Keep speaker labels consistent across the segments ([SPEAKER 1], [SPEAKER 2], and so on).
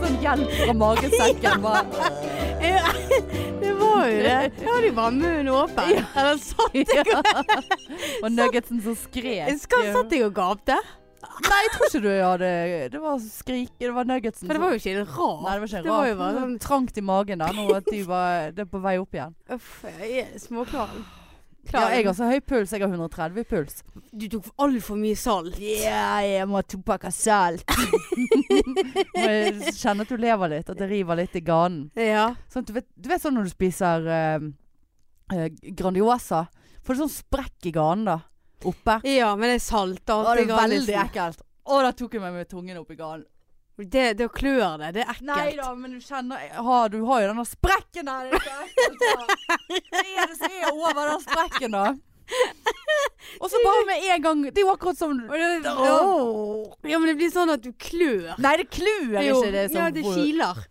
[SPEAKER 1] fra magesekken. Bare,
[SPEAKER 2] Ja, det var jo det. Jeg hadde jo bare munnen åpen. Eller satt jeg og
[SPEAKER 1] og nuggetsen som skrek.
[SPEAKER 2] Skal- Satt jeg og gapte?
[SPEAKER 1] Nei, jeg tror ikke du hadde Det var skrik... Det var nuggetsen.
[SPEAKER 2] For det var jo
[SPEAKER 1] som- Nei,
[SPEAKER 2] ikke
[SPEAKER 1] det
[SPEAKER 2] rart.
[SPEAKER 1] var ikke
[SPEAKER 2] det var jo
[SPEAKER 1] rart.
[SPEAKER 2] bare sånn-
[SPEAKER 1] Trangt i magen da, nå at de var Det er på vei opp igjen.
[SPEAKER 2] Uff, jeg er småkvalm.
[SPEAKER 1] Ja, jeg har så høy puls. Jeg har 130 i puls.
[SPEAKER 2] Du tok altfor mye salt.
[SPEAKER 1] Yeah, jeg må to pakker salt. Må jeg kjenne at du lever litt, at det river litt i ganen.
[SPEAKER 2] Ja.
[SPEAKER 1] Sånn, at du, vet, du vet sånn når du spiser eh, eh, Grandiosa, får du sånn sprekk i ganen da, oppe.
[SPEAKER 2] ja, men det er salt. da,
[SPEAKER 1] Å, det er
[SPEAKER 2] Granisen.
[SPEAKER 1] veldig ekkelt. Å, da tok jeg meg med tungen opp i ganen.
[SPEAKER 2] Det, det klør det. Det er ekkelt.
[SPEAKER 1] Nei da, men du kjenner jeg har- Du har jo den der sprekken der. Det er så ekkelt, da. Hva er det som er over den sprekken, da? Og så bare med en gang Det er jo akkurat som
[SPEAKER 2] Og det, ja.
[SPEAKER 1] Åh.
[SPEAKER 2] ja, men det blir sånn at du klør.
[SPEAKER 1] Nei, det klør
[SPEAKER 2] Jo,
[SPEAKER 1] ikke. Det er sånn
[SPEAKER 2] ja, det kiler.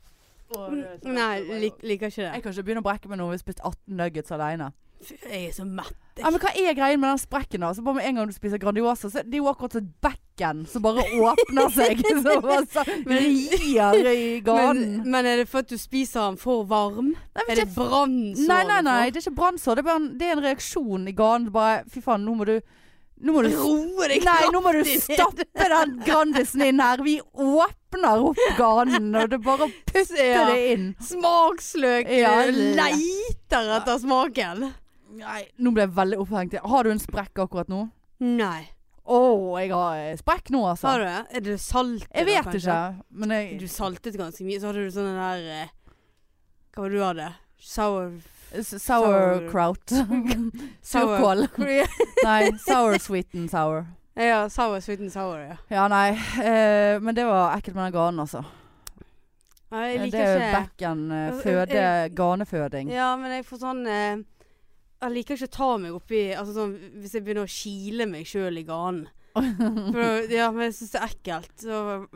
[SPEAKER 1] Åh, det er så-
[SPEAKER 2] Nei, lik, liker ikke det.
[SPEAKER 1] Jeg kan ikke begynne å brekke meg når vi har spist 18 nuggets alene.
[SPEAKER 2] Jeg er så mett.
[SPEAKER 1] Ja, men hva er greien med den sprekken? da? Så bare med en gang du spiser Grandiosa, så det er jo akkurat som et bekken som bare åpner seg. Som bare så rier i ganen.
[SPEAKER 2] Men, men er det for at du spiser den for varm?
[SPEAKER 1] Nei, men
[SPEAKER 2] Er det
[SPEAKER 1] ikke-
[SPEAKER 2] brannsår?
[SPEAKER 1] Nei, nei, nei, det er ikke brannsår. Det, er bare en- det er en reaksjon i ganen. Det er Bare fy faen, nå må du Nå må du
[SPEAKER 2] Roe deg
[SPEAKER 1] Nei, nå må du
[SPEAKER 2] kraftig ned.
[SPEAKER 1] stappe den Grandisen inn her. Vi åpner opp ganen, og det er bare å putte
[SPEAKER 2] Ja.
[SPEAKER 1] det inn.
[SPEAKER 2] Smaksløk
[SPEAKER 1] Ja,
[SPEAKER 2] eh,
[SPEAKER 1] det-
[SPEAKER 2] leiter etter smaken.
[SPEAKER 1] Nei, nå ble jeg veldig opphengt. Har du en sprekk akkurat nå?
[SPEAKER 2] Nei.
[SPEAKER 1] Å, jeg har eh, sprekk nå,
[SPEAKER 2] Sa
[SPEAKER 1] altså.
[SPEAKER 2] du det? Er det salt?
[SPEAKER 1] Jeg
[SPEAKER 2] da,
[SPEAKER 1] vet
[SPEAKER 2] kanskje?
[SPEAKER 1] ikke, men jeg
[SPEAKER 2] Du saltet ganske mye, så hadde du sånne der eh, Hva var det du hadde? Sour
[SPEAKER 1] S- Sauerkraut. Surkål. Nei, sour sweet and sour.
[SPEAKER 2] Ja, sour sweet and sour, ja.
[SPEAKER 1] Ja, nei. eh, men det var ekkelt med den ganen, altså.
[SPEAKER 2] Nei, jeg
[SPEAKER 1] Det
[SPEAKER 2] liker
[SPEAKER 1] er jo
[SPEAKER 2] ikke
[SPEAKER 1] bekken, eh,
[SPEAKER 2] Jeg-
[SPEAKER 1] føde,
[SPEAKER 2] jeg-
[SPEAKER 1] ganeføding.
[SPEAKER 2] Ja, men jeg får sånn eh, Jeg liker ikke å ta meg oppi Altså sånn hvis jeg begynner å kile meg sjøl i ganen. For- Ja, men jeg syns det er ekkelt. Så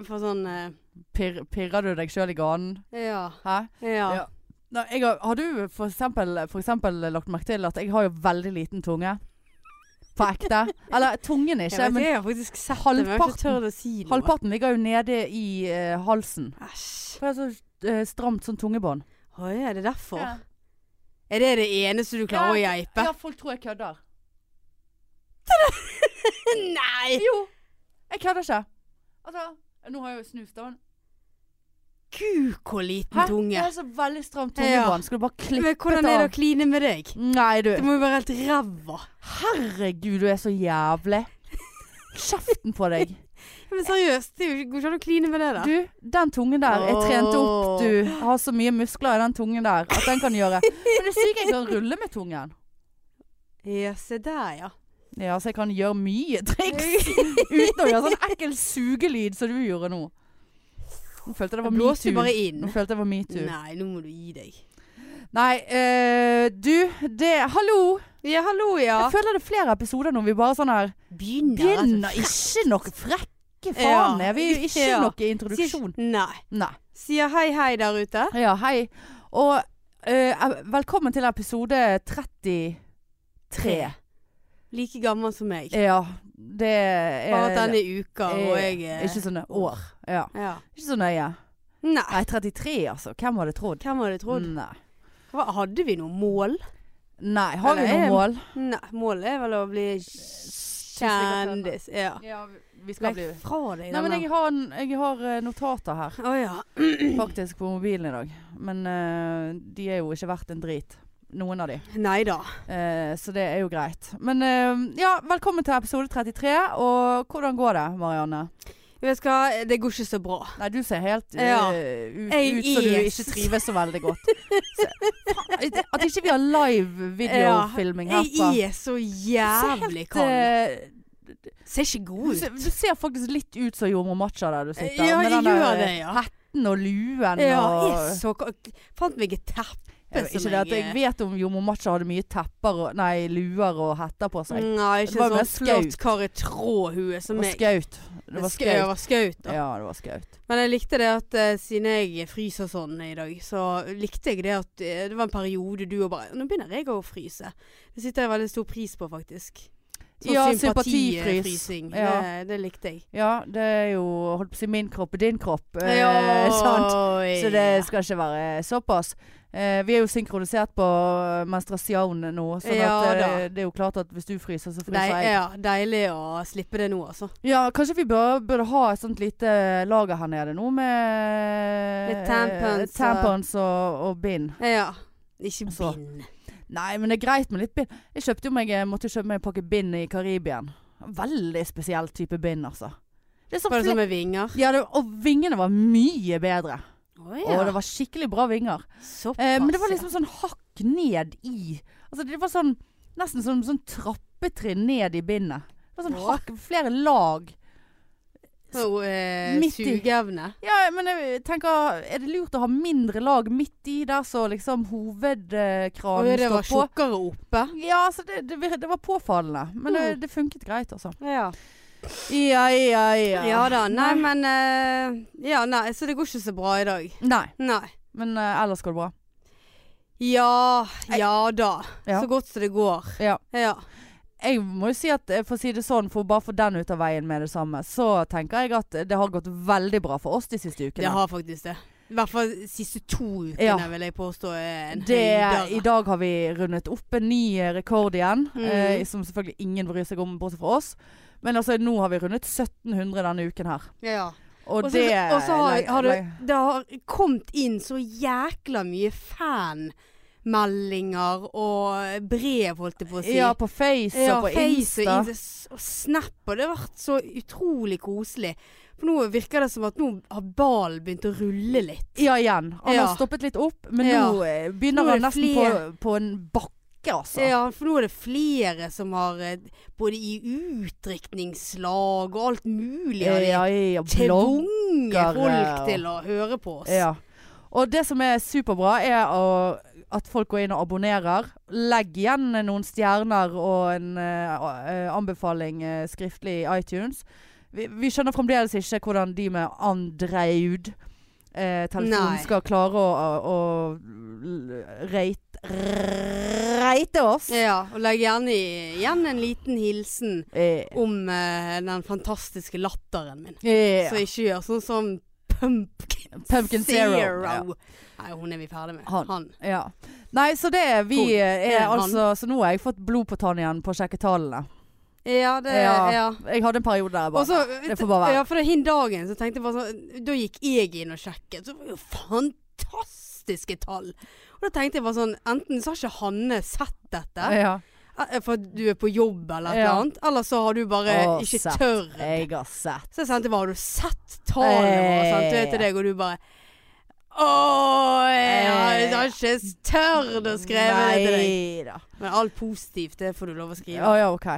[SPEAKER 2] for sånn eh,
[SPEAKER 1] Pir, pirrer du deg sjøl i ganen?
[SPEAKER 2] Ja.
[SPEAKER 1] Hæ?
[SPEAKER 2] Ja.
[SPEAKER 1] Ja. Nei, jeg har, har du for eksempel, for eksempel lagt merke til at jeg har jo veldig liten tunge? På ekte. Eller tungen
[SPEAKER 2] Jeg,
[SPEAKER 1] ikke,
[SPEAKER 2] vet,
[SPEAKER 1] men
[SPEAKER 2] jeg har faktisk sett det, men jeg har ikke
[SPEAKER 1] halvparten-
[SPEAKER 2] tørt å si noe.
[SPEAKER 1] halvparten ligger jo nede i eh, halsen.
[SPEAKER 2] Æsj.
[SPEAKER 1] For det er så eh, stramt sånn tungebånd.
[SPEAKER 2] Å ja, er det derfor? Er det det eneste du klarer å geipe?
[SPEAKER 1] folk tror jeg kødder.
[SPEAKER 2] Nei!
[SPEAKER 1] Jo! Jeg kødder ikke. Altså, nå har jeg jo snust, da.
[SPEAKER 2] Gud, hvor liten
[SPEAKER 1] Hæ? Jeg
[SPEAKER 2] tunge.
[SPEAKER 1] har så veldig stramt
[SPEAKER 2] Ja.
[SPEAKER 1] tungebånd. Skal du bare klippe
[SPEAKER 2] Men hvordan er det å kline med deg?
[SPEAKER 1] Nei, du.
[SPEAKER 2] Det må jo være helt ræva.
[SPEAKER 1] Herregud, du er så jævlig. Kjeften på deg.
[SPEAKER 2] Men seriøst, det er jo- går ikke an å kline med det der.
[SPEAKER 1] Du, den tungen der er trent opp,
[SPEAKER 2] Åh.
[SPEAKER 1] du. Har så mye muskler i den tungen der at den kan gjøre Men det er sykt jeg kan rulle med tungen.
[SPEAKER 2] Ja, se der, ja.
[SPEAKER 1] Ja, så jeg kan gjøre mye triks uten å gjøre sånn ekkel sugelyd som du gjorde nå. Nå følte jeg det
[SPEAKER 2] Jeg
[SPEAKER 1] var
[SPEAKER 2] blåste
[SPEAKER 1] metoo.
[SPEAKER 2] bare
[SPEAKER 1] Nå
[SPEAKER 2] inn.
[SPEAKER 1] følte jeg det var metoo. Nei,
[SPEAKER 2] Nei, nå må du gi deg.
[SPEAKER 1] eh, du, det Hallo!
[SPEAKER 2] Ja, hallo, ja.
[SPEAKER 1] Jeg føler det er flere episoder nå vi bare sånn her
[SPEAKER 2] Begynner.
[SPEAKER 1] Begynner ikke noe frekke faen
[SPEAKER 2] Ja.
[SPEAKER 1] er vi. Ikke
[SPEAKER 2] Ja.
[SPEAKER 1] noe introduksjon.
[SPEAKER 2] Nei.
[SPEAKER 1] Nei.
[SPEAKER 2] Sier hei, hei der ute.
[SPEAKER 1] Ja, hei. Og eh, velkommen til episode 33.
[SPEAKER 2] Like gammel som meg.
[SPEAKER 1] Ja, det er
[SPEAKER 2] Bare at denne uka, og jeg
[SPEAKER 1] er eh, Ikke sånne år. Ja.
[SPEAKER 2] Ja.
[SPEAKER 1] Ikke så nøye.
[SPEAKER 2] Nei.
[SPEAKER 1] Nei, Mm. 33 altså. Hvem hadde trodd?
[SPEAKER 2] Hvem hadde trodd?
[SPEAKER 1] Nei.
[SPEAKER 2] Hva, hadde vi noe mål?
[SPEAKER 1] Nei, har vi
[SPEAKER 2] Eller
[SPEAKER 1] noe
[SPEAKER 2] er-
[SPEAKER 1] mål?
[SPEAKER 2] Nei, målet er vel å
[SPEAKER 1] Eh,
[SPEAKER 2] bli kjendis. Ja.
[SPEAKER 1] Ja, vi
[SPEAKER 2] Legg fra deg
[SPEAKER 1] Nei, men jeg har, en- jeg har eh, notater her,
[SPEAKER 2] Å ja.
[SPEAKER 1] faktisk, på mobilen i dag. Men eh, de er jo ikke verdt en drit. Noen av de.
[SPEAKER 2] Nei da.
[SPEAKER 1] Eh, så det er jo greit. Men eh, ja, velkommen til episode 33. Og hvordan går det, Marianne?
[SPEAKER 2] Vet du hva, det går ikke så bra.
[SPEAKER 1] Nei, du ser helt eh,
[SPEAKER 2] Ja.
[SPEAKER 1] ut,
[SPEAKER 2] Jeg
[SPEAKER 1] ut som du
[SPEAKER 2] er-
[SPEAKER 1] ikke trives så veldig godt. Så, faen, at ikke vi har live videofilming her på
[SPEAKER 2] Jeg er så jævlig
[SPEAKER 1] Du ser
[SPEAKER 2] kald.
[SPEAKER 1] helt, eh,
[SPEAKER 2] Ser ikke god
[SPEAKER 1] du,
[SPEAKER 2] ut.
[SPEAKER 1] ser, du ser faktisk litt ut som jordmor Matcha der du sitter.
[SPEAKER 2] Ja,
[SPEAKER 1] med
[SPEAKER 2] jeg
[SPEAKER 1] den der,
[SPEAKER 2] gjør
[SPEAKER 1] eh,
[SPEAKER 2] det, ja.
[SPEAKER 1] hatten og luen
[SPEAKER 2] Ja,
[SPEAKER 1] og
[SPEAKER 2] jeg er så kald. Fant meg et teppe.
[SPEAKER 1] Jeg vet
[SPEAKER 2] som
[SPEAKER 1] Ikke det at
[SPEAKER 2] jeg-
[SPEAKER 1] jeg vet om jordmor Matcha hadde mye tepper og Nei, luer og hetter på seg.
[SPEAKER 2] Nei,
[SPEAKER 1] Det var
[SPEAKER 2] ikke
[SPEAKER 1] mer
[SPEAKER 2] sånn flott karetrådhue som
[SPEAKER 1] Og
[SPEAKER 2] meg.
[SPEAKER 1] skaut. Det var
[SPEAKER 2] Sk- ja,
[SPEAKER 1] skaut.
[SPEAKER 2] var skaut, da.
[SPEAKER 1] Ja, det var skaut.
[SPEAKER 2] Men jeg likte det at eh, siden jeg fryser sånn i dag, så likte jeg det at eh, det var en periode du og bare Nå begynner jeg å fryse. Det sitter jeg veldig stor pris på, faktisk. Sånn
[SPEAKER 1] Ja, sympatifrys.
[SPEAKER 2] sympatifrysing.
[SPEAKER 1] Ja.
[SPEAKER 2] Det, det likte jeg.
[SPEAKER 1] Ja, det er jo holdt på å si min kropp og din kropp. eh, sant? Så det skal ikke være såpass. Eh, vi er jo synkronisert på eh, menstruasjon nå, så
[SPEAKER 2] Ja,
[SPEAKER 1] at, eh,
[SPEAKER 2] da. eh.
[SPEAKER 1] det er jo klart at hvis du fryser, så
[SPEAKER 2] Dei,
[SPEAKER 1] fryser jeg.
[SPEAKER 2] ja, deilig å slippe det nå, altså.
[SPEAKER 1] Ja, kanskje vi bør, burde ha et sånt lite lager her nede nå med eh,
[SPEAKER 2] Med tampons og-
[SPEAKER 1] tampons og, og bind.
[SPEAKER 2] Ja. Ikke
[SPEAKER 1] Så.
[SPEAKER 2] bind.
[SPEAKER 1] Nei, men det er greit med litt bind. Jeg kjøpte jo meg, jeg måtte kjøpe meg en pakke bind i Karibien. Veldig spesiell type bind, altså. Det er sånn
[SPEAKER 2] Var det
[SPEAKER 1] fle-
[SPEAKER 2] sånn med vinger?
[SPEAKER 1] ja, det, og vingene var mye bedre.
[SPEAKER 2] Å
[SPEAKER 1] Og det var skikkelig bra vinger.
[SPEAKER 2] Såpass,
[SPEAKER 1] Eh, men det var
[SPEAKER 2] ja.
[SPEAKER 1] liksom sånn hakk ned i Altså det var sånn Nesten som sånn trappetrinn ned i bindet. Det var sånn
[SPEAKER 2] Åh.
[SPEAKER 1] hakk, flere lag.
[SPEAKER 2] Så, eh,
[SPEAKER 1] Midt i-
[SPEAKER 2] Sugeevne.
[SPEAKER 1] Ja, men jeg tenker Er det lurt å ha mindre lag midt i der så liksom
[SPEAKER 2] Og
[SPEAKER 1] hovedkranen
[SPEAKER 2] det var
[SPEAKER 1] står på?
[SPEAKER 2] tjukkere oppe.
[SPEAKER 1] Ja, altså det, det, vir- det var påfallende. Men det, det funket greit, altså.
[SPEAKER 2] Ja.
[SPEAKER 1] Ja, ja,
[SPEAKER 2] ja. da. Nei, men eh, Ja, nei, så det går ikke så bra i dag.
[SPEAKER 1] Nei,
[SPEAKER 2] Nei.
[SPEAKER 1] men eh, ellers går det bra.
[SPEAKER 2] Ja, ja da.
[SPEAKER 1] Ja.
[SPEAKER 2] Så godt som det går.
[SPEAKER 1] Ja.
[SPEAKER 2] Ja.
[SPEAKER 1] Jeg må jo si at, eh, for å si det sånn, for bare å få den ut av veien med det samme, så tenker jeg at det har gått veldig bra for oss de siste ukene.
[SPEAKER 2] Det har faktisk det. I hvert fall de siste to ukene
[SPEAKER 1] Ja.
[SPEAKER 2] vil jeg påstå er en altså.
[SPEAKER 1] det, I
[SPEAKER 2] høydere.
[SPEAKER 1] dag har vi rundet opp en ny eh, rekord igjen,
[SPEAKER 2] Mhm.
[SPEAKER 1] eh, som selvfølgelig ingen bryr seg om bortsett fra oss. Men altså, nå har vi rundet 1700 denne uken her.
[SPEAKER 2] Ja.
[SPEAKER 1] Og,
[SPEAKER 2] Og så
[SPEAKER 1] det
[SPEAKER 2] og så har,
[SPEAKER 1] legger-
[SPEAKER 2] har det,
[SPEAKER 1] legger-
[SPEAKER 2] det har kommet inn så jækla mye fanmeldinger og brev, holdt jeg på å si.
[SPEAKER 1] Ja, på Face
[SPEAKER 2] Ja,
[SPEAKER 1] og på
[SPEAKER 2] Face
[SPEAKER 1] Insta.
[SPEAKER 2] og Insta og Snap, og det har vært så utrolig koselig. For nå virker det som at nå har ballen begynt å rulle litt.
[SPEAKER 1] Ja, igjen. Han
[SPEAKER 2] Ja.
[SPEAKER 1] har stoppet litt opp, men
[SPEAKER 2] Ja.
[SPEAKER 1] nå eh, begynner
[SPEAKER 2] Nå er
[SPEAKER 1] han
[SPEAKER 2] det
[SPEAKER 1] nesten på, på en bakke, altså.
[SPEAKER 2] Ja, for nå er det flere som har eh, både i utdrikningslag og alt mulig. Og de
[SPEAKER 1] ja, ja, blogg.
[SPEAKER 2] tvinger folk
[SPEAKER 1] og-
[SPEAKER 2] til å høre på oss.
[SPEAKER 1] Ja. Og det som er superbra, er å, at folk går inn og abonnerer. Legg igjen noen stjerner og en eh, a- eh, anbefaling eh, skriftlig i iTunes. Vi, vi skjønner fremdeles ikke hvordan de med Andreud eh, telefon
[SPEAKER 2] Nei.
[SPEAKER 1] skal klare å, å, å rate, rate oss.
[SPEAKER 2] Ja, og legg gjerne i- igjen en liten hilsen
[SPEAKER 1] Eh,
[SPEAKER 2] om eh, den fantastiske latteren min.
[SPEAKER 1] eh,
[SPEAKER 2] Så ikke gjør sånn som Pumpkin,
[SPEAKER 1] Pumpkin Zero. Ja.
[SPEAKER 2] Nei, hun er vi ferdig med.
[SPEAKER 1] Han.
[SPEAKER 2] Han.
[SPEAKER 1] Ja. Nei, så det er vi
[SPEAKER 2] Hun.
[SPEAKER 1] eh, er
[SPEAKER 2] Eh, han.
[SPEAKER 1] altså Så nå har jeg fått blod på tann igjen på å sjekke tallene.
[SPEAKER 2] Ja, det
[SPEAKER 1] Ja.
[SPEAKER 2] ja.
[SPEAKER 1] Jeg hadde en periode der jeg bare
[SPEAKER 2] Og så-
[SPEAKER 1] det får bare være.
[SPEAKER 2] Ja, for den dagen så tenkte jeg bare sånn Da gikk jeg inn og sjekket, så var det jo fantastiske tall. Og da tenkte jeg bare sånn Enten så har ikke Hanne sett dette,
[SPEAKER 1] Ja.
[SPEAKER 2] eh, for at du er på jobb eller et
[SPEAKER 1] Ja.
[SPEAKER 2] eller annet, eller så har du bare
[SPEAKER 1] Å,
[SPEAKER 2] ikke
[SPEAKER 1] sett.
[SPEAKER 2] tørr.
[SPEAKER 1] Jeg har sett.
[SPEAKER 2] Så jeg sendte bare Har du sett tallene
[SPEAKER 1] Eh.
[SPEAKER 2] våre? Sendte jeg til deg, og du bare Åh, jeg
[SPEAKER 1] Eh.
[SPEAKER 2] har- jeg har ikke tørt å skrive det til deg.
[SPEAKER 1] da.
[SPEAKER 2] Men alt positivt, det får du lov å skrive.
[SPEAKER 1] Ja, ja, OK.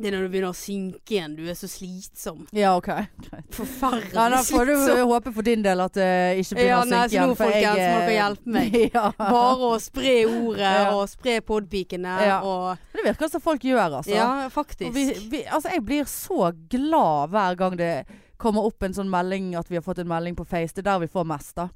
[SPEAKER 2] Det er når du begynner å synke igjen. Du er så slitsom.
[SPEAKER 1] Ja, ok.
[SPEAKER 2] Forferdelig
[SPEAKER 1] Ja, da får du
[SPEAKER 2] slitsom.
[SPEAKER 1] håpe for din del at det ikke begynner
[SPEAKER 2] Ja,
[SPEAKER 1] å
[SPEAKER 2] nei,
[SPEAKER 1] synke
[SPEAKER 2] så
[SPEAKER 1] igjen.
[SPEAKER 2] nå, folkens, må dere hjelpe meg.
[SPEAKER 1] ja.
[SPEAKER 2] Bare å spre ordet
[SPEAKER 1] Ja.
[SPEAKER 2] og spre podpikene
[SPEAKER 1] Ja,
[SPEAKER 2] og
[SPEAKER 1] Men Det virker som folk gjør, altså.
[SPEAKER 2] Ja,
[SPEAKER 1] Og
[SPEAKER 2] faktisk.
[SPEAKER 1] vi, vi, altså. Jeg blir så glad hver gang det kommer opp en sånn melding at vi har fått en melding på Face. Det er der vi får mest, da.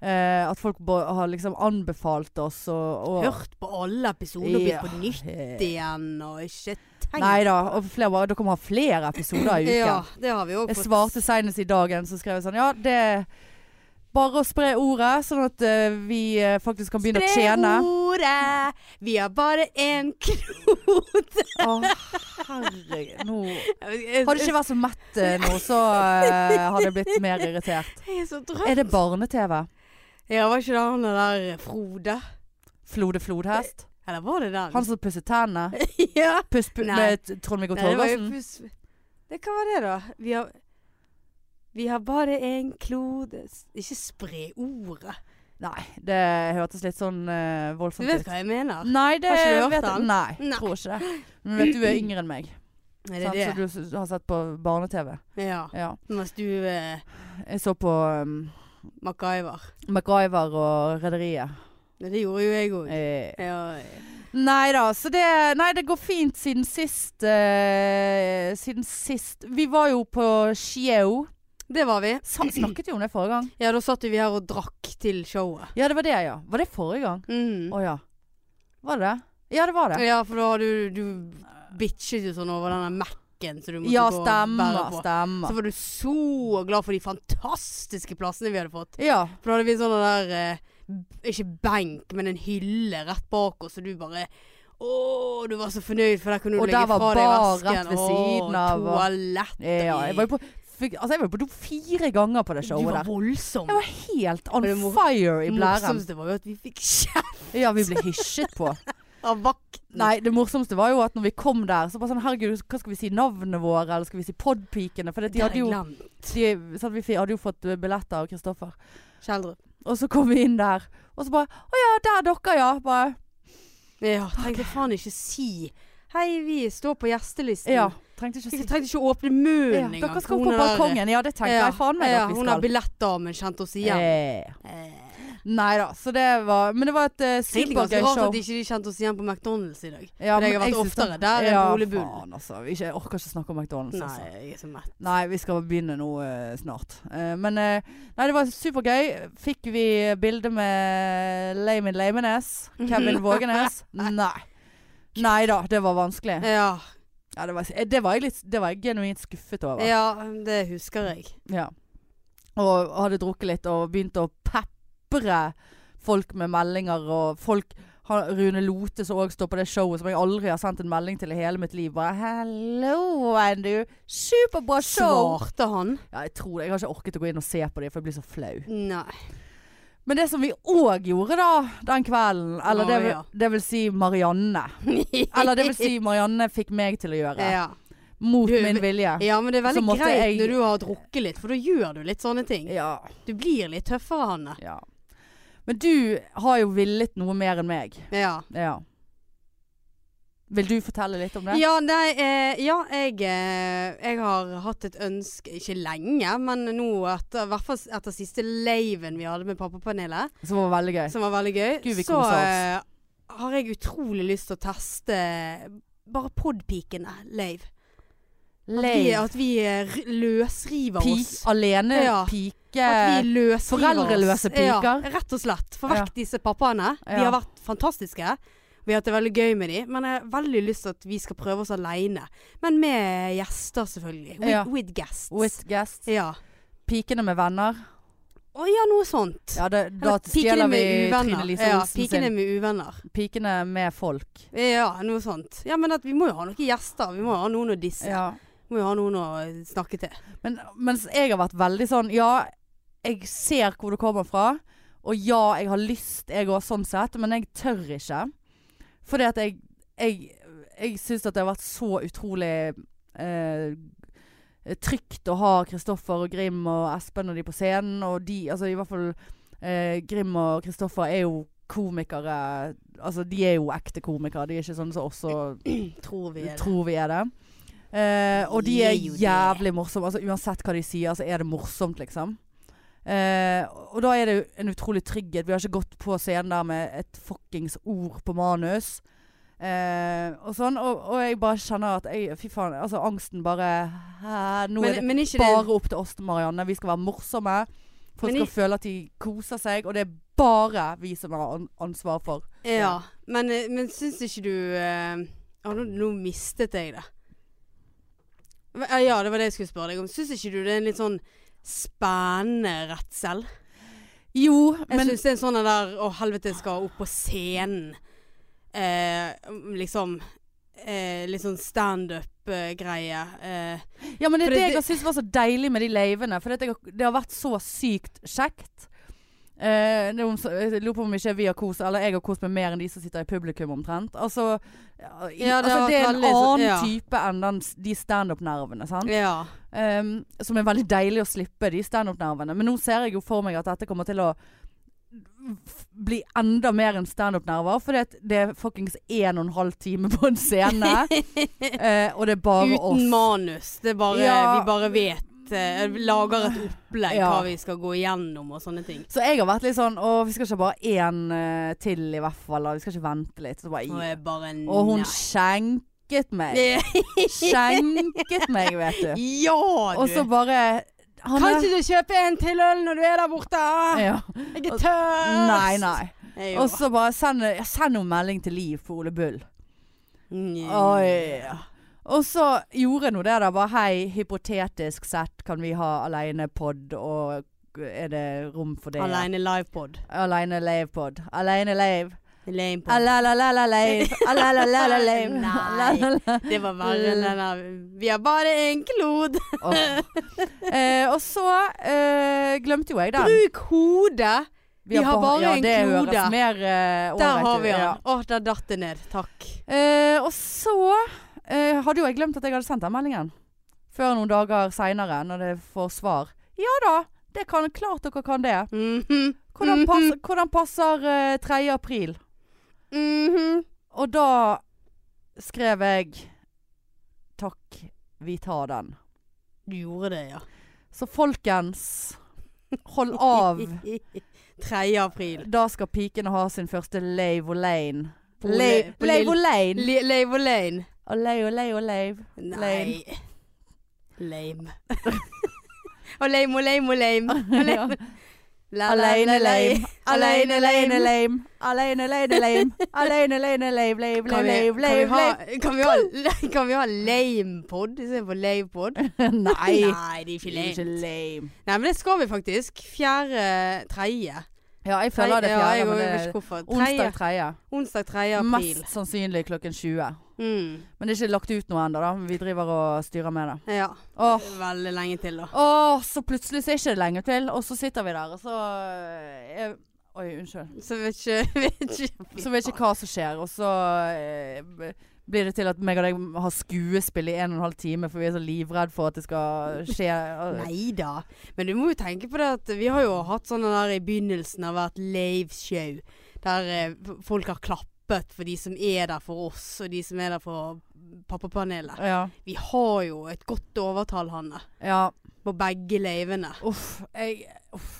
[SPEAKER 1] Eh, at folk bo- har liksom anbefalt oss og, og
[SPEAKER 2] Hørt på alle episoder og
[SPEAKER 1] Ja.
[SPEAKER 2] blitt på nytt igjen og ikke tenkt
[SPEAKER 1] Nei da. Og flere, bare, dere må ha flere episoder i uken.
[SPEAKER 2] Ja, det har vi òg
[SPEAKER 1] Jeg
[SPEAKER 2] fått.
[SPEAKER 1] svarte senest i dagen, så skrev jeg sånn Ja, det er bare å spre ordet, sånn at eh, vi eh, faktisk kan begynne å tjene.
[SPEAKER 2] Spre ordet. Vi har bare én knote.
[SPEAKER 1] Å, herregud. Nå Hadde jeg ikke vært så mett eh, nå, så eh, hadde jeg blitt mer irritert.
[SPEAKER 2] Jeg er så drøm.
[SPEAKER 1] Er det barne-TV?
[SPEAKER 2] Ja, var ikke det han der Frode?
[SPEAKER 1] Flode flodhest?
[SPEAKER 2] Eller var det den?
[SPEAKER 1] Han som pusset tennene?
[SPEAKER 2] ja.
[SPEAKER 1] Puss, pu
[SPEAKER 2] Nei.
[SPEAKER 1] med T- Trond-Viggo
[SPEAKER 2] Nei, det var jo
[SPEAKER 1] Torgersen?
[SPEAKER 2] pus- Det kan være det, da. Vi har, vi har bare én klode S- Ikke spre ordet.
[SPEAKER 1] Nei, det hørtes litt sånn eh,
[SPEAKER 2] Du
[SPEAKER 1] voldsomt
[SPEAKER 2] vet
[SPEAKER 1] ut.
[SPEAKER 2] hva jeg mener?
[SPEAKER 1] Nei, det
[SPEAKER 2] Har ikke du hørt
[SPEAKER 1] vet jeg
[SPEAKER 2] den?
[SPEAKER 1] Nei,
[SPEAKER 2] Nei.
[SPEAKER 1] tror ikke det. Men vet du, du er yngre enn meg,
[SPEAKER 2] Er det
[SPEAKER 1] sant? så
[SPEAKER 2] det?
[SPEAKER 1] du s- har sett på barne-TV.
[SPEAKER 2] Ja.
[SPEAKER 1] Ja.
[SPEAKER 2] Mens du eh,
[SPEAKER 1] Jeg så på um,
[SPEAKER 2] MacGyver.
[SPEAKER 1] MacGyver og Rederiet.
[SPEAKER 2] Det gjorde jo jeg òg.
[SPEAKER 1] Eh,
[SPEAKER 2] Ja,
[SPEAKER 1] nei da, så det Nei, det går fint siden sist. Eh, siden sist Vi var jo på Skieo.
[SPEAKER 2] det var vi.
[SPEAKER 1] Sa- Snakket vi om det forrige gang?
[SPEAKER 2] Ja, da satt jo vi her og drakk til showet.
[SPEAKER 1] Ja, det var det, ja. Var det forrige gang?
[SPEAKER 2] Mm.
[SPEAKER 1] Å ja. Var det det? Ja, det var det.
[SPEAKER 2] Ja, for da har du, du bitchet jo sånn over denne Mac-en som du måtte
[SPEAKER 1] Ja,
[SPEAKER 2] gå og
[SPEAKER 1] stemmer.
[SPEAKER 2] bære på. Så
[SPEAKER 1] Stemmer.
[SPEAKER 2] var du så glad for de fantastiske plassene vi hadde fått.
[SPEAKER 1] Ja.
[SPEAKER 2] For da hadde vi en sånn der eh, b- Ikke benk, men en hylle rett bak oss, og du bare Å, du var så fornøyd, for der kunne du
[SPEAKER 1] Og
[SPEAKER 2] legge
[SPEAKER 1] der var
[SPEAKER 2] fra deg
[SPEAKER 1] bar
[SPEAKER 2] vesken.
[SPEAKER 1] rett ved siden av, og-
[SPEAKER 2] Å, toalett.
[SPEAKER 1] eh, ja jeg var jo på fikk, Altså, jeg var jo på do fire ganger på det
[SPEAKER 2] Du
[SPEAKER 1] showet
[SPEAKER 2] var
[SPEAKER 1] der.
[SPEAKER 2] voldsom.
[SPEAKER 1] Jeg var helt on
[SPEAKER 2] Men det mor-
[SPEAKER 1] fire i
[SPEAKER 2] Det
[SPEAKER 1] blæren.
[SPEAKER 2] morsomste var jo at vi fikk kjeft
[SPEAKER 1] Ja, vi ble hysjet på.
[SPEAKER 2] av vakten.
[SPEAKER 1] Nei, det morsomste var jo at når vi kom der, så bare sånn Herregud, hva skal vi si? Navnet våre? Eller skal vi si Podpikene? For det, de
[SPEAKER 2] det hadde
[SPEAKER 1] hadde jo
[SPEAKER 2] glemt.
[SPEAKER 1] de, sant, Vi fi- hadde jo fått eh, billetter av Kristoffer.
[SPEAKER 2] Kjeldrup.
[SPEAKER 1] Og så kom vi inn der, og så bare Å ja, der er dere, ja. Bare
[SPEAKER 2] Ja, tenkte faen ikke si Hei, vi står på gjestelisten.
[SPEAKER 1] Ja. Trengte ikke å
[SPEAKER 2] Vi
[SPEAKER 1] si
[SPEAKER 2] trengte ikke å åpne munnen
[SPEAKER 1] ja,
[SPEAKER 2] engang.
[SPEAKER 1] Dere skal
[SPEAKER 2] for
[SPEAKER 1] opp på
[SPEAKER 2] hun er der-
[SPEAKER 1] balkongen. Ja, det tenker jeg faen meg
[SPEAKER 2] ja,
[SPEAKER 1] at vi
[SPEAKER 2] Hun er
[SPEAKER 1] skal.
[SPEAKER 2] billettdamen, kjente oss igjen.
[SPEAKER 1] Eh,
[SPEAKER 2] Eh.
[SPEAKER 1] Nei da. Så det var Men det var et eh,
[SPEAKER 2] Egentlig ganske
[SPEAKER 1] supergøy
[SPEAKER 2] rart
[SPEAKER 1] show.
[SPEAKER 2] at ikke de kjente oss igjen på McDonald's i dag.
[SPEAKER 1] Ja,
[SPEAKER 2] For jeg
[SPEAKER 1] men
[SPEAKER 2] har vært
[SPEAKER 1] synes
[SPEAKER 2] oftere
[SPEAKER 1] det-
[SPEAKER 2] der enn
[SPEAKER 1] ja,
[SPEAKER 2] Ole Bull.
[SPEAKER 1] Faen, altså. Ikke- Jeg orker ikke snakke om McDonald's. altså.
[SPEAKER 2] Nei, jeg er så mett.
[SPEAKER 1] Nei, vi skal begynne nå eh, snart. Eh, men eh, nei, det var supergøy. Fikk vi bilde med Lamin Lamenes? Kevin Vågenes? Nei. Nei da, det var vanskelig.
[SPEAKER 2] Ja,
[SPEAKER 1] Ja, det, var, eh, det, var jeg litt, det var jeg genuint skuffet over.
[SPEAKER 2] ja, det husker jeg.
[SPEAKER 1] Ja. Og hadde drukket litt og begynte å pepre folk med meldinger og folk han, Rune Lote som òg står på det showet som jeg aldri har sendt en melding til i hele mitt liv. Bare 'Hello, Andrew. Superbra show!'
[SPEAKER 2] Svarte han?
[SPEAKER 1] Ja, jeg tror det. Jeg har ikke orket å gå inn og se på dem, for jeg blir så flau.
[SPEAKER 2] Nei.
[SPEAKER 1] Men det som vi òg gjorde da, den kvelden, eller
[SPEAKER 2] Å,
[SPEAKER 1] det, vil-
[SPEAKER 2] ja.
[SPEAKER 1] det vil si Marianne Eller det vil si Marianne fikk meg til å gjøre.
[SPEAKER 2] ja.
[SPEAKER 1] Mot
[SPEAKER 2] Du-
[SPEAKER 1] min vilje.
[SPEAKER 2] ja, men det er
[SPEAKER 1] Så
[SPEAKER 2] veldig
[SPEAKER 1] måtte
[SPEAKER 2] greit
[SPEAKER 1] jeg-
[SPEAKER 2] når du har drukket litt, for da gjør du litt sånne ting.
[SPEAKER 1] Ja.
[SPEAKER 2] Du blir litt tøffere, Hanne.
[SPEAKER 1] ja. Men du har jo villet noe mer enn meg.
[SPEAKER 2] Ja.
[SPEAKER 1] Ja. Vil du fortelle litt om det?
[SPEAKER 2] Ja, nei, eh, ja jeg, eh, jeg har hatt et ønske, ikke lenge, men nå etter, i hvert fall etter siste laven vi hadde med pappapanelet.
[SPEAKER 1] Som var veldig gøy.
[SPEAKER 2] som var veldig gøy.
[SPEAKER 1] Gud, vi
[SPEAKER 2] så
[SPEAKER 1] koser oss.
[SPEAKER 2] eh, har jeg utrolig lyst til å teste bare podpikene, Leiv. At vi,
[SPEAKER 1] Leir.
[SPEAKER 2] at vi eh, r- løsriver
[SPEAKER 1] Pik,
[SPEAKER 2] oss.
[SPEAKER 1] alene
[SPEAKER 2] Ja.
[SPEAKER 1] pike.
[SPEAKER 2] At vi løsriver
[SPEAKER 1] foreldreløse
[SPEAKER 2] oss.
[SPEAKER 1] piker.
[SPEAKER 2] Ja, rett og slett. Få
[SPEAKER 1] Ja.
[SPEAKER 2] vekk disse pappaene. De
[SPEAKER 1] Ja.
[SPEAKER 2] har vært fantastiske. Vi har hatt det veldig gøy med dem, men jeg har veldig lyst til at vi skal prøve oss aleine. Men med gjester, selvfølgelig. With,
[SPEAKER 1] Ja.
[SPEAKER 2] with guests.
[SPEAKER 1] With guests.
[SPEAKER 2] ja.
[SPEAKER 1] Pikene med venner.
[SPEAKER 2] Å ja, noe sånt.
[SPEAKER 1] Ja, det, da
[SPEAKER 2] Eller
[SPEAKER 1] stjeler vi Trine
[SPEAKER 2] uvenner.
[SPEAKER 1] Lise
[SPEAKER 2] Ja,
[SPEAKER 1] Olsen
[SPEAKER 2] pikene
[SPEAKER 1] sin.
[SPEAKER 2] med uvenner.
[SPEAKER 1] Pikene med folk.
[SPEAKER 2] Ja, noe sånt. Ja, men at vi må jo ha noen gjester. Vi må jo ha noen å disse.
[SPEAKER 1] Ja.
[SPEAKER 2] Vi må jo ha noen å snakke til.
[SPEAKER 1] Men, mens jeg har vært veldig sånn Ja, jeg ser hvor du kommer fra. Og ja, jeg har lyst, jeg òg, sånn sett. Men jeg tør ikke. Fordi at jeg Jeg, jeg syns at det har vært så utrolig eh, trygt å ha Kristoffer og Grim og Espen og de på scenen. Og de Altså i hvert fall eh, Grim og Kristoffer er jo komikere. Altså de er jo ekte komikere. De er ikke sånn som oss og
[SPEAKER 2] Tror vi. er det.
[SPEAKER 1] tror vi er det. Eh, og de er
[SPEAKER 2] Vi er jo det.
[SPEAKER 1] jævlig morsomme. Altså, uansett hva de sier, så er det morsomt, liksom. Eh, og da er det jo en utrolig trygghet. Vi har ikke gått på scenen der med et fuckings ord på manus. Eh, og sånn. Og, og jeg bare kjenner at jeg, Fy faen. Altså, angsten bare hæ, Nå
[SPEAKER 2] Men,
[SPEAKER 1] er det
[SPEAKER 2] men ikke
[SPEAKER 1] bare
[SPEAKER 2] det
[SPEAKER 1] opp til oss, Marianne. Vi skal være morsomme. Folk
[SPEAKER 2] Men i-
[SPEAKER 1] skal føle at de koser seg. Og det er bare vi som har an- ansvar for
[SPEAKER 2] Ja. Men, eh, men syns ikke du eh, ja, nå, nå mistet jeg det. Men, eh, Ja, det var det jeg skulle spørre deg om. Syns ikke du det er en litt sånn spennende redsel?
[SPEAKER 1] Jo,
[SPEAKER 2] Jeg
[SPEAKER 1] men
[SPEAKER 2] syns det er en sånn en der Å, helvete, jeg skal opp på scenen. Eh, liksom eh, Litt sånn standup-greie. Eh,
[SPEAKER 1] Ja, men det er
[SPEAKER 2] For
[SPEAKER 1] det
[SPEAKER 2] det-
[SPEAKER 1] jeg har syntes var så deilig med de leivene. For det, at jeg, har- det har vært så sykt kjekt. Eh, det er om, så- jeg lurer på om ikke vi har kost Eller jeg har kost meg mer enn de som sitter i publikum, omtrent. Altså, ja, i,
[SPEAKER 2] Ja, det har
[SPEAKER 1] altså, det er
[SPEAKER 2] vært
[SPEAKER 1] en
[SPEAKER 2] veldig så-
[SPEAKER 1] annen
[SPEAKER 2] ja.
[SPEAKER 1] type enn den, s- de standup-nervene, sant.
[SPEAKER 2] ja.
[SPEAKER 1] Ehm, som er veldig deilig å slippe, de standup-nervene. Men nå ser jeg jo for meg at dette kommer til å f- bli enda mer enn standup-nerver. For det er fuckings en og en halv time på en scene. eh, og det er bare
[SPEAKER 2] Uten
[SPEAKER 1] oss.
[SPEAKER 2] manus. Det er bare,
[SPEAKER 1] Ja.
[SPEAKER 2] Vi bare vet eh, vi Lager et opplegg
[SPEAKER 1] Ja.
[SPEAKER 2] hva vi skal gå igjennom og sånne ting.
[SPEAKER 1] Så jeg har vært litt sånn Å, vi skal ikke ha bare én eh, til i hvert fall. Da. Vi skal ikke vente litt. Så
[SPEAKER 2] Og,
[SPEAKER 1] bare,
[SPEAKER 2] jeg bare,
[SPEAKER 1] og hun
[SPEAKER 2] nei.
[SPEAKER 1] skjenket meg.
[SPEAKER 2] Eh,
[SPEAKER 1] Skjenket meg, vet du.
[SPEAKER 2] Ja, du!
[SPEAKER 1] Og så bare han
[SPEAKER 2] kan
[SPEAKER 1] er-
[SPEAKER 2] ikke du kjøpe en til øl når du er der borte?
[SPEAKER 1] ja.
[SPEAKER 2] Jeg er tørst!
[SPEAKER 1] Nei, nei.
[SPEAKER 2] Jeg
[SPEAKER 1] Og
[SPEAKER 2] gjorde.
[SPEAKER 1] så bare send, ja, send noen melding til Liv for Ole Bull.
[SPEAKER 2] Nja.
[SPEAKER 1] Oi. Og så gjorde jeg nå det da, bare hei, hypotetisk sett kan vi ha alenepod, og er det rom for det?
[SPEAKER 2] Alene livepod.
[SPEAKER 1] Alene livepod. Alene live.
[SPEAKER 2] Lamepod.
[SPEAKER 1] Alalalala live. Alalalala live.
[SPEAKER 2] Nei.
[SPEAKER 1] Alalala.
[SPEAKER 2] Det var verre enn den der Vi er bare en klod.
[SPEAKER 1] Åh. Eh, og så eh, glemte jo jeg den.
[SPEAKER 2] Bruk hodet. vi har bare
[SPEAKER 1] ja,
[SPEAKER 2] en
[SPEAKER 1] det
[SPEAKER 2] klode.
[SPEAKER 1] Høres mer, eh,
[SPEAKER 2] Der
[SPEAKER 1] ålreit
[SPEAKER 2] har
[SPEAKER 1] ut,
[SPEAKER 2] vi
[SPEAKER 1] ja.
[SPEAKER 2] den. Å, der datt det ned. Takk.
[SPEAKER 1] Eh, og så eh, hadde jo jeg glemt at jeg hadde sendt den meldingen. Før noen dager seinere, når det får svar. Ja da, det kan klart dere kan det.
[SPEAKER 2] Mhm.
[SPEAKER 1] Hvordan
[SPEAKER 2] Mhm.
[SPEAKER 1] passer, hvordan passer eh, 3. april?
[SPEAKER 2] Mhm.
[SPEAKER 1] Og da skrev jeg Takk, vi tar den.
[SPEAKER 2] Du gjorde det, ja.
[SPEAKER 1] Så folkens, hold av.
[SPEAKER 2] 3. april.
[SPEAKER 1] Da skal pikene ha sin første Lave Lane.
[SPEAKER 2] På
[SPEAKER 1] Lave
[SPEAKER 2] Le- på Lille-
[SPEAKER 1] Lane.
[SPEAKER 2] Le- Lave og lame.
[SPEAKER 1] Olay, olay, olay.
[SPEAKER 2] Nei. Lame. Og lame og lame og lame.
[SPEAKER 1] Ja.
[SPEAKER 2] La, la, la,
[SPEAKER 1] Aleine
[SPEAKER 2] la.
[SPEAKER 1] lame. Aleine
[SPEAKER 2] Alene
[SPEAKER 1] lame.
[SPEAKER 2] lame.
[SPEAKER 1] lame. Aleine lame lame. Aleine lame lame lame lame
[SPEAKER 2] Kan vi, kan vi
[SPEAKER 1] lame
[SPEAKER 2] ha,
[SPEAKER 1] lame.
[SPEAKER 2] kan vi ha, kan vi ha lamepod istedenfor lavepod?
[SPEAKER 1] Nei.
[SPEAKER 2] Nei, det er ikke
[SPEAKER 1] det er
[SPEAKER 2] lame.
[SPEAKER 1] Ikke lame.
[SPEAKER 2] Nei, men det skal vi faktisk. Fjerde, tredje.
[SPEAKER 1] Ja, jeg føler det
[SPEAKER 2] ja, jeg
[SPEAKER 1] fjerde, men
[SPEAKER 2] vet
[SPEAKER 1] det
[SPEAKER 2] ikke
[SPEAKER 1] er
[SPEAKER 2] hvorfor. Tredje.
[SPEAKER 1] onsdag 3.
[SPEAKER 2] Onsdag 3. april.
[SPEAKER 1] Mest sannsynlig klokken 20.
[SPEAKER 2] Mm.
[SPEAKER 1] Men det er ikke lagt ut noe ennå, da. men Vi driver og styrer med det.
[SPEAKER 2] Ja.
[SPEAKER 1] Åh.
[SPEAKER 2] Veldig lenge til, da.
[SPEAKER 1] Åh, så plutselig så er ikke det lenge til, og så sitter vi der, og så er Oi, unnskyld.
[SPEAKER 2] Så vet ikke, vet ikke
[SPEAKER 1] Så vet jeg ikke hva som skjer, og så eh, blir det til at meg og deg har skuespill i en og en halv time, for vi er så livredd for at det skal skje.
[SPEAKER 2] Nei da. Men du må jo tenke på det at vi har jo hatt sånne der i begynnelsen av hvert lave show. Der eh, f- folk har klappet for de som er der for oss, og de som er der for pappapanelet.
[SPEAKER 1] Ja.
[SPEAKER 2] Vi har jo et godt overtall, Hanne.
[SPEAKER 1] ja.
[SPEAKER 2] På begge leivene.
[SPEAKER 1] Uff. Jeg, uff.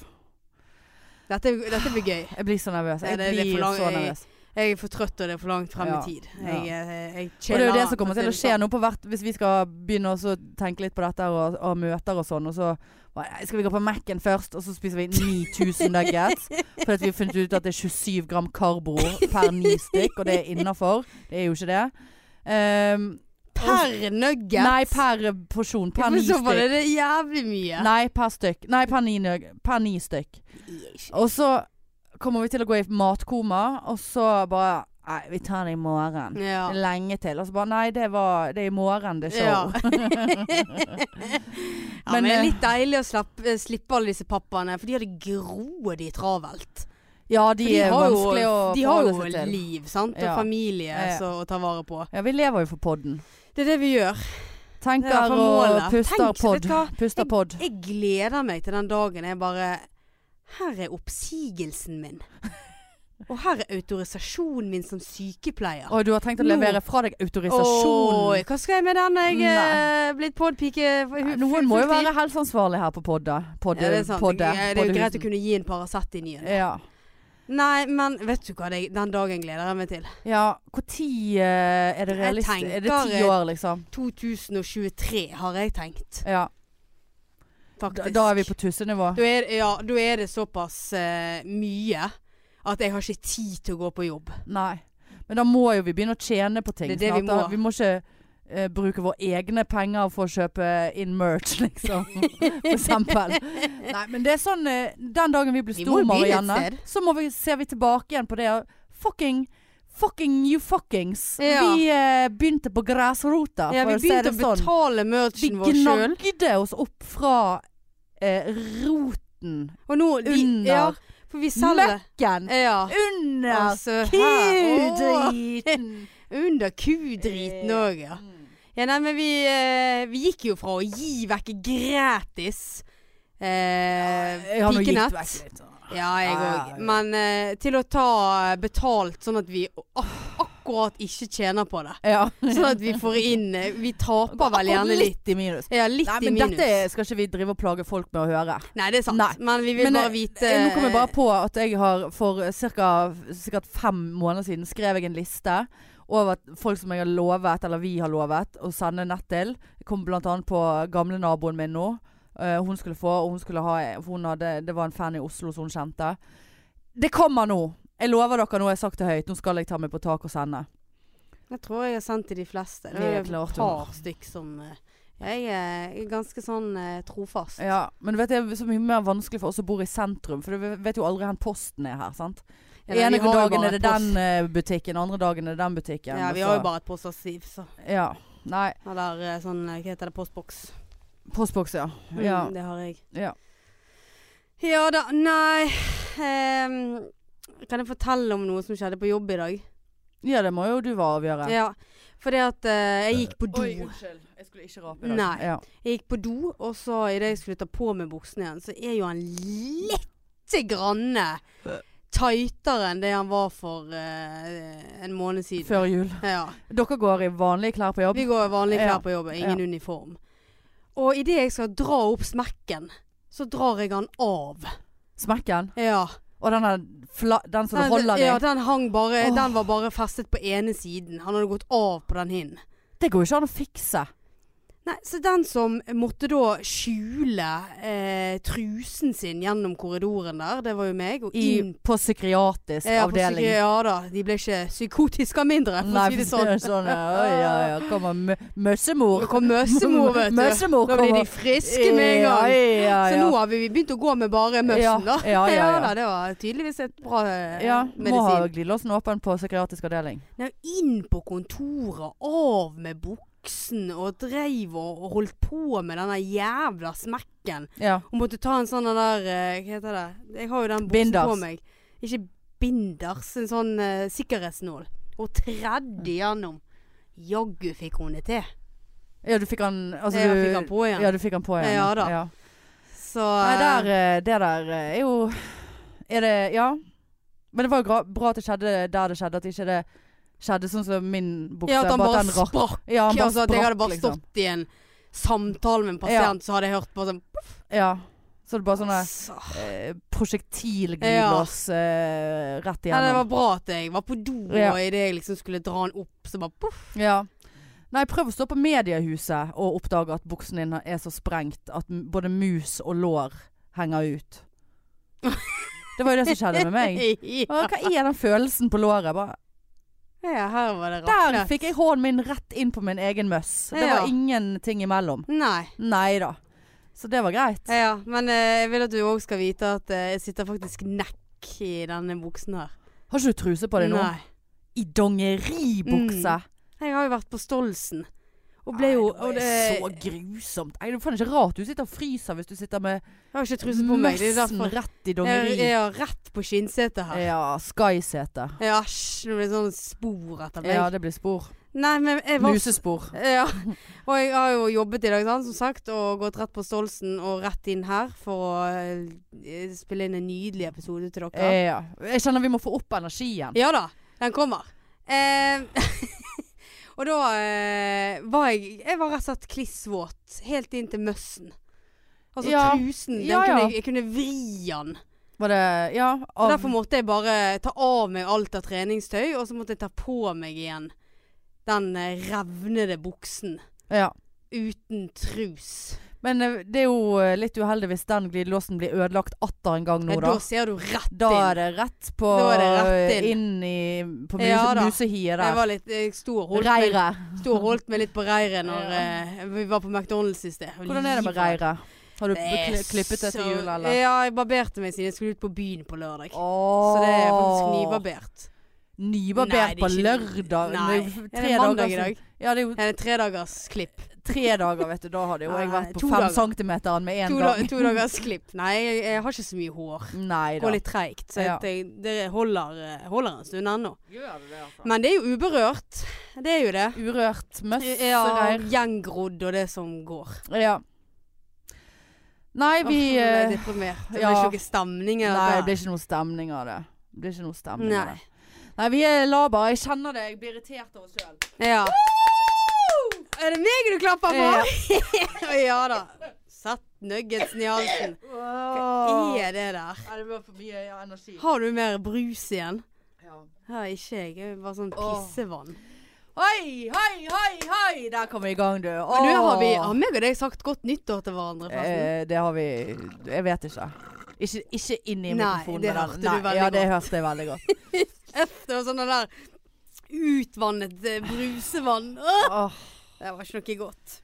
[SPEAKER 2] Dette, dette blir gøy.
[SPEAKER 1] jeg blir så nervøs.
[SPEAKER 2] Ja,
[SPEAKER 1] Jeg
[SPEAKER 2] det- det er
[SPEAKER 1] blir
[SPEAKER 2] for lang-
[SPEAKER 1] så
[SPEAKER 2] jeg-
[SPEAKER 1] nervøs.
[SPEAKER 2] Jeg er for trøtt, og det er for langt frem
[SPEAKER 1] Ja.
[SPEAKER 2] i tid.
[SPEAKER 1] Ja.
[SPEAKER 2] Jeg, eh, jeg, jeg
[SPEAKER 1] Og det er jo det
[SPEAKER 2] chiller,
[SPEAKER 1] som kommer
[SPEAKER 2] for
[SPEAKER 1] til å
[SPEAKER 2] si
[SPEAKER 1] skje
[SPEAKER 2] det liksom
[SPEAKER 1] nå på hvert Hvis vi skal begynne også å tenke litt på dette og, og møter og sånn, og så bare, "Nei, skal vi gå på Mac-en først, og så spiser vi 9000 nuggets. Fordi at vi har funnet ut at det er 27 gram karbo per ni stykk, og det er innafor. Det er jo ikke det. Ehm,
[SPEAKER 2] sånn. Per nugget?
[SPEAKER 1] nei, per porsjon. Per ni
[SPEAKER 2] Men så var det
[SPEAKER 1] stykk.
[SPEAKER 2] det jævlig mye.
[SPEAKER 1] Nei, per stykk. Nei, per ni, nug- per ni stykk. Og så kommer vi til å gå i matkoma, og så bare Nei, vi tar det i morgen.
[SPEAKER 2] Ja.
[SPEAKER 1] Lenge til. Og så bare Nei, det, var, det er i morgen det er show.
[SPEAKER 2] Ja. Ja, men,
[SPEAKER 1] Men,
[SPEAKER 2] det er
[SPEAKER 1] eh,
[SPEAKER 2] litt deilig å slippe, slippe alle disse pappaene, for de har det grådig travelt.
[SPEAKER 1] Ja, de,
[SPEAKER 2] For de
[SPEAKER 1] er
[SPEAKER 2] har jo,
[SPEAKER 1] vanskelig å
[SPEAKER 2] de har
[SPEAKER 1] forholde
[SPEAKER 2] jo
[SPEAKER 1] seg til.
[SPEAKER 2] liv sant? og
[SPEAKER 1] Ja.
[SPEAKER 2] familie
[SPEAKER 1] Ja, ja.
[SPEAKER 2] så, å ta vare på.
[SPEAKER 1] Ja, vi lever jo for podden.
[SPEAKER 2] Det er det vi gjør. Det
[SPEAKER 1] Tenker
[SPEAKER 2] er i hvert fall
[SPEAKER 1] og
[SPEAKER 2] målet.
[SPEAKER 1] puster
[SPEAKER 2] Tenk, vet
[SPEAKER 1] podd.
[SPEAKER 2] du hva?
[SPEAKER 1] Puster podd.
[SPEAKER 2] Jeg gleder meg til den dagen jeg bare Her er oppsigelsen min. Og her er autorisasjonen min som sykepleier.
[SPEAKER 1] Og du har tenkt å
[SPEAKER 2] Nå-
[SPEAKER 1] levere fra deg
[SPEAKER 2] Oi,
[SPEAKER 1] autorisasjon.
[SPEAKER 2] hva skal jeg med den når jeg er blitt podpike?
[SPEAKER 1] Nei, Noen må jo være helseansvarlig her på podda. Podde,
[SPEAKER 2] ja, det, er sant.
[SPEAKER 1] podde,
[SPEAKER 2] Ja, det er jo greit å
[SPEAKER 1] poddehusen.
[SPEAKER 2] kunne gi en Paracet i nyen.
[SPEAKER 1] ja.
[SPEAKER 2] Nei, men vet du hva? Det, den dagen gleder jeg meg til.
[SPEAKER 1] ja, hvor tid eh, er det
[SPEAKER 2] Jeg
[SPEAKER 1] realistisk? Er det
[SPEAKER 2] tenker-
[SPEAKER 1] ti år, liksom?
[SPEAKER 2] 2023 har jeg tenkt,
[SPEAKER 1] Ja. Da,
[SPEAKER 2] faktisk.
[SPEAKER 1] da er vi på tussenivå.
[SPEAKER 2] Da er, ja, da er det såpass eh, mye at jeg har ikke tid til å gå på jobb.
[SPEAKER 1] Nei. Men da må jo vi begynne å tjene på ting.
[SPEAKER 2] Det er det vi
[SPEAKER 1] snart, da.
[SPEAKER 2] må.
[SPEAKER 1] vi må ikke eh, bruke våre egne penger for å kjøpe in merch, liksom. For eksempel. Nei, men det er sånn eh, Den dagen vi blir
[SPEAKER 2] Vi
[SPEAKER 1] store,
[SPEAKER 2] må jo begynne et
[SPEAKER 1] Marianne, så må vi, ser vi tilbake igjen på det. og Fucking Fucking you fuckings.
[SPEAKER 2] Ja.
[SPEAKER 1] Vi eh, begynte på grasrota,
[SPEAKER 2] Ja,
[SPEAKER 1] for
[SPEAKER 2] vi
[SPEAKER 1] å si
[SPEAKER 2] begynte
[SPEAKER 1] det
[SPEAKER 2] å
[SPEAKER 1] sånn.
[SPEAKER 2] betale
[SPEAKER 1] Vi
[SPEAKER 2] merchen vår sjøl.
[SPEAKER 1] gnagde oss opp fra eh, roten.
[SPEAKER 2] Og nå vi,
[SPEAKER 1] Under
[SPEAKER 2] Ja, for vi selger
[SPEAKER 1] møkken.
[SPEAKER 2] Ja.
[SPEAKER 1] Under
[SPEAKER 2] Altså, her. Åh,
[SPEAKER 1] kudriten.
[SPEAKER 2] Under kudriten
[SPEAKER 1] Eh,
[SPEAKER 2] òg, ja.
[SPEAKER 1] mm.
[SPEAKER 2] Ja, nei, men vi, eh, vi gikk jo fra å gi vekk gratis eh,
[SPEAKER 1] Jeg har nå gitt
[SPEAKER 2] pikenett.
[SPEAKER 1] vekk litt.
[SPEAKER 2] Ja, jeg òg.
[SPEAKER 1] Ah, Ja.
[SPEAKER 2] Men eh, til å ta eh, betalt sånn at vi ak akkurat ikke tjener på det.
[SPEAKER 1] Ja.
[SPEAKER 2] Sånn at vi får inn eh, Vi taper vel gjerne litt.
[SPEAKER 1] i minus.
[SPEAKER 2] Ja, litt
[SPEAKER 1] Nei,
[SPEAKER 2] i
[SPEAKER 1] men
[SPEAKER 2] minus.
[SPEAKER 1] dette skal ikke vi drive og plage folk med å høre.
[SPEAKER 2] Nei, det er sant.
[SPEAKER 1] Nei.
[SPEAKER 2] Men vi vil
[SPEAKER 1] Men,
[SPEAKER 2] bare
[SPEAKER 1] eh,
[SPEAKER 2] vite
[SPEAKER 1] Nå kom jeg bare på at jeg har for cirka, sikkert fem måneder siden skrev jeg en liste over folk som jeg har lovet, eller vi har lovet, å sende nett til. Jeg kom blant annet på gamle naboen min nå. Eh, hun skulle få, og hun skulle ha for hun hadde, Det var en fan i Oslo som hun kjente. Det kommer nå! Jeg lover dere, nå har jeg sagt det høyt, nå skal jeg ta meg på tak og sende.
[SPEAKER 2] Jeg tror jeg har sendt til de fleste. Det
[SPEAKER 1] Det er
[SPEAKER 2] er
[SPEAKER 1] klart
[SPEAKER 2] et
[SPEAKER 1] du har.
[SPEAKER 2] par stykk som eh, Jeg er ganske sånn eh, trofast.
[SPEAKER 1] Ja, men du vet, det er så mye mer vanskelig for oss som bor i sentrum, for du vet jo aldri hvor posten er her, sant?
[SPEAKER 2] Ja,
[SPEAKER 1] ene
[SPEAKER 2] vi har jo
[SPEAKER 1] dagen
[SPEAKER 2] bare
[SPEAKER 1] er det
[SPEAKER 2] et post-
[SPEAKER 1] den eh, butikken, andre dagen er det den butikken.
[SPEAKER 2] Ja,
[SPEAKER 1] og
[SPEAKER 2] vi
[SPEAKER 1] så-
[SPEAKER 2] har jo bare et poststativ, så.
[SPEAKER 1] Ja. Nei,
[SPEAKER 2] Eller eh, sånn, eh, hva heter det, postboks.
[SPEAKER 1] postboks, ja.
[SPEAKER 2] Mm,
[SPEAKER 1] Ja.
[SPEAKER 2] Det har jeg.
[SPEAKER 1] ja.
[SPEAKER 2] Ja da, nei ehm, Kan jeg fortelle om noe som skjedde på jobb i dag?
[SPEAKER 1] Ja, det må jo du avgjøre.
[SPEAKER 2] Ja. Fordi at eh, jeg gikk på do.
[SPEAKER 1] Oi, unnskyld. Jeg skulle ikke rape i dag.
[SPEAKER 2] Nei.
[SPEAKER 1] Ja.
[SPEAKER 2] Jeg gikk på do, og så idet jeg skulle ta på meg buksene igjen, så er jo han lite grann tightere enn det han var for eh, en måned siden.
[SPEAKER 1] Før jul.
[SPEAKER 2] Ja.
[SPEAKER 1] Dere går i vanlige klær på jobb?
[SPEAKER 2] Vi går i vanlige klær
[SPEAKER 1] Ja.
[SPEAKER 2] på jobb, ingen uniform. Og idet jeg skal dra opp smekken, så drar jeg han av.
[SPEAKER 1] Smekken?
[SPEAKER 2] Ja.
[SPEAKER 1] Og den, her fla den som du holder i?
[SPEAKER 2] ja, den hang bare
[SPEAKER 1] Åh.
[SPEAKER 2] Den var bare festet på ene siden. Han hadde gått av på den hinnen.
[SPEAKER 1] Det går jo ikke an å fikse.
[SPEAKER 2] Nei, så den som måtte da skjule eh, trusen sin gjennom korridoren der, det var jo meg, og
[SPEAKER 1] I,
[SPEAKER 2] inn
[SPEAKER 1] på psykiatrisk
[SPEAKER 2] Mm. Ja, for å si-
[SPEAKER 1] avdeling.
[SPEAKER 2] Ja da, de ble ikke psykotiske av mindre, for å
[SPEAKER 1] Nei,
[SPEAKER 2] si det sånn.
[SPEAKER 1] sånn ja, Oi, ja, ja. Kommer mø- møssemor.
[SPEAKER 2] Det kom møssemor, vet du.
[SPEAKER 1] Møssemor
[SPEAKER 2] Da blir
[SPEAKER 1] kommer.
[SPEAKER 2] de friske med en gang.
[SPEAKER 1] Ja, ja,
[SPEAKER 2] Så
[SPEAKER 1] ja.
[SPEAKER 2] nå har vi begynt å gå med bare møssen, da.
[SPEAKER 1] Ja, ja, ja.
[SPEAKER 2] da, Det var tydeligvis et bra eh,
[SPEAKER 1] ja, må ha
[SPEAKER 2] medisin.
[SPEAKER 1] glidelåsen åpen på psykiatrisk avdeling.
[SPEAKER 2] Nei, inn på kontoret, av med buksen, og dreiv og og holdt på med den der jævla smekken.
[SPEAKER 1] Ja.
[SPEAKER 2] Og måtte ta en sånn den der eh, Hva heter det? Jeg har jo den buksen
[SPEAKER 1] Binders.
[SPEAKER 2] på meg. Ikke binders, en sånn eh, sikkerhetsnål. Og tredde gjennom. Jaggu fikk hun det til.
[SPEAKER 1] ja, du fikk han altså,
[SPEAKER 2] jeg
[SPEAKER 1] du-
[SPEAKER 2] fikk han på igjen.
[SPEAKER 1] Ja, du fikk han på igjen.
[SPEAKER 2] Ja da. Så
[SPEAKER 1] Nei, der, eh, det der eh, er jo Er det Ja. Men det var jo gra- bra at det skjedde der det skjedde, at ikke det skjedde sånn som min bukse.
[SPEAKER 2] eh, Ja, at han
[SPEAKER 1] bare
[SPEAKER 2] bare
[SPEAKER 1] at den rakk-
[SPEAKER 2] sprakk.
[SPEAKER 1] Ja, han
[SPEAKER 2] altså, at jeg hadde bare
[SPEAKER 1] liksom.
[SPEAKER 2] stått i en samtale med en pasient, så hadde jeg hørt bare sånn
[SPEAKER 1] Ja. Så det bare sånn der,
[SPEAKER 2] så-
[SPEAKER 1] eh, prosjektilglidelås eh, rett
[SPEAKER 2] Nei, det
[SPEAKER 1] igjennom.
[SPEAKER 2] var bra at jeg var på do,
[SPEAKER 1] Ja.
[SPEAKER 2] og idet jeg liksom skulle dra den opp, så bare poff.
[SPEAKER 1] Ja. Nei, prøv å stå på mediehuset og oppdage at buksen din er så sprengt at m- både mus og lår henger ut. Det var jo det som skjedde med meg.
[SPEAKER 2] ja.
[SPEAKER 1] Å, Hva er den følelsen på låret? Bare
[SPEAKER 2] ja, her var det
[SPEAKER 1] Der
[SPEAKER 2] raknet.
[SPEAKER 1] fikk jeg hånden min rett inn på min egen møss. Det
[SPEAKER 2] Ja.
[SPEAKER 1] var ingenting imellom.
[SPEAKER 2] Nei.
[SPEAKER 1] Nei da. Så det var greit.
[SPEAKER 2] Ja, men eh, jeg vil at du òg skal vite at eh, jeg sitter faktisk nekk i denne buksen her.
[SPEAKER 1] Har ikke du truse på deg nå?
[SPEAKER 2] Nei.
[SPEAKER 1] I dongeribukse.
[SPEAKER 2] Jeg har jo vært på Stolsen. Og
[SPEAKER 1] Nei,
[SPEAKER 2] ble jo
[SPEAKER 1] nå
[SPEAKER 2] og
[SPEAKER 1] er
[SPEAKER 2] det,
[SPEAKER 1] det så grusomt. Nei, det er faen ikke rart du sitter og fryser hvis du sitter med
[SPEAKER 2] Jeg har ikke truse på meg. Det er
[SPEAKER 1] møssen
[SPEAKER 2] derfor
[SPEAKER 1] rett i
[SPEAKER 2] jeg,
[SPEAKER 1] dongeri.
[SPEAKER 2] jeg har rett på skinnsetet her.
[SPEAKER 1] Ja, Sky-sete.
[SPEAKER 2] Ja, æsj. Det blir sånn spor etter meg.
[SPEAKER 1] Ja, det blir spor.
[SPEAKER 2] Nei, men jeg var
[SPEAKER 1] Musespor.
[SPEAKER 2] Ja. Og jeg har jo jobbet i dag, sant, som sagt, og gått rett på Stolsen og rett inn her for å eh, spille inn en nydelig episode til dere.
[SPEAKER 1] Eh, Ja. Jeg kjenner vi må få opp energien.
[SPEAKER 2] Ja da, den kommer. Eh, og da eh, var jeg Jeg var rett og slett klissvåt helt inn til møssen. Altså
[SPEAKER 1] Ja.
[SPEAKER 2] trusen. Den
[SPEAKER 1] Ja, ja.
[SPEAKER 2] Kunne jeg, jeg kunne vri den.
[SPEAKER 1] Var det Ja.
[SPEAKER 2] Og
[SPEAKER 1] Av,
[SPEAKER 2] Derfor måtte jeg bare ta av meg alt av treningstøy, og så måtte jeg ta på meg igjen den eh, revnede buksen
[SPEAKER 1] ja.
[SPEAKER 2] uten trus.
[SPEAKER 1] Men eh, det er jo eh, litt uheldig hvis den glidelåsen blir ødelagt atter en gang nå,
[SPEAKER 2] Ja, Eh, da ser du rett
[SPEAKER 1] Da
[SPEAKER 2] inn.
[SPEAKER 1] er det rett på eh,
[SPEAKER 2] Da er det rett
[SPEAKER 1] inn. i På muse,
[SPEAKER 2] Ja da.
[SPEAKER 1] musehiet
[SPEAKER 2] Jeg
[SPEAKER 1] der.
[SPEAKER 2] var litt Jeg sto og holdt, meg,
[SPEAKER 1] Reiret.
[SPEAKER 2] sto og holdt meg litt på reiret når
[SPEAKER 1] Ja.
[SPEAKER 2] eh, vi var på McDonald's i sted. Jeg var
[SPEAKER 1] Hvordan er det med
[SPEAKER 2] livredd.
[SPEAKER 1] reiret? Har du
[SPEAKER 2] Det er
[SPEAKER 1] kli- klippet det til
[SPEAKER 2] så-
[SPEAKER 1] jul, eller?
[SPEAKER 2] Ja, jeg barberte meg siden jeg skulle ut på byen på lørdag.
[SPEAKER 1] Åh.
[SPEAKER 2] Så det er faktisk nybarbert. Nei,
[SPEAKER 1] Nybarbert
[SPEAKER 2] det er
[SPEAKER 1] på
[SPEAKER 2] ikke-
[SPEAKER 1] lørdag?
[SPEAKER 2] Nei.
[SPEAKER 1] Det er jo
[SPEAKER 2] Er
[SPEAKER 1] tre
[SPEAKER 2] det mandag
[SPEAKER 1] dager
[SPEAKER 2] i
[SPEAKER 1] siden.
[SPEAKER 2] dag?
[SPEAKER 1] Ja, det er jo
[SPEAKER 2] Er det tredagers klipp?
[SPEAKER 1] tre dager, vet du. Da hadde jo jeg
[SPEAKER 2] Nei,
[SPEAKER 1] vært på
[SPEAKER 2] to
[SPEAKER 1] fem
[SPEAKER 2] dager.
[SPEAKER 1] centimeteren med en
[SPEAKER 2] To, da,
[SPEAKER 1] gang.
[SPEAKER 2] to dagers klipp. Nei, jeg, jeg har ikke så mye hår.
[SPEAKER 1] Nei
[SPEAKER 2] Det
[SPEAKER 1] da.
[SPEAKER 2] går litt treigt. Så
[SPEAKER 1] Ja.
[SPEAKER 2] jeg, det holder, eh, holder en stund ennå.
[SPEAKER 1] Gjør det det, altså?
[SPEAKER 2] Men det er jo uberørt. Det er jo det.
[SPEAKER 1] Urørt
[SPEAKER 2] Ja,
[SPEAKER 1] møssereir.
[SPEAKER 2] gjengrodd og det som går.
[SPEAKER 1] Ja. Nei, vi
[SPEAKER 2] Åh, nå ble jeg
[SPEAKER 1] eh,
[SPEAKER 2] deprimert. Det
[SPEAKER 1] ja.
[SPEAKER 2] blir ikke noe stemning i
[SPEAKER 1] Nei, det
[SPEAKER 2] dette.
[SPEAKER 1] blir ikke noe stemning av det. Det blir ikke noe stemning av
[SPEAKER 2] Nei.
[SPEAKER 1] det. Nei, vi er laber. Jeg kjenner det. Jeg blir irritert av oss sjøl.
[SPEAKER 2] Ja. Er det meg du klapper på? Ja, da. Satt nuggetsen i halsen. Hva
[SPEAKER 1] Hva
[SPEAKER 2] er det der?
[SPEAKER 1] det var for mye ja, energi.
[SPEAKER 2] Har du mer brus igjen?
[SPEAKER 1] Ja.
[SPEAKER 2] Ja, ikke jeg. Jeg er bare sånn
[SPEAKER 1] Åh.
[SPEAKER 2] pissevann.
[SPEAKER 1] Hoi, hoi, hoi, hoi! Der kom vi i gang, du.
[SPEAKER 2] Men nå har vi
[SPEAKER 1] Åh.
[SPEAKER 2] har meg og deg sagt godt nyttår til hverandre, forresten.
[SPEAKER 1] eh, Det har vi Jeg vet ikke. Ikke, ikke inn i
[SPEAKER 2] Nei,
[SPEAKER 1] mikrofonen. med
[SPEAKER 2] det
[SPEAKER 1] den.
[SPEAKER 2] hørte du veldig
[SPEAKER 1] Ja, det hørte jeg veldig godt.
[SPEAKER 2] Øff, det var sånn det der utvannet eh, brusevann. Åh,
[SPEAKER 1] Åh.
[SPEAKER 2] det var ikke noe godt.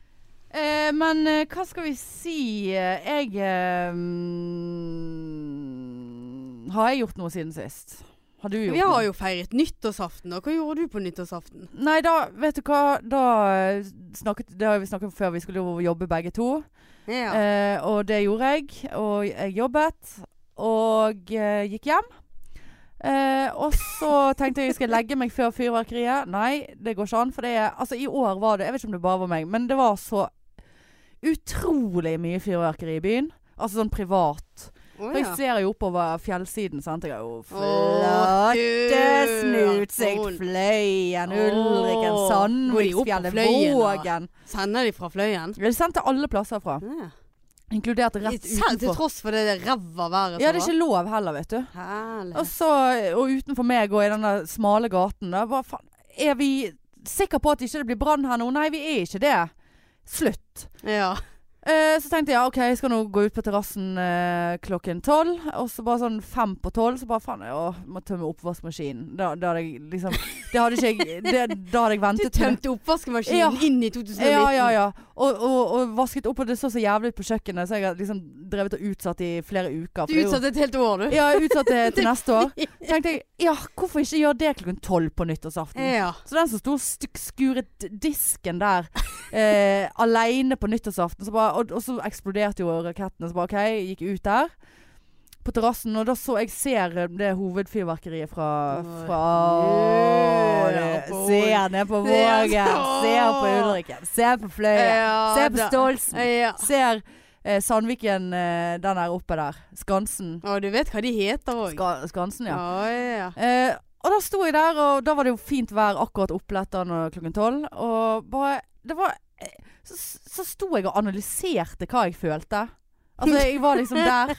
[SPEAKER 1] Eh, men eh, hva skal vi si? Eh, Jeg eh, mm, Har jeg gjort noe siden sist? Har du gjort
[SPEAKER 2] Vi har
[SPEAKER 1] noe?
[SPEAKER 2] jo feiret nyttårsaften, og hva gjorde du på nyttårsaften?
[SPEAKER 1] Nei, da Vet du hva? Da eh, snakket Det har vi snakket om før. Vi skulle jo jobbe begge to.
[SPEAKER 2] Ja.
[SPEAKER 1] Eh, og det gjorde jeg. Og jeg jobbet. Og eh, gikk hjem. Eh, og så tenkte jeg jeg skal legge meg før fyrverkeriet. Nei, det går ikke an. For det er Altså, i år var det Jeg vet ikke om det bare var meg, men det var så utrolig mye fyrverkeri i byen. Altså sånn privat.
[SPEAKER 2] Å,
[SPEAKER 1] For jeg
[SPEAKER 2] ja.
[SPEAKER 1] ser jo oppover fjellsiden, sant. Jeg har jo
[SPEAKER 2] Å,
[SPEAKER 1] flotte snutsikt.
[SPEAKER 2] Gud.
[SPEAKER 1] Fløyen,
[SPEAKER 2] Åh.
[SPEAKER 1] Ulriken,
[SPEAKER 2] Går de opp på
[SPEAKER 1] Sandviksfjellet,
[SPEAKER 2] Fløyen, da?
[SPEAKER 1] Vågen.
[SPEAKER 2] Sender de fra fløyen?
[SPEAKER 1] Jeg sendte alle plasser fra.
[SPEAKER 2] Ja.
[SPEAKER 1] Inkludert rett
[SPEAKER 2] Selv til
[SPEAKER 1] utenfor.
[SPEAKER 2] tross for det der ræva været
[SPEAKER 1] Ja, det er ikke Altså, lov heller, vet du.
[SPEAKER 2] Herlig.
[SPEAKER 1] Og, så, og utenfor meg og i den der smale gaten der, hva faen Er vi sikre på at ikke det blir brann her nå? Nei, vi er ikke det. Slutt.
[SPEAKER 2] Ja.
[SPEAKER 1] Eh, så tenkte jeg ja, OK, jeg skal nå gå ut på terrassen eh, klokken tolv. Og så bare sånn fem på tolv, så bare faen, jeg må tømme oppvaskmaskinen. Da, da hadde jeg liksom Det hadde ikke jeg det, Da hadde jeg
[SPEAKER 2] Du
[SPEAKER 1] ventet med det.
[SPEAKER 2] tømte oppvaskemaskinen
[SPEAKER 1] Ja.
[SPEAKER 2] inn i 2019.
[SPEAKER 1] Ja, ja, ja. Og, og, og vasket opp, og det så så jævlig ut på kjøkkenet, så jeg har liksom drevet og utsatt i flere uker. for
[SPEAKER 2] Du
[SPEAKER 1] det er jo-
[SPEAKER 2] utsatte et helt år, du.
[SPEAKER 1] Ja, jeg utsatte til neste år. Tenkte jeg, ja, hvorfor ikke gjøre det klokken tolv på nyttårsaften?
[SPEAKER 2] Ja.
[SPEAKER 1] Så den som sto og styk- skuret disken der eh, aleine på nyttårsaften, så bare, og, og så eksploderte jo rakettene, så bare OK, jeg gikk ut der. På terrassen, og da så jeg ser eh, det hovedfyrverkeriet fra, fra
[SPEAKER 2] Åh,
[SPEAKER 1] Åh,
[SPEAKER 2] ja,
[SPEAKER 1] det-
[SPEAKER 2] på
[SPEAKER 1] Se ned på Vågen,
[SPEAKER 2] Åh.
[SPEAKER 1] se på Ulriken, se på Fløyen,
[SPEAKER 2] Ja,
[SPEAKER 1] se på
[SPEAKER 2] da.
[SPEAKER 1] Stolsen.
[SPEAKER 2] Ja.
[SPEAKER 1] Ser eh, Sandviken, eh, den der oppe der. Skansen.
[SPEAKER 2] Å, du vet hva de heter òg.
[SPEAKER 1] Ska Skansen, ja.
[SPEAKER 2] Å, ja.
[SPEAKER 1] Eh, og da sto jeg der, og da var det jo fint vær akkurat oppletter når klokken tolv. Og bare Det var eh, Så, så sto jeg og analyserte hva jeg følte. Altså, jeg var liksom der.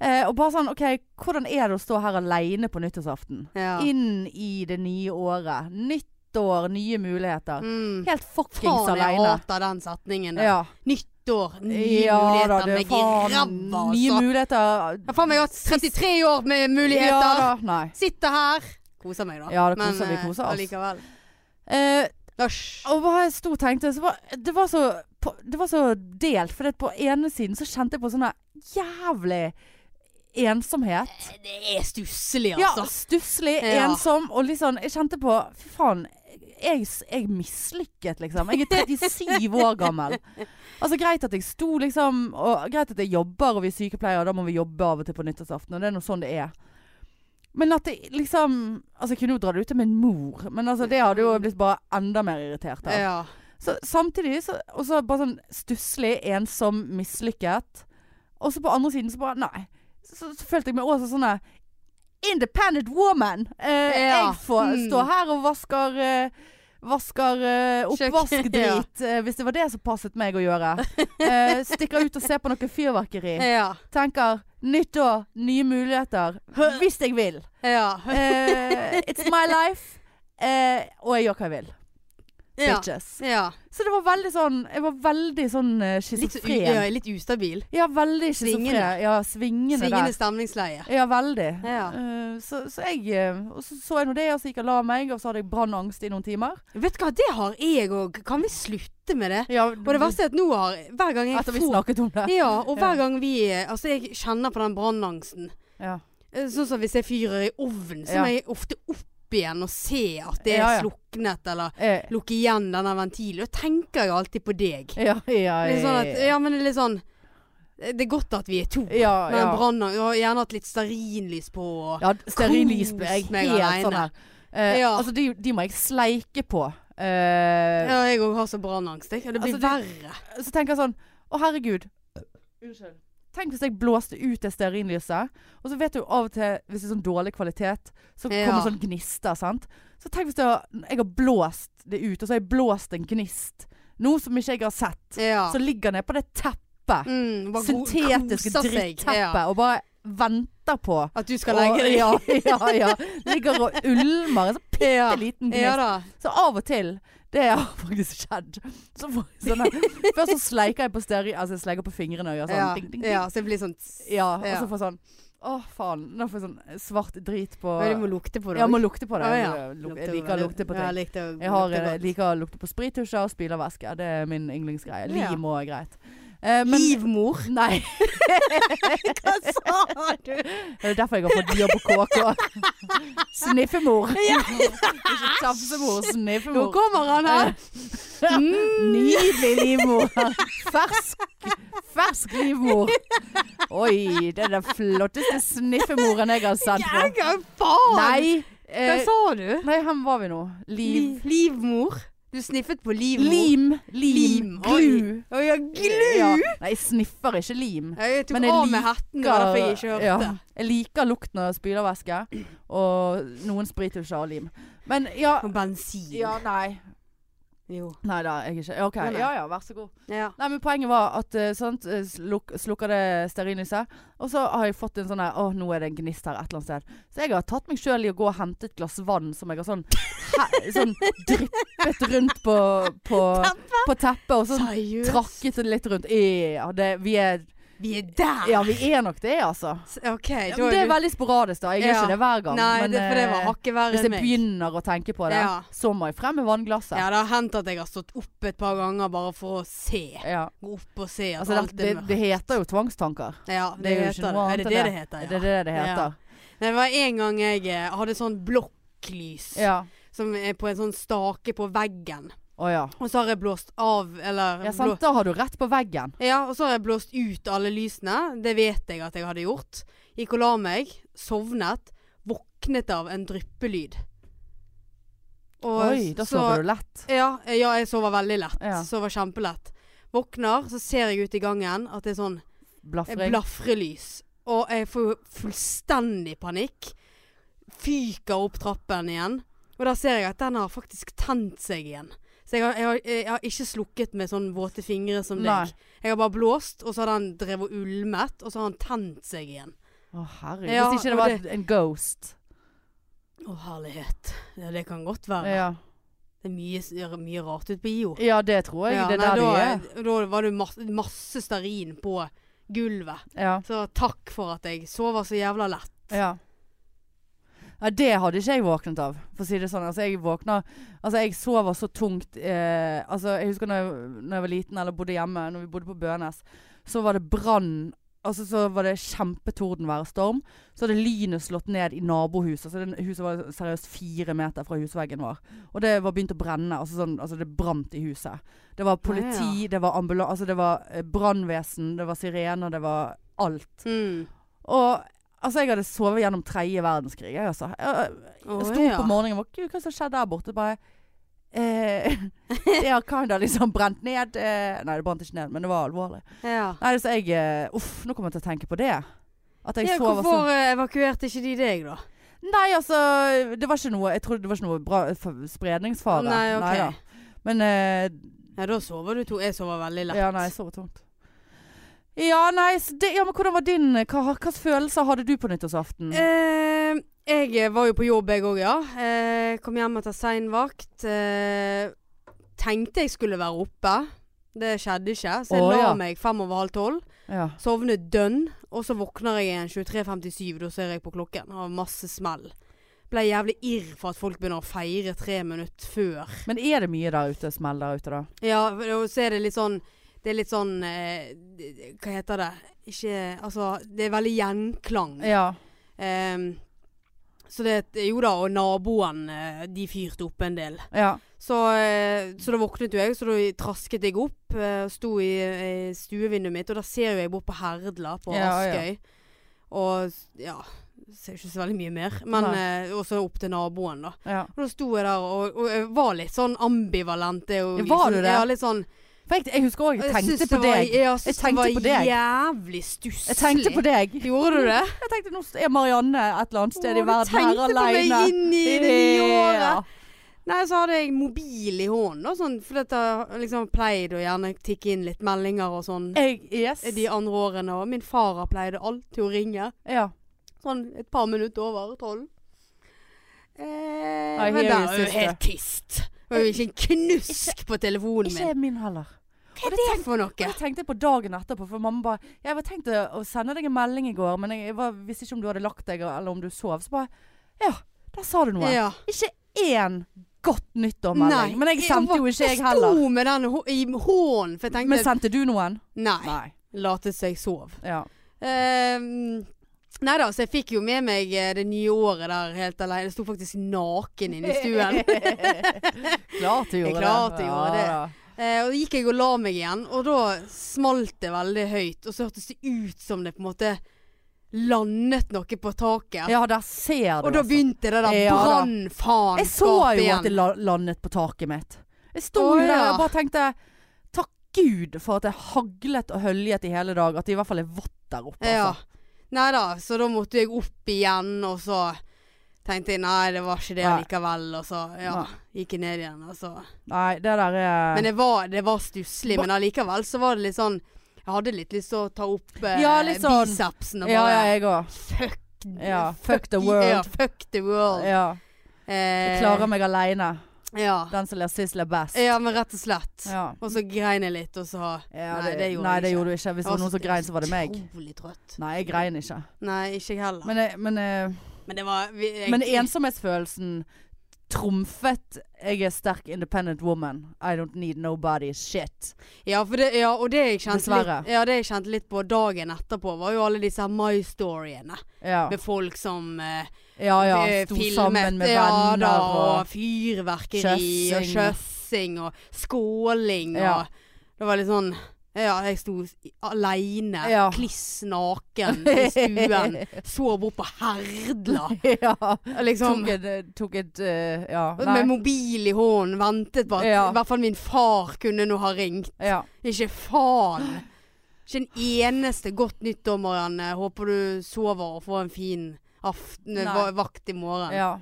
[SPEAKER 1] Eh, og bare sånn OK, hvordan er det å stå her aleine på nyttårsaften?
[SPEAKER 2] ja.
[SPEAKER 1] Inn i det nye året. Nytt år, nye muligheter.
[SPEAKER 2] Mm.
[SPEAKER 1] Helt fuckings
[SPEAKER 2] Faen, jeg
[SPEAKER 1] aleine.
[SPEAKER 2] hater den setningen. der.
[SPEAKER 1] Ja.
[SPEAKER 2] Nytt år, nye
[SPEAKER 1] ja da,
[SPEAKER 2] muligheter,
[SPEAKER 1] det
[SPEAKER 2] meg i
[SPEAKER 1] faen.
[SPEAKER 2] ræva,
[SPEAKER 1] Nye
[SPEAKER 2] altså.
[SPEAKER 1] muligheter.
[SPEAKER 2] Jeg har faen meg hatt 33 år med muligheter.
[SPEAKER 1] Ja da. Nei.
[SPEAKER 2] Sitter her. Koser meg, da.
[SPEAKER 1] Ja, det koser vi, koser oss.
[SPEAKER 2] oss. eh, Allikevel.
[SPEAKER 1] Eh,
[SPEAKER 2] Æsj.
[SPEAKER 1] Og hva jeg sto og tenkte så var, det, var så, på, det var så delt. For på ene siden så kjente jeg på sånn der jævlig ensomhet.
[SPEAKER 2] Det er stusslig,
[SPEAKER 1] Ja,
[SPEAKER 2] altså.
[SPEAKER 1] stusslig,
[SPEAKER 2] Ja.
[SPEAKER 1] ensom og litt sånn Jeg kjente på Fy faen. Jeg, jeg mislykket, liksom. Jeg er 37 år gammel. Altså Greit at jeg sto, liksom. Og greit at jeg jobber, og vi er sykepleiere, og da må vi jobbe av og til på nyttårsaften. Og det er nå sånn det er. Men at det liksom Altså Jeg kunne jo dra det ut til min mor, men altså det hadde jo blitt bare enda mer irritert av.
[SPEAKER 2] Ja.
[SPEAKER 1] Så samtidig så Og så bare sånn stusslig, ensom, mislykket. Og så på andre siden så bare Nei. Så, så følte jeg meg også sånn der, Independent woman! Eh,
[SPEAKER 2] Ja,
[SPEAKER 1] Jeg får
[SPEAKER 2] mm.
[SPEAKER 1] stå her og vasker eh, Vasker eh,
[SPEAKER 2] Kjøkken,
[SPEAKER 1] oppvaskdrit, eh, hvis det var det som passet meg å gjøre. Eh, stikker ut og ser på noe fyrverkeri.
[SPEAKER 2] Ja.
[SPEAKER 1] Tenker nytt år, nye muligheter. Hvis jeg vil.
[SPEAKER 2] Ja.
[SPEAKER 1] Eh, it's my life. Eh, og jeg gjør hva jeg vil.
[SPEAKER 2] ja.
[SPEAKER 1] Bitches.
[SPEAKER 2] ja.
[SPEAKER 1] Så det var veldig sånn Jeg var veldig sånn eh,
[SPEAKER 2] Litt, u-
[SPEAKER 1] schizofren.
[SPEAKER 2] ja, litt ustabil.
[SPEAKER 1] Ja, veldig
[SPEAKER 2] Svingende.
[SPEAKER 1] schizofren. Ja, svingende,
[SPEAKER 2] Svingende stemningsleie.
[SPEAKER 1] der. Ja, veldig.
[SPEAKER 2] Ja.
[SPEAKER 1] Eh, så, så jeg eh, Og så så jeg nå det, og så gikk jeg og la meg, og så hadde jeg brannangst i noen timer.
[SPEAKER 2] Vet du hva, det har jeg òg. Kan vi slutte med det?
[SPEAKER 1] Ja,
[SPEAKER 2] Og det verste er at nå har Hver gang jeg
[SPEAKER 1] Etter vi snakket om det.
[SPEAKER 2] Ja, og
[SPEAKER 1] Ja.
[SPEAKER 2] hver gang vi Altså, jeg kjenner på den brannangsten.
[SPEAKER 1] Ja.
[SPEAKER 2] Eh, Sånn som hvis jeg fyrer i ovnen, så
[SPEAKER 1] Ja.
[SPEAKER 2] må jeg ofte opp igjen og se at det er
[SPEAKER 1] Ja, ja.
[SPEAKER 2] sluknet, eller
[SPEAKER 1] Eh,
[SPEAKER 2] lukke igjen denne ventilen. Da tenker jeg alltid på deg.
[SPEAKER 1] ja, ja,
[SPEAKER 2] Litt sånn at,
[SPEAKER 1] ja.
[SPEAKER 2] ja, men det er litt sånn Det er godt at vi er to.
[SPEAKER 1] Ja,
[SPEAKER 2] Men
[SPEAKER 1] ja.
[SPEAKER 2] brannang- og gjerne hatt litt stearinlys på. og-
[SPEAKER 1] ja Stearinlys ble jeg
[SPEAKER 2] Kos meg
[SPEAKER 1] helt
[SPEAKER 2] alene.
[SPEAKER 1] sånn her. Eh,
[SPEAKER 2] Ja.
[SPEAKER 1] Altså, de, de må jeg sleike på. Eh,
[SPEAKER 2] Ja, jeg òg har så brannangst. jeg. Og det blir
[SPEAKER 1] Altså,
[SPEAKER 2] verre.
[SPEAKER 1] Så tenker jeg sånn Å, herregud. Unnskyld. Tenk hvis jeg blåste ut det stearinlyset. Og så vet du av og til, hvis det er sånn dårlig kvalitet, så
[SPEAKER 2] Ja.
[SPEAKER 1] kommer sånn gnister, sant. Så tenk hvis det har, jeg har blåst det ut, og så har jeg blåst en gnist. Noe som ikke jeg har sett.
[SPEAKER 2] Ja.
[SPEAKER 1] Så ligger den ned på det teppet.
[SPEAKER 2] mm, bare go-
[SPEAKER 1] syntetiske
[SPEAKER 2] koser seg.
[SPEAKER 1] dritteppet.
[SPEAKER 2] Ja.
[SPEAKER 1] Og bare venter på
[SPEAKER 2] At du skal legge deg.
[SPEAKER 1] Ja, ja, ja. Ligger og ulmer. En sånn
[SPEAKER 2] Ja.
[SPEAKER 1] bitte liten gnist.
[SPEAKER 2] Ja da.
[SPEAKER 1] Så av og til Det har faktisk skjedd. Så får jeg sånne, først så sleiker jeg på steri, altså jeg sleiker på fingrene og gjør sånn.
[SPEAKER 2] Ja.
[SPEAKER 1] Ding, ding, ding.
[SPEAKER 2] ja, så det blir sånn tss.
[SPEAKER 1] Ja, og
[SPEAKER 2] Ja.
[SPEAKER 1] så får jeg sånn Å, faen. Nå får jeg sånn svart drit på
[SPEAKER 2] Men Du må lukte på det.
[SPEAKER 1] Ja, må lukte på det.
[SPEAKER 2] Å,
[SPEAKER 1] Jeg,
[SPEAKER 2] ja.
[SPEAKER 1] luk, jeg liker å lukte på
[SPEAKER 2] Ja, jeg
[SPEAKER 1] ting.
[SPEAKER 2] likte å
[SPEAKER 1] Jeg, har, eh,
[SPEAKER 2] lukte
[SPEAKER 1] jeg
[SPEAKER 2] godt.
[SPEAKER 1] liker å lukte på sprittusjer og spylervæske. Det er min yndlingsgreie.
[SPEAKER 2] Ja.
[SPEAKER 1] Lim òg er greit. Eh, men-
[SPEAKER 2] Livmor?
[SPEAKER 1] Nei.
[SPEAKER 2] Hva sa du?
[SPEAKER 1] Det er derfor jeg har fått jobb på KK. Sniffemor. Ikke tafsemor,
[SPEAKER 2] Nå
[SPEAKER 1] sniffemor.
[SPEAKER 2] kommer han her. Mm.
[SPEAKER 1] Nydelig livmor. Fersk, fersk livmor. Oi, det er den flotteste sniffemoren jeg har sett
[SPEAKER 2] Ja,
[SPEAKER 1] på.
[SPEAKER 2] hva faen?
[SPEAKER 1] Nei,
[SPEAKER 2] Hva
[SPEAKER 1] eh,
[SPEAKER 2] sa du?
[SPEAKER 1] nei, hvem var vi nå? Liv.
[SPEAKER 2] Liv. Livmor? Du sniffet på livmor.
[SPEAKER 1] Lim. Lim.
[SPEAKER 2] Lim.
[SPEAKER 1] Glu.
[SPEAKER 2] Å ja, glu!
[SPEAKER 1] Ja. Nei, jeg sniffer ikke lim.
[SPEAKER 2] Jeg tok
[SPEAKER 1] Men jeg
[SPEAKER 2] av med
[SPEAKER 1] liker-
[SPEAKER 2] hetten, det var derfor jeg ikke hørte.
[SPEAKER 1] Ja, jeg liker lukten av spylervæske og noen sprittusjer og lim. Men ja,
[SPEAKER 2] Og bensin.
[SPEAKER 1] ja nei.
[SPEAKER 2] Jo.
[SPEAKER 1] Nei da, jeg er ikke. OK.
[SPEAKER 2] Nei, nei.
[SPEAKER 1] Ja ja, vær så god.
[SPEAKER 2] Ja.
[SPEAKER 1] Nei, men poenget var at eh, sant, eh, sluk, slukker det stearinlyset. Og så har jeg fått en sånn her Å, nå er det en gnist her et eller annet sted. Så jeg har tatt meg sjøl i å gå og hente et glass vann som jeg har sånn, he, sånn dryppet rundt på, på, på teppet. Og sånn
[SPEAKER 2] Seriøst?
[SPEAKER 1] trakket det litt rundt. Ja, det, vi er,
[SPEAKER 2] Vi er der!
[SPEAKER 1] ja, vi er nok det, altså.
[SPEAKER 2] S- OK,
[SPEAKER 1] Ja,
[SPEAKER 2] da
[SPEAKER 1] men det er
[SPEAKER 2] du
[SPEAKER 1] veldig sporadisk, da. Jeg gjør
[SPEAKER 2] Ja.
[SPEAKER 1] ikke det hver gang.
[SPEAKER 2] Nei,
[SPEAKER 1] men,
[SPEAKER 2] det, for det var
[SPEAKER 1] eh,
[SPEAKER 2] hakket verre
[SPEAKER 1] hvis
[SPEAKER 2] enn
[SPEAKER 1] jeg
[SPEAKER 2] meg.
[SPEAKER 1] begynner å tenke på det,
[SPEAKER 2] Ja.
[SPEAKER 1] så må jeg frem med vannglasset.
[SPEAKER 2] Ja, det har hendt at jeg har stått opp et par ganger bare for å se.
[SPEAKER 1] Ja.
[SPEAKER 2] Gå opp og se at
[SPEAKER 1] Altså,
[SPEAKER 2] alt
[SPEAKER 1] det, det,
[SPEAKER 2] er mørkt.
[SPEAKER 1] det heter jo tvangstanker.
[SPEAKER 2] Ja, det,
[SPEAKER 1] det er jo ikke
[SPEAKER 2] heter det.
[SPEAKER 1] noe
[SPEAKER 2] Er det
[SPEAKER 1] annet
[SPEAKER 2] det
[SPEAKER 1] enn
[SPEAKER 2] det heter? Ja.
[SPEAKER 1] Det er det det heter.
[SPEAKER 2] Nei, det var en gang jeg eh, hadde sånn blokklys
[SPEAKER 1] Ja.
[SPEAKER 2] som er på en sånn stake på veggen.
[SPEAKER 1] Å ja.
[SPEAKER 2] Og så har jeg blåst av, eller
[SPEAKER 1] Ja,
[SPEAKER 2] Eh, blå-
[SPEAKER 1] sant. Da har du rett på veggen.
[SPEAKER 2] Ja, og så har jeg blåst ut alle lysene. Det vet jeg at jeg hadde gjort. Gikk og la meg, sovnet, våknet av en dryppelyd. Og
[SPEAKER 1] Oi, da sover du lett.
[SPEAKER 2] Ja, ja, jeg sover veldig lett.
[SPEAKER 1] Ja.
[SPEAKER 2] Sover kjempelett. Våkner, så ser jeg ut i gangen at det er sånn
[SPEAKER 1] Blafring.
[SPEAKER 2] blafrelys. Og jeg får jo fullstendig panikk. Fyker opp trappen igjen. Og da ser jeg at den har faktisk tent seg igjen. Så jeg har, jeg har, jeg har ikke slukket med sånne våte fingre som deg.
[SPEAKER 1] Nei.
[SPEAKER 2] Jeg har bare blåst, og så har den drevet og ulmet, og så har den tent seg igjen.
[SPEAKER 1] Å herregud.
[SPEAKER 2] Ja,
[SPEAKER 1] Hvis ikke det
[SPEAKER 2] og
[SPEAKER 1] var et- en ghost.
[SPEAKER 2] Å, herlighet. Ja, det kan godt være.
[SPEAKER 1] Ja,
[SPEAKER 2] Det er mye, gjør mye rart ute på IO.
[SPEAKER 1] ja det tror jeg.
[SPEAKER 2] Ja,
[SPEAKER 1] det er
[SPEAKER 2] nei,
[SPEAKER 1] der
[SPEAKER 2] da,
[SPEAKER 1] de er.
[SPEAKER 2] da var det masse, masse stearin på gulvet.
[SPEAKER 1] Ja.
[SPEAKER 2] Så takk for at jeg sover så jævla lett.
[SPEAKER 1] ja. Ja, det hadde ikke jeg våknet av, for å si det sånn. Altså, jeg våkna Altså, jeg sover så tungt eh, Altså, jeg husker når jeg, når jeg var liten, eller bodde hjemme, når vi bodde på Bønes, så var det brann Altså, så var det kjempetordenvær og storm. Så hadde lynet slått ned i nabohuset. Så det huset var seriøst fire meter fra husveggen vår. Og det var begynt å brenne. Altså, sånn, altså det brant i huset. Det var politi, det var ambulanse, altså, det var eh, brannvesen, det var sirener, det var alt.
[SPEAKER 2] Mm.
[SPEAKER 1] Og altså, jeg hadde sovet gjennom tredje verdenskrig. Jeg, altså. jeg,
[SPEAKER 2] Å,
[SPEAKER 1] jeg sto
[SPEAKER 2] ja.
[SPEAKER 1] på morgenen og var Gud, hva som skjedde der borte? Bare eh, Det har kinda liksom brent ned. Eh, nei, det brant ikke ned, men det var alvorlig.
[SPEAKER 2] Ja.
[SPEAKER 1] Nei, så jeg eh, Uff, nå kommer jeg til å tenke på det. At jeg
[SPEAKER 2] ja,
[SPEAKER 1] sover så
[SPEAKER 2] hvorfor eh, evakuerte ikke de deg, da?
[SPEAKER 1] Nei, altså Det var ikke noe Jeg trodde det var ikke noe bra f- spredningsfare.
[SPEAKER 2] Nei, ok.
[SPEAKER 1] da. Men eh,
[SPEAKER 2] Ja, da sover du to. Jeg sover veldig lett.
[SPEAKER 1] Ja, nei, jeg sover tungt. Ja, nei, så det, ja, men hvordan var din Hva hvilke følelser hadde du på nyttårsaften?
[SPEAKER 2] Eh, jeg var jo på jobb, jeg òg, ja. Eh, kom hjem etter sein vakt. Eh, tenkte jeg skulle være oppe. Det skjedde ikke, så jeg
[SPEAKER 1] Å,
[SPEAKER 2] la
[SPEAKER 1] ja.
[SPEAKER 2] meg fem over halv tolv.
[SPEAKER 1] Ja.
[SPEAKER 2] Sovnet dønn, og så våkner jeg igjen 23.57. Da ser jeg på klokken. Har masse smell. Ble jævlig irr for at folk begynner å feire tre minutter før.
[SPEAKER 1] Men er det mye der ute, smell der ute, da?
[SPEAKER 2] Ja, og så er det litt sånn Det er litt sånn eh, Hva heter det? Ikke Altså, det er veldig gjenklang.
[SPEAKER 1] Ja.
[SPEAKER 2] Ehm, så det Jo da, og naboen eh, de fyrte opp en del.
[SPEAKER 1] Ja.
[SPEAKER 2] Så, eh, så da våknet jo jeg, så da trasket jeg opp. eh, og Sto i, i stuevinduet mitt, og da ser jo jeg bort på Herdla på
[SPEAKER 1] Ja, ja.
[SPEAKER 2] Askøy. Og s- ja Ser jo ikke så veldig mye mer. Men eh, også opp til naboen, da.
[SPEAKER 1] ja.
[SPEAKER 2] Og da sto jeg der og, og jeg var litt sånn ambivalent. Det, er jo
[SPEAKER 1] Ja, var
[SPEAKER 2] liksom-
[SPEAKER 1] du det?
[SPEAKER 2] Ja, litt sånn
[SPEAKER 1] For jeg, jeg husker òg jeg
[SPEAKER 2] synes
[SPEAKER 1] tenkte på
[SPEAKER 2] det var-
[SPEAKER 1] deg.
[SPEAKER 2] Ja, jeg synes
[SPEAKER 1] tenkte på
[SPEAKER 2] Det
[SPEAKER 1] deg.
[SPEAKER 2] var jævlig stusslig.
[SPEAKER 1] Jeg tenkte på deg.
[SPEAKER 2] Gjorde du det?
[SPEAKER 1] Jeg tenkte nå er Marianne et eller annet sted i
[SPEAKER 2] Å,
[SPEAKER 1] verden her
[SPEAKER 2] Du tenkte på
[SPEAKER 1] aleine.
[SPEAKER 2] meg inn i det nye året. Nei, så hadde jeg mobil i hånden, da, sånn, for dette liksom pleide å gjerne tikke inn litt meldinger og sånn
[SPEAKER 1] Jeg, yes.
[SPEAKER 2] de andre årene. Og min far har pleide alltid å ringe.
[SPEAKER 1] Ja.
[SPEAKER 2] Sånn et par minutter over tolv. Eh,
[SPEAKER 1] I
[SPEAKER 2] men
[SPEAKER 1] hear you,
[SPEAKER 2] der er jo
[SPEAKER 1] sister.
[SPEAKER 2] helt tyst. Det var jo ikke en knusk på telefonen
[SPEAKER 1] Ikke
[SPEAKER 2] min.
[SPEAKER 1] min heller.
[SPEAKER 2] Hva er det for
[SPEAKER 1] Og
[SPEAKER 2] noe?
[SPEAKER 1] det tenkte jeg på dagen etterpå, for mamma bare Jeg var tenkt å å sende deg en melding i går, men jeg var, visste ikke om du hadde lagt deg, eller om du sov. Så bare Ja, der sa du noe.
[SPEAKER 2] Ja.
[SPEAKER 1] Ikke én godt nyttår-melding. Men jeg sendte jo ikke, jeg
[SPEAKER 2] Jeg
[SPEAKER 1] heller.
[SPEAKER 2] sto med den hå- i hånden, for jeg tenkte
[SPEAKER 1] Men sendte du noen?
[SPEAKER 2] Nei.
[SPEAKER 1] Nei.
[SPEAKER 2] Latet seg sov.
[SPEAKER 1] Ja.
[SPEAKER 2] Eh, nei da, så jeg fikk jo med meg eh, det nye året der helt alene. Jeg sto faktisk naken inne i stuen.
[SPEAKER 1] Klart du gjorde det.
[SPEAKER 2] klart jeg gjorde det.
[SPEAKER 1] Ja, da.
[SPEAKER 2] Eh, og da gikk jeg og la meg igjen, og da smalt det veldig høyt. Og så hørtes det ut som det på en måte landet noe på taket.
[SPEAKER 1] Ja, der ser du.
[SPEAKER 2] og da
[SPEAKER 1] altså.
[SPEAKER 2] begynte det der
[SPEAKER 1] Ja da.
[SPEAKER 2] brannfaenskapet
[SPEAKER 1] Jeg så jo at det
[SPEAKER 2] igjen.
[SPEAKER 1] la- landet på taket mitt. Jeg sto
[SPEAKER 2] Å,
[SPEAKER 1] jo der
[SPEAKER 2] ja.
[SPEAKER 1] og bare tenkte Takk Gud for at jeg haglet og høljet i hele dag. At det i hvert fall er vått der oppe.
[SPEAKER 2] Ja.
[SPEAKER 1] Altså.
[SPEAKER 2] Nei da, så da måtte jeg opp igjen, og så tenkte jeg nei, det var ikke det
[SPEAKER 1] Nei.
[SPEAKER 2] likevel. Og så ja,
[SPEAKER 1] Nei.
[SPEAKER 2] gikk jeg ned igjen. Og så.
[SPEAKER 1] Nei, det der er
[SPEAKER 2] Men det var, det var stusslig.
[SPEAKER 1] Ba-
[SPEAKER 2] Men allikevel så var det litt sånn Jeg hadde litt lyst til å ta opp eh,
[SPEAKER 1] Ja, litt sånn.
[SPEAKER 2] bicepsen og
[SPEAKER 1] Ja,
[SPEAKER 2] bare
[SPEAKER 1] ja, jeg òg.
[SPEAKER 2] fuck,
[SPEAKER 1] Ja, fuck the
[SPEAKER 2] Ja,
[SPEAKER 1] world.
[SPEAKER 2] fuck the world.
[SPEAKER 1] Ja. Jeg
[SPEAKER 2] Eh,
[SPEAKER 1] klarer meg aleine.
[SPEAKER 2] Ja.
[SPEAKER 1] Den som ler sist, ler best.
[SPEAKER 2] ja, men rett og slett.
[SPEAKER 1] Ja.
[SPEAKER 2] Og så grein jeg litt, og så
[SPEAKER 1] Ja,
[SPEAKER 2] Nei, det gjorde
[SPEAKER 1] nei,
[SPEAKER 2] jeg
[SPEAKER 1] det
[SPEAKER 2] ikke.
[SPEAKER 1] gjorde du ikke. Hvis det var noen som grein, så var det meg.
[SPEAKER 2] Utrolig trøtt.
[SPEAKER 1] Nei, jeg grein ikke.
[SPEAKER 2] Nei, ikke jeg heller. Men,
[SPEAKER 1] Men, jeg- men, eh,
[SPEAKER 2] det var vi, jeg,
[SPEAKER 1] men ensomhetsfølelsen trumfet 'jeg er sterk independent woman'. I don't need nobody shit.
[SPEAKER 2] Ja, for det, ja, og det jeg, kjente
[SPEAKER 1] Dessverre.
[SPEAKER 2] litt, ja, det jeg kjente litt på dagen etterpå, var jo alle disse her My Storyene.
[SPEAKER 1] Ja.
[SPEAKER 2] Med folk som eh,
[SPEAKER 1] Ja ja,
[SPEAKER 2] eh,
[SPEAKER 1] sto
[SPEAKER 2] filmet,
[SPEAKER 1] sammen med
[SPEAKER 2] ja,
[SPEAKER 1] venner
[SPEAKER 2] da,
[SPEAKER 1] og
[SPEAKER 2] fyrverkeri og
[SPEAKER 1] Kjøssing.
[SPEAKER 2] kjøssing og skåling
[SPEAKER 1] Ja.
[SPEAKER 2] og Det var litt sånn Ja, jeg sto s- aleine,
[SPEAKER 1] Ja.
[SPEAKER 2] kliss naken i stuen. Sov oppå herdla.
[SPEAKER 1] ja.
[SPEAKER 2] Liksom.
[SPEAKER 1] Tok et, tok et eh, Ja.
[SPEAKER 2] Med
[SPEAKER 1] Nei.
[SPEAKER 2] mobil i hånden, ventet på at
[SPEAKER 1] Ja.
[SPEAKER 2] i hvert fall min far kunne nå ha ringt.
[SPEAKER 1] Ja.
[SPEAKER 2] Ikke faen! Ikke en eneste godt nytt år, Marianne. Håper du sover og får en fin aften,
[SPEAKER 1] Nei.
[SPEAKER 2] va- vakt i morgen.
[SPEAKER 1] ja.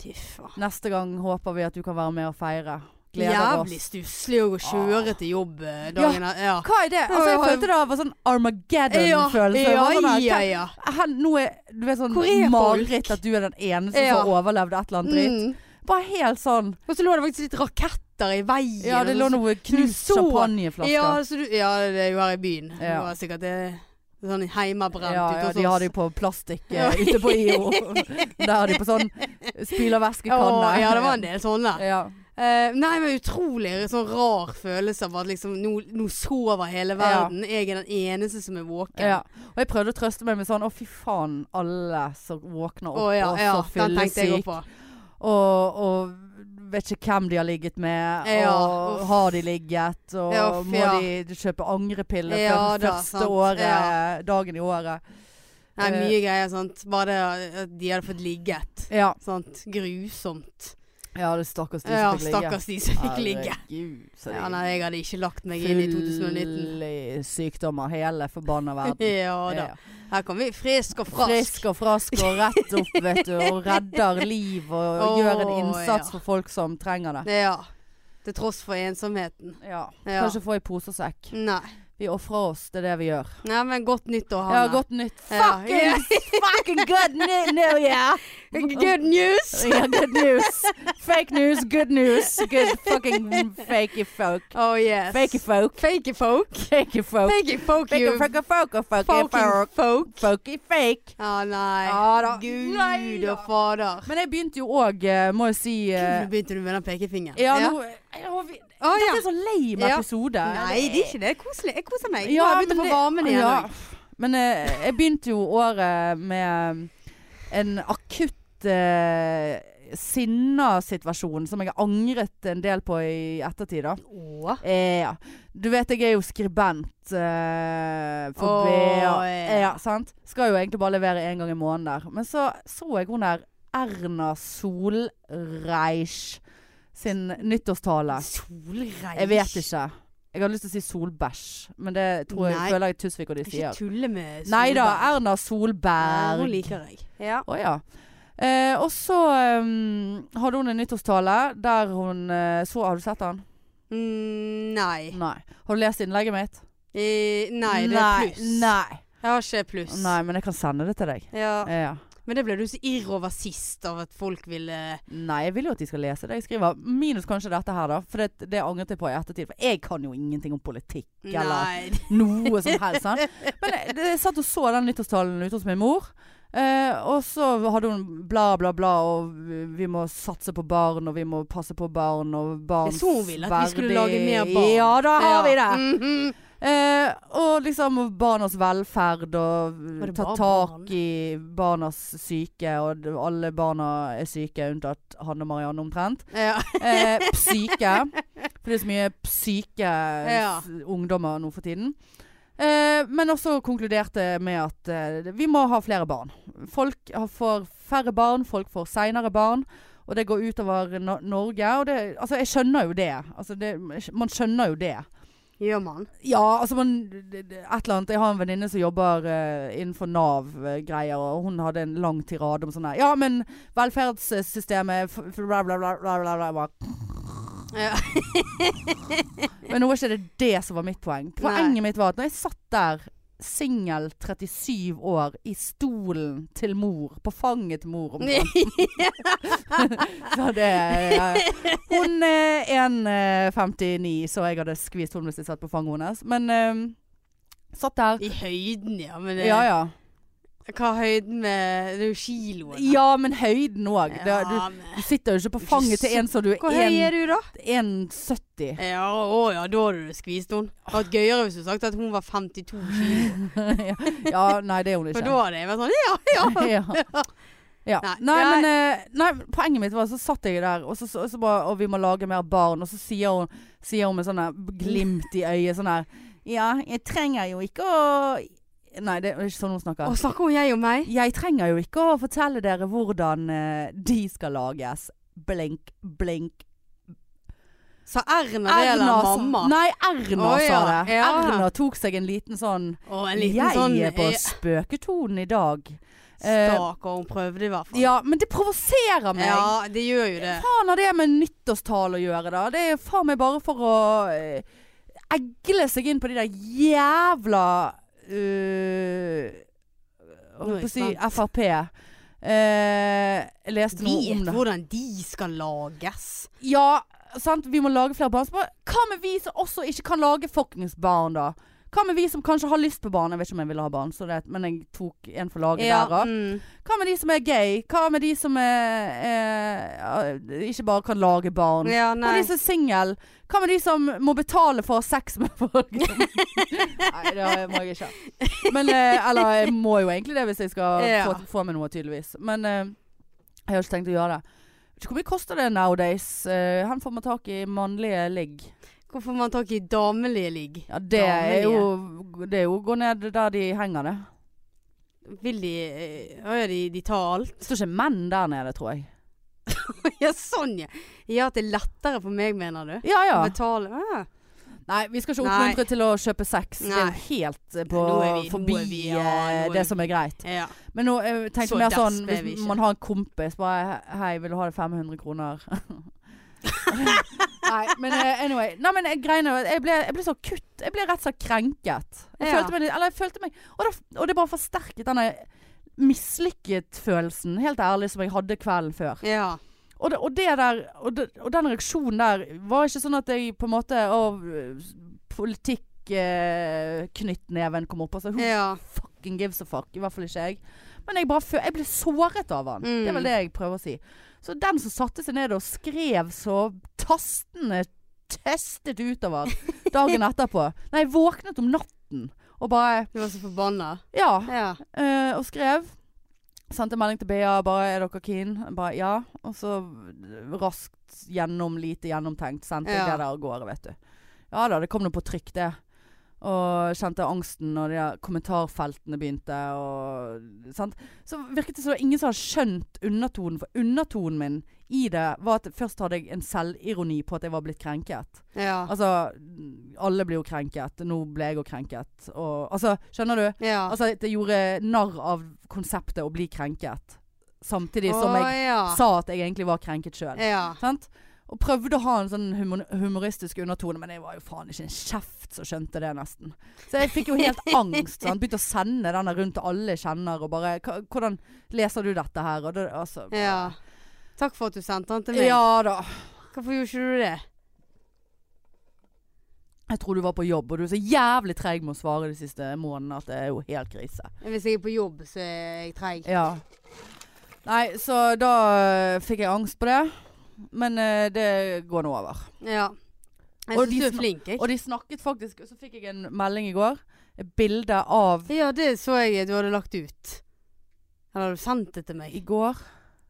[SPEAKER 2] Fy faen.
[SPEAKER 1] Neste gang håper vi at du kan være med og feire. Gleder
[SPEAKER 2] Jævlig
[SPEAKER 1] oss.
[SPEAKER 2] stusslig å kjøre til jobb eh, dagen etter. Ja.
[SPEAKER 1] Hva er det? Altså, jeg følte det var sånn Armageddon-følelse. Det var
[SPEAKER 2] ja,
[SPEAKER 1] sånn her,
[SPEAKER 2] ja, ja.
[SPEAKER 1] her- Nå er du er sånn
[SPEAKER 2] Hvor er folk?
[SPEAKER 1] mareritt at du er den eneste
[SPEAKER 2] Ja.
[SPEAKER 1] som har overlevd et eller annet dritt.
[SPEAKER 2] Mm.
[SPEAKER 1] Bare helt sånn.
[SPEAKER 2] Og så lå det faktisk litt raketter i veien.
[SPEAKER 1] Ja, det lå
[SPEAKER 2] og så-
[SPEAKER 1] noe knust
[SPEAKER 2] så-
[SPEAKER 1] champagneflasker.
[SPEAKER 2] ja, så du, ja, det er jo her i byen.
[SPEAKER 1] Ja.
[SPEAKER 2] Det var sikkert det, sånn heimebrent
[SPEAKER 1] ja, ja,
[SPEAKER 2] ute hos
[SPEAKER 1] de har
[SPEAKER 2] oss.
[SPEAKER 1] de på plastikk eh,
[SPEAKER 2] sånn. Ja.
[SPEAKER 1] ute på IO. Der har de på sånn spylervæskekanne.
[SPEAKER 2] Å, ja, det var en del sånne.
[SPEAKER 1] Ja.
[SPEAKER 2] Eh, nei, men utrolig sånn rar følelse av at liksom nå, nå sover hele verden. Jeg er den eneste som er våken.
[SPEAKER 1] Ja. Og jeg prøvde å trøste meg med sånn Å, fy faen, alle som våkner opp
[SPEAKER 2] Å ja,
[SPEAKER 1] og
[SPEAKER 2] ja,
[SPEAKER 1] så
[SPEAKER 2] den tenkte jeg også
[SPEAKER 1] fyllesyk.
[SPEAKER 2] på.
[SPEAKER 1] Og, og vet ikke hvem de har ligget med,
[SPEAKER 2] Ja,
[SPEAKER 1] og
[SPEAKER 2] uff.
[SPEAKER 1] har de ligget, og
[SPEAKER 2] Ja, uff,
[SPEAKER 1] må
[SPEAKER 2] ja.
[SPEAKER 1] de kjøpe angrepiller
[SPEAKER 2] Ja,
[SPEAKER 1] for den
[SPEAKER 2] da,
[SPEAKER 1] første
[SPEAKER 2] sant.
[SPEAKER 1] året,
[SPEAKER 2] Ja.
[SPEAKER 1] dagen i året.
[SPEAKER 2] Nei,
[SPEAKER 1] Eh,
[SPEAKER 2] mye greier, sant. Bare det at de hadde fått ligget.
[SPEAKER 1] Ja,
[SPEAKER 2] Sant. Grusomt.
[SPEAKER 1] ja det er stakkars de
[SPEAKER 2] Ja,
[SPEAKER 1] som fikk ligge.
[SPEAKER 2] stakkars de som fikk ligge.
[SPEAKER 1] Herregud, så de
[SPEAKER 2] Ja, nei, jeg hadde ikke lagt meg inn i 2019.
[SPEAKER 1] Full i sykdommer, hele forbanna verden.
[SPEAKER 2] Ja da. Her kom vi frisk og frask.
[SPEAKER 1] Frisk og frask og rett opp, vet du. Og redder liv og
[SPEAKER 2] Åh,
[SPEAKER 1] gjør en innsats
[SPEAKER 2] ja.
[SPEAKER 1] for folk som trenger det.
[SPEAKER 2] Ja. Til tross for ensomheten.
[SPEAKER 1] Ja.
[SPEAKER 2] Ja.
[SPEAKER 1] Kan ikke få i pose og sekk.
[SPEAKER 2] Nei.
[SPEAKER 1] Vi ofrer oss, det er det vi gjør.
[SPEAKER 2] Nei, men godt nyttår, Hanne.
[SPEAKER 1] Ja, godt nytt.
[SPEAKER 2] Ja.
[SPEAKER 1] Fucking, fucking good new, new year!
[SPEAKER 2] Good news!
[SPEAKER 1] Ja, good news. Fake news, good news. Good fucking fakey folk.
[SPEAKER 2] Oh yes.
[SPEAKER 1] Fakey folk.
[SPEAKER 2] Fakey folk.
[SPEAKER 1] Fakey folk.
[SPEAKER 2] Fakey folk,
[SPEAKER 1] Fakey
[SPEAKER 2] you
[SPEAKER 1] folk. Fakey
[SPEAKER 2] fucking
[SPEAKER 1] folk.
[SPEAKER 2] folk.
[SPEAKER 1] Fakey fake.
[SPEAKER 2] Å nei.
[SPEAKER 1] Ja da.
[SPEAKER 2] Gud
[SPEAKER 1] Nei da.
[SPEAKER 2] og fader.
[SPEAKER 1] Men jeg begynte jo òg, må jeg si eh,
[SPEAKER 2] Nå begynte du med den pekefingeren.
[SPEAKER 1] Ja, nå jeg har vi-
[SPEAKER 2] Å, ja.
[SPEAKER 1] Dette er så lame
[SPEAKER 2] Ja.
[SPEAKER 1] episode.
[SPEAKER 2] Nei, det er ikke det. Det er Koselig. Jeg koser meg.
[SPEAKER 1] Ja,
[SPEAKER 2] Ja, jeg begynte
[SPEAKER 1] men
[SPEAKER 2] å få
[SPEAKER 1] det-
[SPEAKER 2] varmen igjen.
[SPEAKER 1] ja.
[SPEAKER 2] også.
[SPEAKER 1] Men eh, jeg begynte jo året med eh, en akutt eh, sinna situasjon som jeg har angret en del på i ettertid. da.
[SPEAKER 2] Å.
[SPEAKER 1] Eh, ja. Du vet jeg er jo skribent eh, for
[SPEAKER 2] Åh,
[SPEAKER 1] BA.
[SPEAKER 2] ja.
[SPEAKER 1] Eh, ja, sant? Skal jo egentlig bare levere én gang i måneden der. Men så så jeg hun der Erna Solreich sin nyttårstale.
[SPEAKER 2] Solreis.
[SPEAKER 1] Jeg vet ikke. Jeg hadde lyst til å si solbæsj, men det tror jeg,
[SPEAKER 2] Nei.
[SPEAKER 1] føler jeg Tusvik og de
[SPEAKER 2] Ikke
[SPEAKER 1] sier.
[SPEAKER 2] tulle med
[SPEAKER 1] Nei da,
[SPEAKER 2] solbær.
[SPEAKER 1] Erna
[SPEAKER 2] Ja, Hun
[SPEAKER 1] Solberg.
[SPEAKER 2] liker jeg. Ja.
[SPEAKER 1] Å ja. Eh, og så ehm, hadde hun en nyttårstale der hun eh, så Har du sett den?
[SPEAKER 2] Mm, nei.
[SPEAKER 1] Nei. Har du lest innlegget mitt?
[SPEAKER 2] Eh, nei, det er pluss.
[SPEAKER 1] Nei.
[SPEAKER 2] Jeg har ikke pluss.
[SPEAKER 1] nei, men jeg kan sende det til deg.
[SPEAKER 2] Ja.
[SPEAKER 1] Ja.
[SPEAKER 2] Men det ble du så irr over sist, av at folk ville
[SPEAKER 1] Nei, jeg vil jo at de skal lese det jeg skriver. Minus kanskje dette her, da. For det, det angret jeg på i ettertid. For jeg kan jo ingenting om politikk eller
[SPEAKER 2] Nei.
[SPEAKER 1] noe som helst. Sant? Men jeg, det- jeg satt og så den nyttårstalen ute hos min mor. Eh, og så hadde hun bla, bla, bla, og vi- vi må satse på barn, og vi må passe på barn, og barns
[SPEAKER 2] Jeg så hun ville at vi skulle lage mer
[SPEAKER 1] verdi-
[SPEAKER 2] barn.
[SPEAKER 1] Ja, da har vi det!
[SPEAKER 2] Mhm.
[SPEAKER 1] Eh, og liksom og barnas velferd, og
[SPEAKER 2] Var det
[SPEAKER 1] ta
[SPEAKER 2] bare
[SPEAKER 1] tak
[SPEAKER 2] barn?
[SPEAKER 1] i barnas syke, og d- alle barna er syke, unntatt Hanne og Marianne omtrent.
[SPEAKER 2] ja.
[SPEAKER 1] Eh, psyke. For det er så mye psyke
[SPEAKER 2] Ja.
[SPEAKER 1] s- ungdommer nå for tiden. Eh, men også konkluderte med at eh, vi må ha flere barn. Folk har- får færre barn, folk får seinere barn. Og det går utover no Norge. Og det, altså, jeg skjønner jo det. Altså, det. Man skjønner jo det.
[SPEAKER 2] Gjør man?
[SPEAKER 1] Ja, altså man det- det- Et eller annet. Jeg har en venninne som jobber eh, innenfor Nav-greier, og hun hadde en lang tirade om sånn her Ja, men velferdssystemet f- f- bla, bla, bla, bla, bla, bla, bla.
[SPEAKER 2] Ja.
[SPEAKER 1] Men nå var ikke det det som var mitt poeng. Poenget mitt var at når jeg satt der singel 37 år i stolen til mor, på fanget til mor omtrent Så det ja. Hun eh, er 1,59, så jeg hadde skvist henne hvis jeg satt på fanget hennes. Men eh, satt der.
[SPEAKER 2] I høyden, ja. Men det,
[SPEAKER 1] Ja ja.
[SPEAKER 2] hva er høyden med Det er jo kiloene.
[SPEAKER 1] Ja, men høyden òg. Du,
[SPEAKER 2] Ja, men-
[SPEAKER 1] du sitter jo ikke på
[SPEAKER 2] Ikke
[SPEAKER 1] fanget til
[SPEAKER 2] så-
[SPEAKER 1] en som du
[SPEAKER 2] Hvor høy er
[SPEAKER 1] er
[SPEAKER 2] du, da?
[SPEAKER 1] 1,70.
[SPEAKER 2] Ja, å ja, da hadde du skvist henne. Det hadde vært gøyere hvis du hadde sagt at hun var 52 kilo.
[SPEAKER 1] ja, nei, det er hun
[SPEAKER 2] For
[SPEAKER 1] ikke.
[SPEAKER 2] da hadde jeg vært sånn Ja, ja!
[SPEAKER 1] ja. Ja.
[SPEAKER 2] Nei,
[SPEAKER 1] Nei, men eh, nei, poenget mitt var så satt jeg der, og så, så, så bare Og vi må lage mer barn. Og så sier hun, sier hun med sånn her glimt i øyet sånn her Ja, jeg trenger jo ikke å Nei, det er ikke sånn hun snakker.
[SPEAKER 2] Og snakker hun jeg og meg?
[SPEAKER 1] Jeg trenger jo ikke å fortelle dere hvordan eh, de skal lages. Blink, blink.
[SPEAKER 2] Sa Erna det, eller
[SPEAKER 1] sa-
[SPEAKER 2] mamma?
[SPEAKER 1] Nei, Erna
[SPEAKER 2] Å,
[SPEAKER 1] sa
[SPEAKER 2] ja.
[SPEAKER 1] det.
[SPEAKER 2] Ja.
[SPEAKER 1] Erna tok seg en liten sånn
[SPEAKER 2] Og en liten
[SPEAKER 1] Jeg
[SPEAKER 2] sånn
[SPEAKER 1] er på
[SPEAKER 2] eh,
[SPEAKER 1] spøketonen i dag. eh,
[SPEAKER 2] Stakkar, hun prøvde i hvert fall.
[SPEAKER 1] Ja, men det provoserer meg.
[SPEAKER 2] Ja, det gjør jo det.
[SPEAKER 1] faen har det med nyttårstale å gjøre, da? Det er faen meg bare for å eh, egle seg inn på de der jævla eh,
[SPEAKER 2] Nå er
[SPEAKER 1] Holdt på å
[SPEAKER 2] jeg
[SPEAKER 1] si
[SPEAKER 2] spent.
[SPEAKER 1] Frp. Eh, jeg leste noe om
[SPEAKER 2] Vet
[SPEAKER 1] det.
[SPEAKER 2] hvordan de skal lages.
[SPEAKER 1] Ja, sant? vi må lage flere barn. Så bare, Hva med vi som også ikke kan lage fuckings barn, da? Hva med vi som kanskje har lyst på barn? Jeg vet ikke om jeg ville ha barn, så det, men jeg tok en for laget der òg.
[SPEAKER 2] mm.
[SPEAKER 1] Hva med de som er gay? Hva med de som er, eh, ikke bare kan lage barn?
[SPEAKER 2] ja
[SPEAKER 1] Hva
[SPEAKER 2] nei.
[SPEAKER 1] med de som er singel? Hva med de som må betale for å ha sex med folk? Nei, det må jeg ikke. Men, eh, eller jeg må jo egentlig det hvis jeg skal
[SPEAKER 2] Ja.
[SPEAKER 1] få, få meg noe, tydeligvis. Men eh, jeg har ikke tenkt å gjøre det. Vet ikke hvor mye koster det nowadays? Eh, han får man tak i mannlige ligg.
[SPEAKER 2] Hvorfor får man tak i damelige ligg?
[SPEAKER 1] Ja, det er jo Det er jo å gå ned der de henger, det.
[SPEAKER 2] Vil de eh, Å ja, de, de tar alt?
[SPEAKER 1] Det står ikke menn der nede, tror jeg.
[SPEAKER 2] ja, sånn, ja. Ja, at det er lettere for meg, mener du?
[SPEAKER 1] Ja ja.
[SPEAKER 2] Å Betale ah.
[SPEAKER 1] Nei, vi skal ikke
[SPEAKER 2] Nei.
[SPEAKER 1] oppmuntre til å kjøpe sex. Det er
[SPEAKER 2] Nei.
[SPEAKER 1] jo helt eh, på,
[SPEAKER 2] Nå er vi- nå
[SPEAKER 1] forbi
[SPEAKER 2] er vi- ja, nå
[SPEAKER 1] eh,
[SPEAKER 2] er vi-
[SPEAKER 1] det som er greit.
[SPEAKER 2] Ja.
[SPEAKER 1] Men nå eh, tenkte
[SPEAKER 2] Så
[SPEAKER 1] jeg mer
[SPEAKER 2] dass
[SPEAKER 1] sånn
[SPEAKER 2] ble vi
[SPEAKER 1] Hvis
[SPEAKER 2] ikke.
[SPEAKER 1] man har en kompis bare Hei, vil du ha det 500 kroner? Nei, men eh, anyway. Nei, men jeg, greiene, var at jeg, ble, jeg ble så kutt. Jeg ble rett og slett krenket. Jeg
[SPEAKER 2] Ja.
[SPEAKER 1] følte meg litt Eller jeg følte meg Og, da, og det bare forsterket denne mislykket-følelsen, helt ærlig, som jeg hadde kvelden før.
[SPEAKER 2] ja.
[SPEAKER 1] Og, det, og, det der, og, det, og den reaksjonen der var ikke sånn at jeg på en måte Å, politikk eh, Knyttneven kom opp altså, og sa Who
[SPEAKER 2] ja.
[SPEAKER 1] fucking gives a fuck. I hvert fall ikke jeg. Men jeg, bare fø- jeg ble såret av han.
[SPEAKER 2] Mm.
[SPEAKER 1] Det er vel det jeg prøver å si. Så den som satte seg ned og skrev så tastende testet utover dagen etterpå Nei, jeg våknet om natten og bare
[SPEAKER 2] Du var så forbanna?
[SPEAKER 1] Ja.
[SPEAKER 2] Ja.
[SPEAKER 1] eh, og skrev. Sendte melding til BA bare 'Er dere keen?' Jeg Bare ja. Og så eh, raskt gjennom, lite gjennomtenkt, sendte jeg
[SPEAKER 2] Ja.
[SPEAKER 1] det der av gårde, vet du. Ja da, det kom noe på trykk, det. Og kjente angsten når de der kommentarfeltene begynte og sant? Så virket det som det var ingen som hadde skjønt undertonen, for undertonen min i det var at først hadde jeg en selvironi på at jeg var blitt krenket.
[SPEAKER 2] Ja.
[SPEAKER 1] Altså, alle blir jo krenket. Nå ble jeg jo krenket. Og, altså, skjønner du?
[SPEAKER 2] ja.
[SPEAKER 1] Altså, det gjorde narr av konseptet å bli krenket. samtidig som jeg
[SPEAKER 2] ja.
[SPEAKER 1] sa at jeg egentlig var krenket sjøl.
[SPEAKER 2] Ja.
[SPEAKER 1] Sant? Og prøvde å ha en sånn humor humoristisk undertone, men jeg var jo faen ikke en kjeft som skjønte det, nesten. Så jeg fikk jo helt angst. Sant? Begynte å sende den der rundt til alle jeg kjenner og bare "Hva- Hvordan leser du dette her? Og det, altså,
[SPEAKER 2] ja. Takk for at du sendte den til meg.
[SPEAKER 1] ja da.
[SPEAKER 2] Hvorfor gjorde ikke du det?
[SPEAKER 1] Jeg tror du var på jobb, og du er så jævlig treig med å svare de siste månedene at det er jo helt krise.
[SPEAKER 2] Hvis jeg er på jobb, så er jeg treig.
[SPEAKER 1] Ja. Nei, så da øh, fikk jeg angst på det. Men øh, det går nå over.
[SPEAKER 2] Ja. Jeg
[SPEAKER 1] Og
[SPEAKER 2] syns
[SPEAKER 1] de
[SPEAKER 2] du er
[SPEAKER 1] sma-
[SPEAKER 2] flink, jeg.
[SPEAKER 1] Og de snakket faktisk Så fikk jeg en melding i går. Et bilde av
[SPEAKER 2] Ja, det så jeg du hadde lagt ut. Eller hadde du sendt det til meg?
[SPEAKER 1] i går.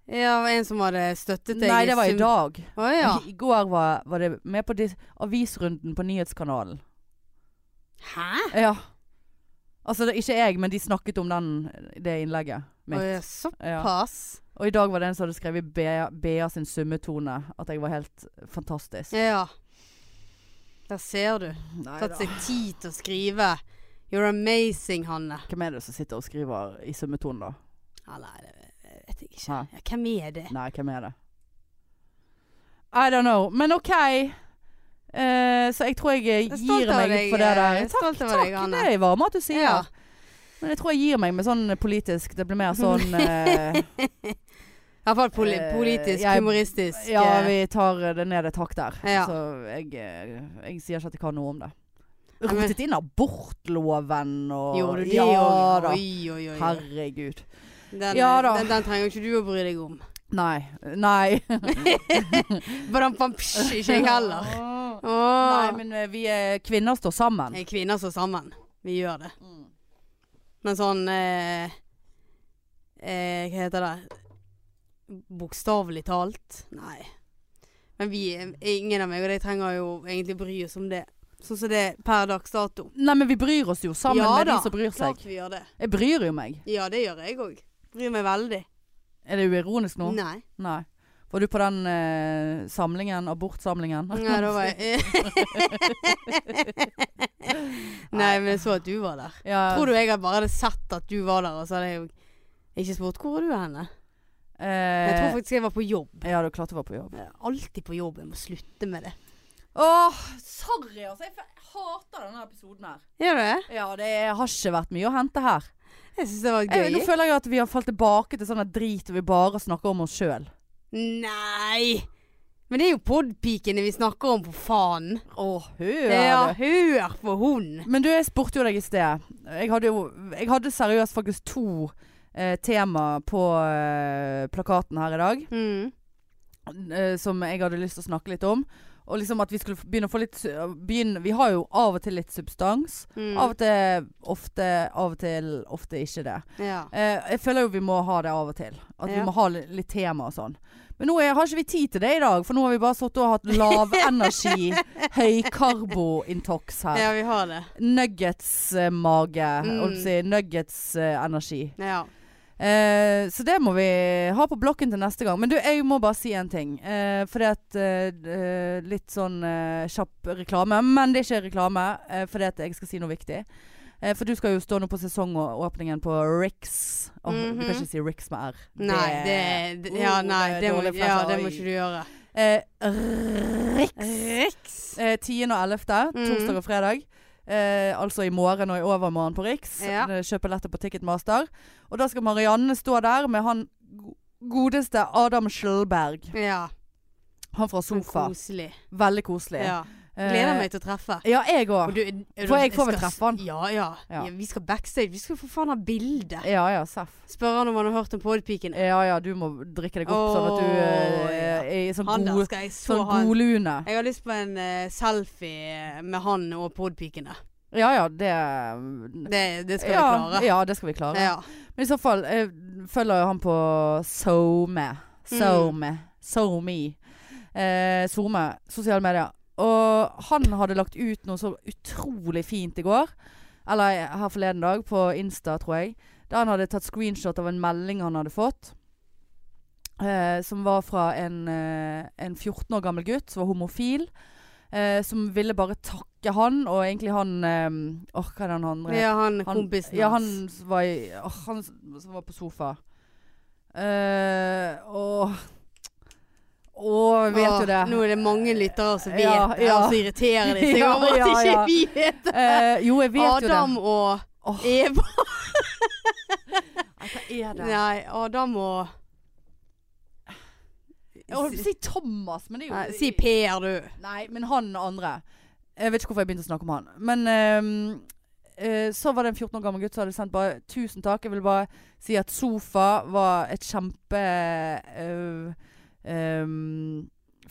[SPEAKER 2] Ja, det var en som hadde støttet deg.
[SPEAKER 1] Nei, det var i dag.
[SPEAKER 2] Å ja.
[SPEAKER 1] I, i går var, var det med på dis avisrunden på nyhetskanalen.
[SPEAKER 2] Hæ?
[SPEAKER 1] Ja. Altså det, er ikke jeg, men de snakket om den, det innlegget
[SPEAKER 2] Å
[SPEAKER 1] mitt.
[SPEAKER 2] ja,
[SPEAKER 1] Ja.
[SPEAKER 2] såpass.
[SPEAKER 1] Og i dag var det en som hadde skrevet Bea, Bea sin summetone. At jeg var helt fantastisk.
[SPEAKER 2] Ja. Der ser du.
[SPEAKER 1] Nei
[SPEAKER 2] Tatt seg tid til å skrive. You're amazing, Hanne.
[SPEAKER 1] Hvem er det som sitter og skriver i summetone, da?
[SPEAKER 2] Ja, nei, det vet jeg ikke.
[SPEAKER 1] Hæ?
[SPEAKER 2] Ja, hvem er det?
[SPEAKER 1] Nei, hvem er det? I don't know. Men OK. Eh, så jeg tror jeg
[SPEAKER 2] Jeg er stolt
[SPEAKER 1] gir
[SPEAKER 2] av
[SPEAKER 1] meg
[SPEAKER 2] deg,
[SPEAKER 1] for det der.
[SPEAKER 2] jeg er
[SPEAKER 1] Takk,
[SPEAKER 2] stolt over deg,
[SPEAKER 1] takk.
[SPEAKER 2] Hanne.
[SPEAKER 1] Det er varme at du sier.
[SPEAKER 2] Ja.
[SPEAKER 1] Men jeg tror jeg gir meg med sånn politisk Det blir mer sånn eh,
[SPEAKER 2] I hvert fall poli
[SPEAKER 1] Eh,
[SPEAKER 2] politisk,
[SPEAKER 1] jeg-
[SPEAKER 2] humoristisk.
[SPEAKER 1] Ja,
[SPEAKER 2] eh,
[SPEAKER 1] vi tar det ned et hakk der.
[SPEAKER 2] Ja.
[SPEAKER 1] Så jeg, eh, jeg sier ikke at jeg kan noe om det.
[SPEAKER 2] Nei, men-
[SPEAKER 1] Rotet inn abortloven og
[SPEAKER 2] Eh, Gjorde du det?
[SPEAKER 1] Ja
[SPEAKER 2] og-
[SPEAKER 1] da.
[SPEAKER 2] Oi, oi, oi.
[SPEAKER 1] Herregud.
[SPEAKER 2] Den,
[SPEAKER 1] Ja da.
[SPEAKER 2] Den, den trenger ikke du å bry deg om.
[SPEAKER 1] Nei. Nei.
[SPEAKER 2] Badam, bam, psj, Ikke jeg heller. Åh.
[SPEAKER 1] Nei, men eh, vi er kvinner står sammen.
[SPEAKER 2] Det er kvinner som er sammen. Vi gjør det.
[SPEAKER 1] Mm.
[SPEAKER 2] Men sånn eh, eh, Hva heter det? Bokstavelig talt? Nei. Men vi, eh, ingen av meg og deg trenger jo egentlig bry oss om det. Sånn som det er per dags dato.
[SPEAKER 1] Nei, men vi bryr oss jo sammen
[SPEAKER 2] Ja
[SPEAKER 1] med
[SPEAKER 2] da,
[SPEAKER 1] de som bryr seg.
[SPEAKER 2] Klart vi gjør det.
[SPEAKER 1] Jeg bryr jo meg.
[SPEAKER 2] Ja, det gjør jeg òg. Bryr meg veldig.
[SPEAKER 1] Er det uironisk nå?
[SPEAKER 2] Nei.
[SPEAKER 1] Nei. Var du på den eh, samlingen, abortsamlingen?
[SPEAKER 2] Nei, da var jeg Nei, men jeg så at du var der.
[SPEAKER 1] ja,
[SPEAKER 2] Tror du jeg hadde bare hadde sett at du var der, og så hadde jeg jo ikke spurt hvor er du henne?
[SPEAKER 1] eh,
[SPEAKER 2] Jeg tror faktisk jeg var på jobb.
[SPEAKER 1] Ja, du klarte å være på jobb.
[SPEAKER 2] Jeg er Alltid på jobb. Jeg må slutte med det.
[SPEAKER 1] Åh, sorry altså. Jeg f- hater denne episoden her.
[SPEAKER 2] Gjør du det?
[SPEAKER 1] Ja, det er- har ikke vært mye å hente her.
[SPEAKER 2] Jeg syns det var
[SPEAKER 1] Jeg, nå
[SPEAKER 2] gøy.
[SPEAKER 1] føler jeg at vi har falt tilbake til sånn at drit og vi bare snakker om oss sjøl.
[SPEAKER 2] Nei! Men det er jo podpikene vi snakker om, for faen.
[SPEAKER 1] Å, hør
[SPEAKER 2] Ja,
[SPEAKER 1] du.
[SPEAKER 2] hør på hun.
[SPEAKER 1] Men du, jeg spurte jo deg i sted. Jeg hadde jo jeg hadde seriøst faktisk to eh, tema på eh, plakaten her i dag.
[SPEAKER 2] Mm.
[SPEAKER 1] eh, som jeg hadde lyst til å snakke litt om. Og liksom at vi skulle begynne å få litt su- begynne, Vi har jo av og til litt substans.
[SPEAKER 2] Mm.
[SPEAKER 1] Av og til ofte, av og til ofte ikke det.
[SPEAKER 2] Ja.
[SPEAKER 1] Eh, jeg føler jo vi må ha det av og til. At vi
[SPEAKER 2] Ja.
[SPEAKER 1] må ha li- litt tema og sånn. Men nå er, har ikke vi tid til det i dag, for nå har vi bare sittet og hatt lavenergi, høykarbointox her.
[SPEAKER 2] ja, vi har det.
[SPEAKER 1] Nuggets-mage.
[SPEAKER 2] Mm.
[SPEAKER 1] si Nuggets-energi.
[SPEAKER 2] Ja.
[SPEAKER 1] Eh, så det må vi ha på blokken til neste gang. Men du, jeg må bare si en ting. Eh, fordi at eh, d- eh, Litt sånn eh, kjapp reklame. Men det er ikke reklame, eh, fordi at jeg skal si noe viktig. Eh, for du skal jo stå nå på sesongåpningen på Rix. Åh, Du kan
[SPEAKER 2] Mhm.
[SPEAKER 1] ikke si Rix med R.
[SPEAKER 2] Nei, det, det Ja,
[SPEAKER 1] Oh,
[SPEAKER 2] nei,
[SPEAKER 1] det er
[SPEAKER 2] det må,
[SPEAKER 1] dårlig
[SPEAKER 2] ja,
[SPEAKER 1] flash.
[SPEAKER 2] det
[SPEAKER 1] Oi.
[SPEAKER 2] må ikke du gjøre.
[SPEAKER 1] Eh, Rix.
[SPEAKER 2] Riks.
[SPEAKER 1] Eh, 10. og 11.
[SPEAKER 2] Mhm.
[SPEAKER 1] Torsdag og fredag. Eh, altså i morgen og i overmorgen på Riks.
[SPEAKER 2] Ja.
[SPEAKER 1] Eh, Kjøper letter på Ticketmaster. Og da skal Marianne stå der med han go- godeste Adam Schjølberg.
[SPEAKER 2] Ja.
[SPEAKER 1] Han fra
[SPEAKER 2] Så
[SPEAKER 1] Sofa.
[SPEAKER 2] koselig.
[SPEAKER 1] Veldig koselig.
[SPEAKER 2] Ja.
[SPEAKER 1] Eh,
[SPEAKER 2] Gleder meg til å treffe.
[SPEAKER 1] Ja, jeg
[SPEAKER 2] Og
[SPEAKER 1] òg.
[SPEAKER 2] du- er du-
[SPEAKER 1] For jeg får vel
[SPEAKER 2] skal-
[SPEAKER 1] treffe han.
[SPEAKER 2] Ja, ja,
[SPEAKER 1] Ja.
[SPEAKER 2] ja. Vi skal backstage. Vi skal for faen ha bilde.
[SPEAKER 1] Ja Eh, ja, Seff.
[SPEAKER 2] Spør han om han har hørt om Podpiken.
[SPEAKER 1] Ja ja, du må drikke deg opp sånn at du
[SPEAKER 2] Åh, ja.
[SPEAKER 1] eh, er i sånn
[SPEAKER 2] Han der
[SPEAKER 1] god
[SPEAKER 2] skal jeg så
[SPEAKER 1] sånn
[SPEAKER 2] ha en
[SPEAKER 1] godlune.
[SPEAKER 2] Jeg har lyst på en eh, selfie eh, med han og podpikene.
[SPEAKER 1] Ja ja, det
[SPEAKER 2] Det, det skal
[SPEAKER 1] ja,
[SPEAKER 2] vi klare.
[SPEAKER 1] Ja, det skal vi klare.
[SPEAKER 2] Ja.
[SPEAKER 1] Men i så fall eh, følger jo han på SoMe. SoMe. SoMe. Eh, SoMe. Sosiale medier. Og han hadde lagt ut noe så utrolig fint i går. Eller eh, her forleden dag, på Insta, tror jeg. Der han hadde tatt screenshot av en melding han hadde fått. Eh, som var fra en, eh, en 14 år gammel gutt som var homofil. Eh, som ville bare takke han, og egentlig han eh, Åh, hva er det han andre
[SPEAKER 2] ja, han
[SPEAKER 1] han-
[SPEAKER 2] kompisen
[SPEAKER 1] Ja,
[SPEAKER 2] hans.
[SPEAKER 1] han s- var, i, åh, han s- som var på sofa. Eh, og Å, jeg vet jo det.
[SPEAKER 2] Nå er det mange lyttere som vet
[SPEAKER 1] Ja,
[SPEAKER 2] det,
[SPEAKER 1] ja.
[SPEAKER 2] og så irriterer de seg
[SPEAKER 1] Ja,
[SPEAKER 2] over at
[SPEAKER 1] ja, ja.
[SPEAKER 2] ikke vi vet det.
[SPEAKER 1] Eh, jo, jeg vet jo det.
[SPEAKER 2] Adam og
[SPEAKER 1] Åh.
[SPEAKER 2] Eva
[SPEAKER 1] Nei, Hva er det?
[SPEAKER 2] Nei, Adam og
[SPEAKER 1] Jeg holdt på å si Thomas, men det er jo
[SPEAKER 2] Nei, Si Per, du.
[SPEAKER 1] Nei, men han andre Jeg vet ikke hvorfor jeg begynte å snakke om han Men ehm, eh, så var det en 14 år gammel gutt som hadde sendt bare Tusen takk, jeg vil bare si at sofa var et kjempe eh, ehm,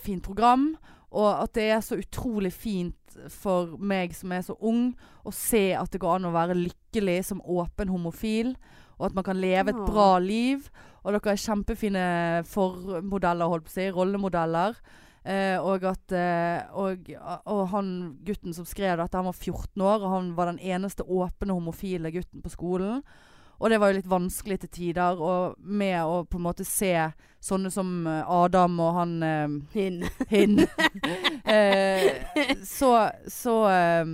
[SPEAKER 1] Fint program Og at det er så utrolig fint for meg som er så ung Å se at det går an å være lykkelig som åpen homofil Og at man kan leve et
[SPEAKER 2] Åh.
[SPEAKER 1] bra liv Og dere er kjempefine formodeller, holdt på å si Rollemodeller Eh, og at eh, og, og han gutten som skrev dette, han var 14 år, og han var den eneste åpne homofile gutten på skolen. Og det var jo litt vanskelig til tider, og med å på en måte se sånne som eh, Adam og han eh,
[SPEAKER 2] Hin.
[SPEAKER 1] Hin. eh, så så eh,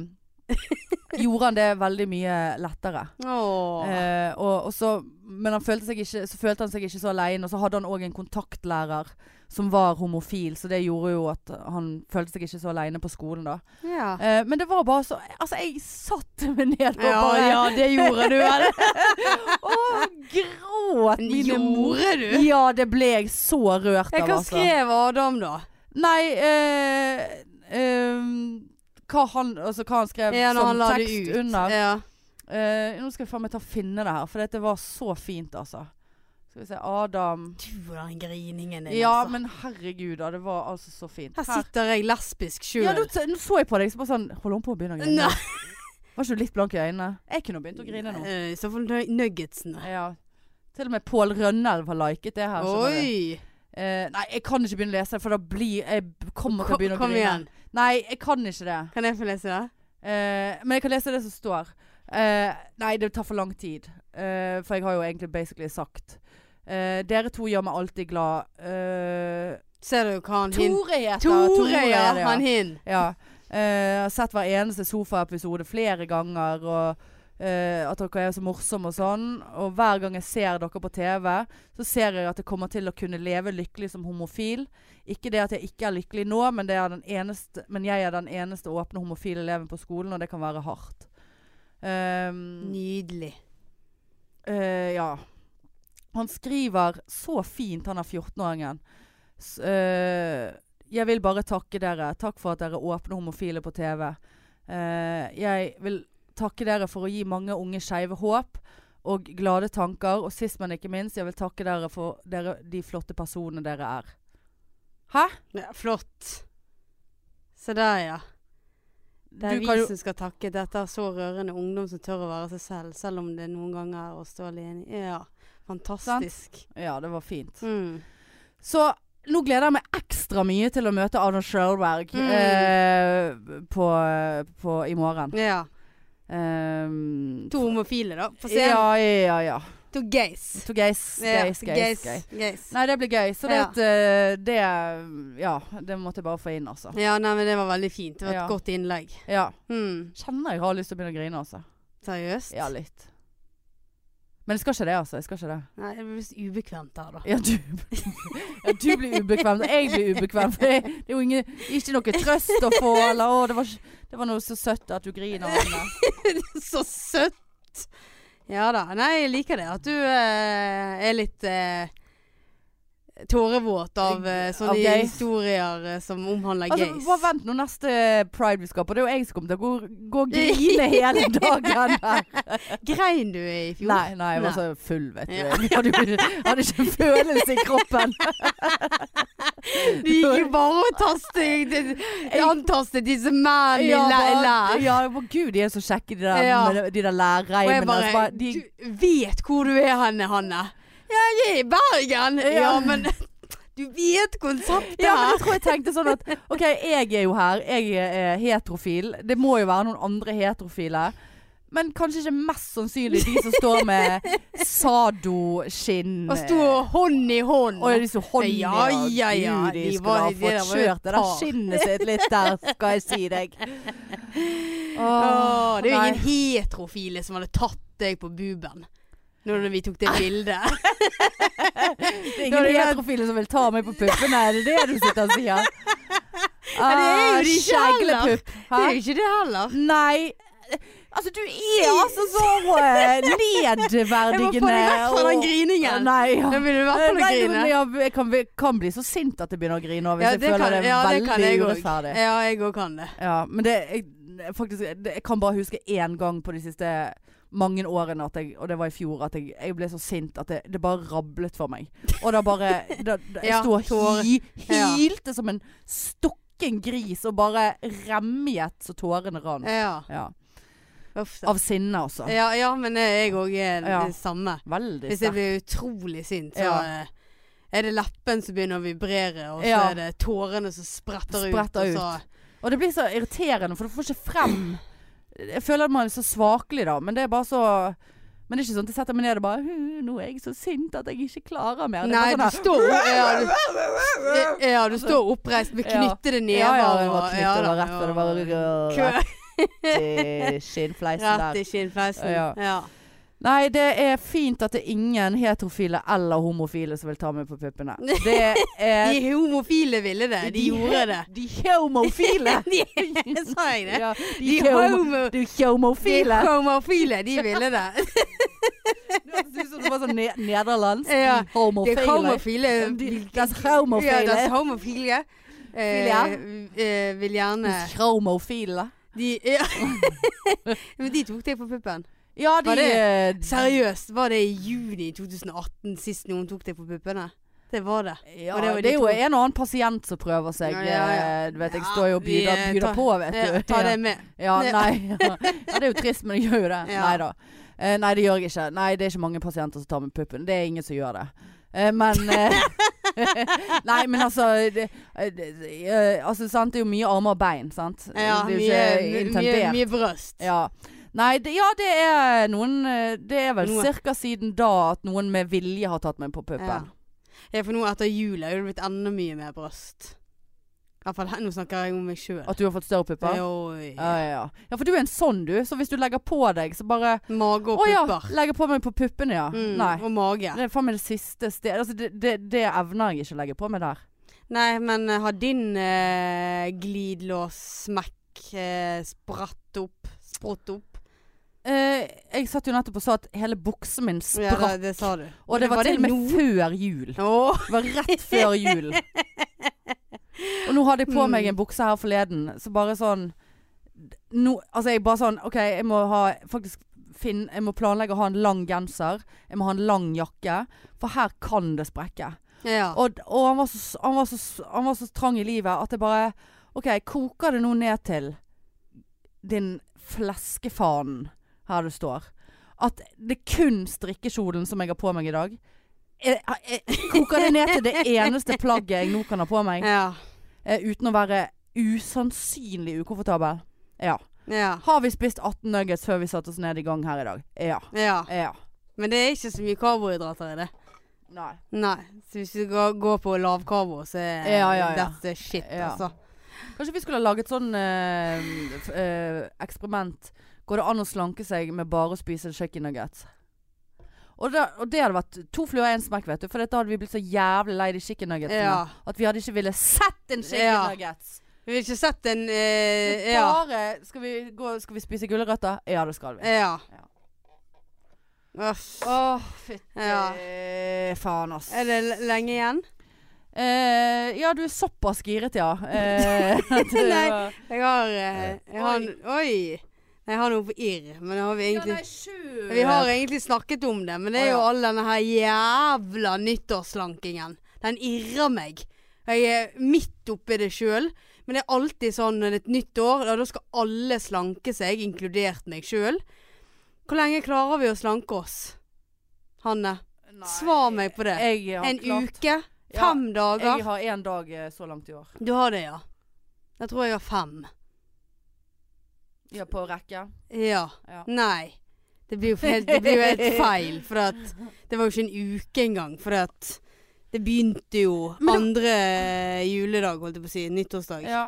[SPEAKER 1] gjorde han det veldig mye lettere.
[SPEAKER 2] Åh.
[SPEAKER 1] Eh, og, og så, men han følte seg ikke, så følte han seg ikke så alene, og så hadde han òg en kontaktlærer som var homofil, så det gjorde jo at han følte seg ikke så alene på skolen da.
[SPEAKER 2] Ja.
[SPEAKER 1] Eh, men det var bare så Altså, jeg satte meg ned og
[SPEAKER 2] Ja,
[SPEAKER 1] bare
[SPEAKER 2] ja, det gjorde du. eller?
[SPEAKER 1] og gråt mine mor.
[SPEAKER 2] Gjorde du?
[SPEAKER 1] Ja, det ble jeg så rørt
[SPEAKER 2] Jeg,
[SPEAKER 1] av,
[SPEAKER 2] hva
[SPEAKER 1] altså.
[SPEAKER 2] skrev Adam, da?
[SPEAKER 1] Nei eh, ehm, hva, han, altså, hva han skrev
[SPEAKER 2] Ja, når
[SPEAKER 1] som
[SPEAKER 2] han la det
[SPEAKER 1] tekst
[SPEAKER 2] ut.
[SPEAKER 1] under.
[SPEAKER 2] Ja.
[SPEAKER 1] Eh, nå skal jeg faen meg ta og finne det her, for dette var så fint, altså. Skal vi se Adam
[SPEAKER 2] Du og den griningen din,
[SPEAKER 1] Ja,
[SPEAKER 2] altså.
[SPEAKER 1] men herregud, da. Det var altså så fint.
[SPEAKER 2] Her sitter jeg lesbisk sjøl.
[SPEAKER 1] Ja, nå, t- nå så jeg på deg så bare sånn Holder hun på å begynne å grine?
[SPEAKER 2] Nei.
[SPEAKER 1] Var ikke du litt blank i øynene? Jeg kunne begynt å grine nå.
[SPEAKER 2] Eh, I så fall nu- nuggetsene.
[SPEAKER 1] Ja. Til og med Pål Rønnelv har liket det her. skjønner du.
[SPEAKER 2] Oi!
[SPEAKER 1] Eh, nei, jeg kan ikke begynne å lese det, for da blir Jeg b- kommer til å
[SPEAKER 2] Kom,
[SPEAKER 1] begynne å
[SPEAKER 2] kom
[SPEAKER 1] grine.
[SPEAKER 2] igjen.
[SPEAKER 1] Nei, jeg kan ikke det.
[SPEAKER 2] Kan jeg få lese det?
[SPEAKER 1] Eh, men jeg kan lese det som står. Eh, nei, det tar for lang tid. Eh, for jeg har jo egentlig basically sagt eh, Dere to gjør meg alltid glad. Eh,
[SPEAKER 2] Ser du hva han hin
[SPEAKER 1] Tore heter
[SPEAKER 2] Tore,
[SPEAKER 1] er det,
[SPEAKER 2] ja! Han hin.
[SPEAKER 1] Ja. Eh, jeg har sett hver eneste sofaepisode flere ganger, og eh, at dere er så morsomme og sånn. Og hver gang jeg ser dere på TV, så ser jeg at jeg kommer til å kunne leve lykkelig som homofil. Ikke det at jeg ikke er lykkelig nå, men, det er den eneste, men jeg er den eneste åpne homofile eleven på skolen, og det kan være hardt. Um,
[SPEAKER 2] Nydelig.
[SPEAKER 1] Eh, ja. Han skriver så fint, han er 14-åringen. S- eh, jeg vil bare takke dere. Takk for at dere åpner homofile på TV. Eh, jeg vil takke dere for å gi mange unge skeive håp og glade tanker. Og sist, men ikke minst, jeg vil takke dere for dere, de flotte personene dere er. Hæ?
[SPEAKER 2] Ja, flott. Se der, ja. Det er
[SPEAKER 1] Du
[SPEAKER 2] vi
[SPEAKER 1] kan jo-
[SPEAKER 2] som skal takke dette er så rørende ungdom som tør å være seg selv, selv om det noen ganger er å stå alene. Ja, fantastisk.
[SPEAKER 1] Ja, det var fint.
[SPEAKER 2] Mm.
[SPEAKER 1] Så nå gleder jeg meg ekstra mye til å møte Arnold Schjølberg
[SPEAKER 2] Mm.
[SPEAKER 1] eh, på, på, i morgen.
[SPEAKER 2] Ja.
[SPEAKER 1] Um,
[SPEAKER 2] Mm. To homofile, da. Få se.
[SPEAKER 1] ja, ja, ja.
[SPEAKER 2] To gays.
[SPEAKER 1] To gays.
[SPEAKER 2] Ja,
[SPEAKER 1] Gays, gays, gays.
[SPEAKER 2] gays.
[SPEAKER 1] Nei, det blir gøy. Så det,
[SPEAKER 2] Ja.
[SPEAKER 1] at, eh, det Ja, det måtte jeg bare få inn, altså.
[SPEAKER 2] Ja, nei, men det var veldig fint. Det var
[SPEAKER 1] Ja.
[SPEAKER 2] et godt innlegg.
[SPEAKER 1] Ja.
[SPEAKER 2] Mm.
[SPEAKER 1] Kjenner jeg har lyst til å begynne å grine, altså.
[SPEAKER 2] Seriøst?
[SPEAKER 1] Ja, litt. Men jeg skal ikke det, altså. Jeg skal ikke det.
[SPEAKER 2] Nei, det blir så ubekvemt her, da.
[SPEAKER 1] Ja, du, ja, du blir ubekvem. og Jeg blir ubekvem. For det, det er jo ingen, ikke noe trøst å få. Eller å, det var, ikke- det var noe så søtt at du griner. Anne.
[SPEAKER 2] så søtt! Ja da. Nei, jeg liker det. At du eh, er litt eh, tårevåt av eh, sånne
[SPEAKER 1] Av gays.
[SPEAKER 2] historier eh, som omhandler
[SPEAKER 1] Altså,
[SPEAKER 2] gays.
[SPEAKER 1] bare vent nå neste pride vi skal på. Det er jo jeg som kommer til å gå, gå og grine hele dagen. Her.
[SPEAKER 2] Grein du i fjor?
[SPEAKER 1] Nei, nei, jeg var
[SPEAKER 2] Nei.
[SPEAKER 1] så full, vet du.
[SPEAKER 2] Ja.
[SPEAKER 1] Jeg hadde, jo- jeg hadde ikke en følelse i kroppen.
[SPEAKER 2] Du gikk jo bare og tastet Jeg antastet disse mennene i
[SPEAKER 1] Ja,
[SPEAKER 2] læ-
[SPEAKER 1] bare-
[SPEAKER 2] lær.
[SPEAKER 1] ja, men gud, de er så kjekke, de der,
[SPEAKER 2] Ja.
[SPEAKER 1] med de der
[SPEAKER 2] Og
[SPEAKER 1] lærreimene.
[SPEAKER 2] jeg bare,
[SPEAKER 1] altså, bare- de,
[SPEAKER 2] Du vet hvor du er henne, Hanne. Ja, jeg er i Bergen. Ja,
[SPEAKER 1] Ja.
[SPEAKER 2] men du vet konseptet
[SPEAKER 1] ja, men
[SPEAKER 2] her.
[SPEAKER 1] jeg tror jeg tenkte sånn at OK, jeg er jo her. Jeg er heterofil. Det må jo være noen andre heterofile. Men kanskje ikke mest sannsynlig de som står med sadoskinn.
[SPEAKER 2] Og sto hånd i hånd.
[SPEAKER 1] Og disse håndene
[SPEAKER 2] Ja, ja, ja,
[SPEAKER 1] og Gud, de,
[SPEAKER 2] de
[SPEAKER 1] skulle
[SPEAKER 2] var-
[SPEAKER 1] ha
[SPEAKER 2] de der
[SPEAKER 1] fått
[SPEAKER 2] var jo
[SPEAKER 1] kjørt det der
[SPEAKER 2] par.
[SPEAKER 1] skinnet sitt litt der, skal jeg si deg.
[SPEAKER 2] Åh, det er jo
[SPEAKER 1] nei.
[SPEAKER 2] ingen heterofile som hadde tatt deg på buben. Når vi tok det bildet.
[SPEAKER 1] Det er ingen
[SPEAKER 2] det er-
[SPEAKER 1] heterofile som vil ta meg på puppene, er det det du sitter og sier?
[SPEAKER 2] Ja, det er jo
[SPEAKER 1] Ah,
[SPEAKER 2] de ikke heller.
[SPEAKER 1] skjeglepupp.
[SPEAKER 2] Det
[SPEAKER 1] Hæ?
[SPEAKER 2] er jo ikke det heller.
[SPEAKER 1] Nei. Altså, du er altså så eh,
[SPEAKER 2] Jeg må
[SPEAKER 1] nedverdigende.
[SPEAKER 2] få deg vekk fra den
[SPEAKER 1] og-
[SPEAKER 2] griningen.
[SPEAKER 1] Nei, ja.
[SPEAKER 2] Da begynner du i hvert fall å
[SPEAKER 1] Nei,
[SPEAKER 2] grine.
[SPEAKER 1] men jeg, jeg kan, bli- kan bli så sint at jeg begynner å grine òg, hvis
[SPEAKER 2] Ja,
[SPEAKER 1] jeg
[SPEAKER 2] det
[SPEAKER 1] føler
[SPEAKER 2] kan-
[SPEAKER 1] det er
[SPEAKER 2] ja, det kan
[SPEAKER 1] veldig
[SPEAKER 2] jeg også.
[SPEAKER 1] urettferdig.
[SPEAKER 2] Ja, jeg òg kan det.
[SPEAKER 1] Ja, men det, jeg, faktisk, det, jeg kan bare huske én gang på de siste mange årene, at jeg, og det var i fjor, at jeg, jeg ble så sint at det, det bare rablet for meg. Og da bare da, da, Jeg
[SPEAKER 2] Ja,
[SPEAKER 1] sto og
[SPEAKER 2] tårer.
[SPEAKER 1] hi,
[SPEAKER 2] Ja.
[SPEAKER 1] hylte som en stokken gris og bare remjet så tårene rant.
[SPEAKER 2] Ja.
[SPEAKER 1] Ja.
[SPEAKER 2] Uff, da.
[SPEAKER 1] Av sinne, altså.
[SPEAKER 2] Ja, ja, men eh, jeg òg er
[SPEAKER 1] Ja.
[SPEAKER 2] det samme.
[SPEAKER 1] Veldig
[SPEAKER 2] Hvis
[SPEAKER 1] sterkt.
[SPEAKER 2] jeg blir utrolig sint, så
[SPEAKER 1] Ja.
[SPEAKER 2] eh, er det leppen som begynner å vibrere, og så
[SPEAKER 1] Ja.
[SPEAKER 2] er det tårene som spretter,
[SPEAKER 1] Spretter
[SPEAKER 2] ut. og så-
[SPEAKER 1] Og det blir så irriterende, for du får ikke frem Jeg føler at man er så svakelig da, men det er bare så Men det er ikke sånn at jeg setter meg ned og bare «Hu, Nå er jeg så sint at jeg ikke klarer mer. Det er
[SPEAKER 2] Nei,
[SPEAKER 1] bare
[SPEAKER 2] du
[SPEAKER 1] sånn
[SPEAKER 2] står ja, du, ja, du står oppreist med
[SPEAKER 1] Ja.
[SPEAKER 2] knyttede
[SPEAKER 1] her,
[SPEAKER 2] never.
[SPEAKER 1] ja, ja, det var
[SPEAKER 2] og-
[SPEAKER 1] knytt,
[SPEAKER 2] ja
[SPEAKER 1] det var
[SPEAKER 2] da,
[SPEAKER 1] rett, og det
[SPEAKER 2] og-
[SPEAKER 1] var
[SPEAKER 2] Kø.
[SPEAKER 1] rett i skinnfleisen
[SPEAKER 2] Rett i
[SPEAKER 1] der.
[SPEAKER 2] kinnfesten.
[SPEAKER 1] Ja.
[SPEAKER 2] Ja.
[SPEAKER 1] Nei, det er fint at det er ingen heterofile eller homofile som vil ta meg på puppene. Det er
[SPEAKER 2] De homofile ville det. De gjorde det.
[SPEAKER 1] De homofile!
[SPEAKER 2] De, sa jeg det?
[SPEAKER 1] Ja,
[SPEAKER 2] De,
[SPEAKER 1] de homo- de
[SPEAKER 2] homo, de
[SPEAKER 1] homofile!
[SPEAKER 2] homofile, de ville det.
[SPEAKER 1] Det høres ut som det var sånn ne- nederlandsk.
[SPEAKER 2] Ja,
[SPEAKER 1] De homofile.
[SPEAKER 2] De homofile
[SPEAKER 1] De- Das homofile.
[SPEAKER 2] Ja, das homofile. Eh, eh, vil gjerne
[SPEAKER 1] Das homofile.
[SPEAKER 2] de, ja. Men de tok deg på puppen.
[SPEAKER 1] Ja, de
[SPEAKER 2] Var det-
[SPEAKER 1] eh,
[SPEAKER 2] Seriøst, var det i juni 2018 sist noen tok deg på puppene? Det var det.
[SPEAKER 1] Ja,
[SPEAKER 2] Og det var de
[SPEAKER 1] det er jo
[SPEAKER 2] to.
[SPEAKER 1] en og annen pasient som prøver seg.
[SPEAKER 2] Ja, ja, ja.
[SPEAKER 1] eh, Du vet, jeg
[SPEAKER 2] Ja,
[SPEAKER 1] står jo og
[SPEAKER 2] vi,
[SPEAKER 1] byder,
[SPEAKER 2] eh,
[SPEAKER 1] byder
[SPEAKER 2] tar-
[SPEAKER 1] på, vet du.
[SPEAKER 2] Ja, ta det med.
[SPEAKER 1] Ja,
[SPEAKER 2] Ja.
[SPEAKER 1] nei. Ja, det er jo trist, men det gjør jo det.
[SPEAKER 2] Ja.
[SPEAKER 1] Nei da. Eh, Nei, det gjør jeg ikke. Nei, det er ikke mange pasienter som tar med puppen. Det er ingen som gjør det. Eh, Men eh, Nei, men altså det, eh, det, eh, Altså, sant, det er jo mye armer og bein, sant.
[SPEAKER 2] Ja,
[SPEAKER 1] det er
[SPEAKER 2] mye,
[SPEAKER 1] jo ikke
[SPEAKER 2] mye,
[SPEAKER 1] intendert.
[SPEAKER 2] mye brøst.
[SPEAKER 1] Ja. Nei, det, ja, det er noen eh, Det er vel
[SPEAKER 2] Noe.
[SPEAKER 1] cirka siden da at noen med vilje har tatt meg på puppen.
[SPEAKER 2] Ja, for nå etter jul er det blitt enda mye mer brøst. I hvert fall her- nå snakker jeg om meg sjøl.
[SPEAKER 1] At du har fått større pupper? Ja, ja, ja. ja, for du er en sånn du. Så hvis du legger på deg, så bare
[SPEAKER 2] Mage og
[SPEAKER 1] Å ja!
[SPEAKER 2] pupper.
[SPEAKER 1] Legger på meg på puppene, ja.
[SPEAKER 2] Mm,
[SPEAKER 1] Nei.
[SPEAKER 2] og mage.
[SPEAKER 1] Det er faen meg det siste stedet altså, det, det, det evner jeg ikke å legge på meg der.
[SPEAKER 2] Nei, men eh, har din eh, glidlås-smekk eh, spratt opp? Sprått opp?
[SPEAKER 1] Eh, jeg satt jo nettopp og sa at hele buksen min
[SPEAKER 2] Ja,
[SPEAKER 1] spratt.
[SPEAKER 2] det, det sa du.
[SPEAKER 1] og det var, til og med
[SPEAKER 2] nå?
[SPEAKER 1] før jul.
[SPEAKER 2] Åh,
[SPEAKER 1] Det var rett før jul. Og nå hadde jeg på
[SPEAKER 2] Mm.
[SPEAKER 1] meg en bukse her forleden, så bare sånn nå, Altså jeg bare sånn OK, jeg må ha faktisk finn, Jeg må planlegge å ha en lang genser. Jeg må ha en lang jakke. For her kan det sprekke.
[SPEAKER 2] ja.
[SPEAKER 1] Og, og han, var så, han, var så, han var så trang i livet at jeg bare OK, koker det nå ned til din fleskefanen her du står, at det er kun strikkekjolen som jeg har på meg i dag jeg, jeg, Koker det ned til det eneste plagget jeg nå kan ha på meg,
[SPEAKER 2] ja.
[SPEAKER 1] eh, uten å være usannsynlig ukomfortabel? Ja.
[SPEAKER 2] Ja.
[SPEAKER 1] Har vi spist 18 nuggets før vi satte oss ned i gang her i dag? Ja.
[SPEAKER 2] ja.
[SPEAKER 1] Ja.
[SPEAKER 2] Men det er ikke så mye karbohydrater i det.
[SPEAKER 1] Nei.
[SPEAKER 2] Nei. Så hvis du går, går på lavkarbo, så er
[SPEAKER 1] Ja, ja, ja.
[SPEAKER 2] dette shit,
[SPEAKER 1] Ja.
[SPEAKER 2] altså.
[SPEAKER 1] Kanskje vi skulle ha laget sånn eh, f- eh, eksperiment. Går det an å slanke seg med bare å spise chicken nuggets? Og det, og det hadde vært to fluer i én smekk, vet du. For dette hadde vi blitt så jævlig lei de chicken nuggetsene.
[SPEAKER 2] Ja.
[SPEAKER 1] At vi hadde ikke ville sett en chicken
[SPEAKER 2] Ja.
[SPEAKER 1] nuggets.
[SPEAKER 2] Vi har ikke sett en eh, ja. Eh,
[SPEAKER 1] Bare skal vi, gå, skal vi spise gulrøtter? Ja, det skal vi.
[SPEAKER 2] ja. Uff.
[SPEAKER 1] Å, fytti
[SPEAKER 2] Ja.
[SPEAKER 1] Eh, faen, ass.
[SPEAKER 2] Er det l- lenge igjen?
[SPEAKER 1] Eh, ja, du er såpass giret, ja. Eh, at du-
[SPEAKER 2] Nei. Jeg har, eh, jeg har
[SPEAKER 1] Oi.
[SPEAKER 2] Oi! Jeg har noe på irr, men det har vi
[SPEAKER 1] Ja,
[SPEAKER 2] egentlig
[SPEAKER 1] nei, sju.
[SPEAKER 2] Vi har egentlig snakket om det, men det
[SPEAKER 1] Eh, Å,
[SPEAKER 2] er jo
[SPEAKER 1] ja.
[SPEAKER 2] all denne her jævla nyttårsslankingen. Den irrer meg. Jeg er midt oppi det sjøl, men det er alltid sånn når det er et nytt år, ja, da skal alle slanke seg, inkludert meg sjøl. Hvor lenge klarer vi å slanke oss? Hanne,
[SPEAKER 1] Nei.
[SPEAKER 2] svar meg på det.
[SPEAKER 1] Jeg har
[SPEAKER 2] En
[SPEAKER 1] klart
[SPEAKER 2] uke?
[SPEAKER 1] Ja,
[SPEAKER 2] Fem
[SPEAKER 1] Jeg
[SPEAKER 2] dager?
[SPEAKER 1] har én dag eh, så langt i år.
[SPEAKER 2] Du har det, ja. Jeg tror jeg har fem.
[SPEAKER 1] Ja, på rekke.
[SPEAKER 2] Ja.
[SPEAKER 1] Ja.
[SPEAKER 2] Nei. Det blir jo helt, det blir jo helt feil, for at det var jo ikke en uke engang. For at det begynte jo
[SPEAKER 1] Men det-
[SPEAKER 2] andre juledag, holdt jeg på å si. Nyttårsdag.
[SPEAKER 1] Ja.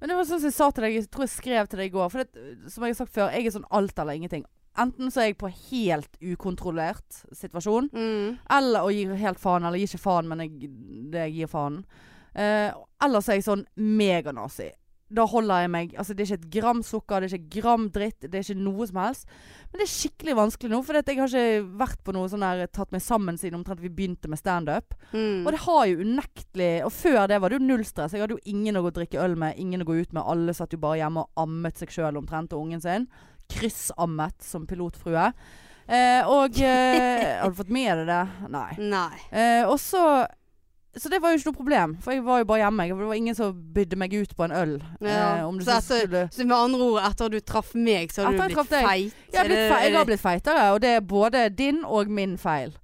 [SPEAKER 1] Men det var sånn som jeg sa til deg, jeg tror jeg skrev til deg i går. For det, som jeg har sagt før, jeg er sånn alt eller ingenting. Enten så er jeg på helt ukontrollert situasjon,
[SPEAKER 2] Mm.
[SPEAKER 1] eller og gir helt faen, eller gir ikke faen, men jeg, det jeg gir faen. Eh, eller så er jeg sånn meganazi. Da holder jeg meg Altså, det er ikke et gram sukker, det er ikke et gram dritt, det er ikke noe som helst. Men det er skikkelig vanskelig nå, for jeg har ikke vært på noe sånn der tatt meg sammen siden omtrent vi begynte med standup.
[SPEAKER 2] Mm.
[SPEAKER 1] Og det har jo unektelig Og før det var det jo null stress. Jeg hadde jo ingen å gå og drikke øl med, ingen å gå ut med. Alle satt jo bare hjemme og ammet seg sjøl omtrent, og ungen sin. Kryssammet som pilotfrue. Eh, og eh, Har du fått med deg det? Nei.
[SPEAKER 2] Nei.
[SPEAKER 1] Eh, og så Så det var jo ikke noe problem, for jeg var jo bare hjemme. Jeg- Det var ingen som bydde meg ut på en øl.
[SPEAKER 2] Ja.
[SPEAKER 1] Eh, om du
[SPEAKER 2] Så
[SPEAKER 1] så
[SPEAKER 2] etter-
[SPEAKER 1] skulle
[SPEAKER 2] Så med andre ord, etter at du traff meg, så har
[SPEAKER 1] Etter
[SPEAKER 2] du
[SPEAKER 1] jeg traff
[SPEAKER 2] blitt
[SPEAKER 1] deg-
[SPEAKER 2] feit?
[SPEAKER 1] jeg har,
[SPEAKER 2] Er
[SPEAKER 1] blitt
[SPEAKER 2] det-
[SPEAKER 1] fe
[SPEAKER 2] er
[SPEAKER 1] jeg har
[SPEAKER 2] det-
[SPEAKER 1] blitt feitere, og det er både din og min feil.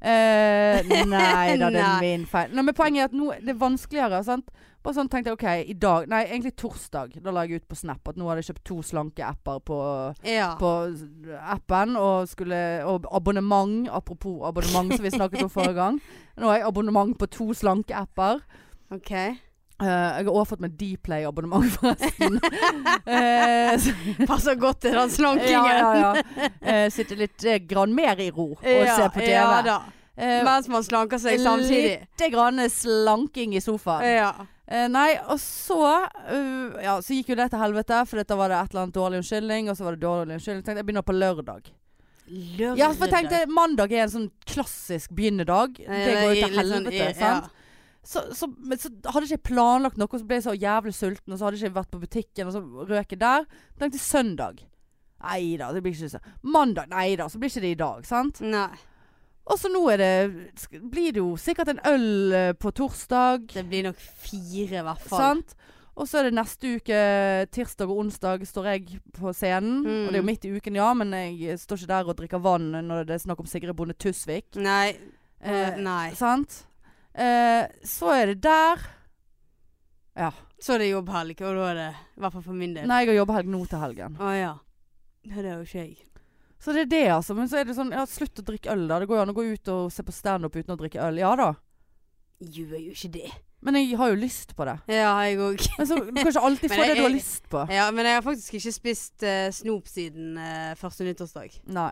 [SPEAKER 1] Eh, nei da, det
[SPEAKER 2] Nei.
[SPEAKER 1] er min feil. Nei, men poenget er at nå det er vanskeligere. Sant? Bare sånn tenkte jeg OK, i dag Nei, egentlig torsdag. Da la jeg ut på Snap at nå hadde jeg kjøpt to slanke apper på
[SPEAKER 2] Ja.
[SPEAKER 1] på appen og, skulle, og abonnement. Apropos abonnement som vi snakket om forrige gang. Nå har jeg abonnement på to slanke apper.
[SPEAKER 2] OK.
[SPEAKER 1] Eh, jeg har også fått meg Dplay-abonnement, forresten. Eh, så-
[SPEAKER 2] Passer godt til den slankingen.
[SPEAKER 1] ja, ja, ja. Eh, sitter litt eh, grann mer i ro og
[SPEAKER 2] Ja,
[SPEAKER 1] ser på TV.
[SPEAKER 2] Ja da.
[SPEAKER 1] Eh,
[SPEAKER 2] Mens man slanker seg samtidig.
[SPEAKER 1] Litt grann slanking i sofaen.
[SPEAKER 2] Ja.
[SPEAKER 1] Eh, nei, og så eh, Ja, så gikk jo det til helvete, for da var det et eller annet dårlig unnskyldning, og så var det dårlig unnskyldning. Tenkte jeg begynner på lørdag.
[SPEAKER 2] Lørdag.
[SPEAKER 1] Ja, for jeg tenkte mandag er en sånn klassisk begynnedag. Det går jo til
[SPEAKER 2] sånn
[SPEAKER 1] helvete, sant? Så, så, men så hadde ikke jeg planlagt noe, og så ble jeg så jævlig sulten, og så hadde ikke jeg ikke vært på butikken, og så røk jeg der. Tenkte søndag. Nei da, det blir ikke så Mandag, nei da, så blir ikke det i dag, sant?
[SPEAKER 2] Nei.
[SPEAKER 1] Og så nå er det sk- Blir det jo sikkert en øl eh, på torsdag,
[SPEAKER 2] Det blir nok fire, i hvert fall.
[SPEAKER 1] sant? Og så er det neste uke, tirsdag og onsdag, står jeg på scenen.
[SPEAKER 2] Mm.
[SPEAKER 1] Og det er jo midt i uken, ja, men jeg står ikke der og drikker vann når det er snakk om Sigrid Bonde Tusvik.
[SPEAKER 2] Nei.
[SPEAKER 1] Eh,
[SPEAKER 2] Mm, Nei.
[SPEAKER 1] Sant? Eh, så er det der. Ja.
[SPEAKER 2] Så er det jobbhelg, og da er det i hvert fall for min del.
[SPEAKER 1] Nei, jeg har jobbehelg nå til helgen.
[SPEAKER 2] Å ja. Nei, Det er jo ikke jeg.
[SPEAKER 1] Så det er det, altså. Men så er det sånn Ja, slutt å drikke øl, da. Det går jo an å gå ut og se på standup uten å drikke øl. Ja da.
[SPEAKER 2] Gjør jo ikke det.
[SPEAKER 1] Men jeg har jo lyst på det.
[SPEAKER 2] Ja, jeg òg.
[SPEAKER 1] Men så du kan ikke alltid
[SPEAKER 2] Men
[SPEAKER 1] få
[SPEAKER 2] jeg-
[SPEAKER 1] det du har
[SPEAKER 2] jeg-
[SPEAKER 1] lyst på.
[SPEAKER 2] Ja, men jeg har faktisk ikke spist eh, snop siden eh, første nyttårsdag.
[SPEAKER 1] Nei.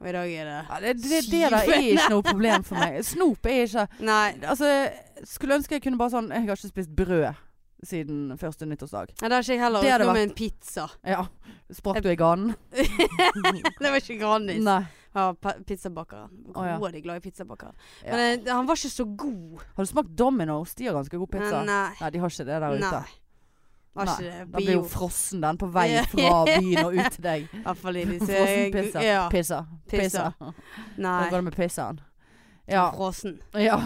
[SPEAKER 2] Og i dag er det
[SPEAKER 1] Ja, det, det, det der er ikke noe problem for meg. Snop er ikke
[SPEAKER 2] Nei.
[SPEAKER 1] Altså, skulle ønske jeg kunne bare sånn Jeg har ikke spist brød siden første nyttårsdag.
[SPEAKER 2] Nei, det har ikke jeg heller.
[SPEAKER 1] Det hadde
[SPEAKER 2] Utenom en pizza.
[SPEAKER 1] Ja. Sprakk du i ganen?
[SPEAKER 2] Det var ikke Grandis.
[SPEAKER 1] Nei.
[SPEAKER 2] Ja, pa- pizzabakere.
[SPEAKER 1] Å, ja.
[SPEAKER 2] Grådig glad i pizzabakere.
[SPEAKER 1] Ja.
[SPEAKER 2] Men eh, han var ikke så god.
[SPEAKER 1] Har du smakt Domino's? De har ganske god pizza.
[SPEAKER 2] Nei.
[SPEAKER 1] Nei, de har ikke det der ute.
[SPEAKER 2] Nei. Var ikke
[SPEAKER 1] Nei,
[SPEAKER 2] det.
[SPEAKER 1] Da blir
[SPEAKER 2] Bio.
[SPEAKER 1] jo frossen den på vei fra byen og ut til deg.
[SPEAKER 2] I hvert fall i disse
[SPEAKER 1] Frossen pizza.
[SPEAKER 2] Ja.
[SPEAKER 1] Pissa. Pissa.
[SPEAKER 2] Pizza.
[SPEAKER 1] Hva
[SPEAKER 2] Nei.
[SPEAKER 1] går det med pissaen? Ja.
[SPEAKER 2] Frossen.
[SPEAKER 1] ja.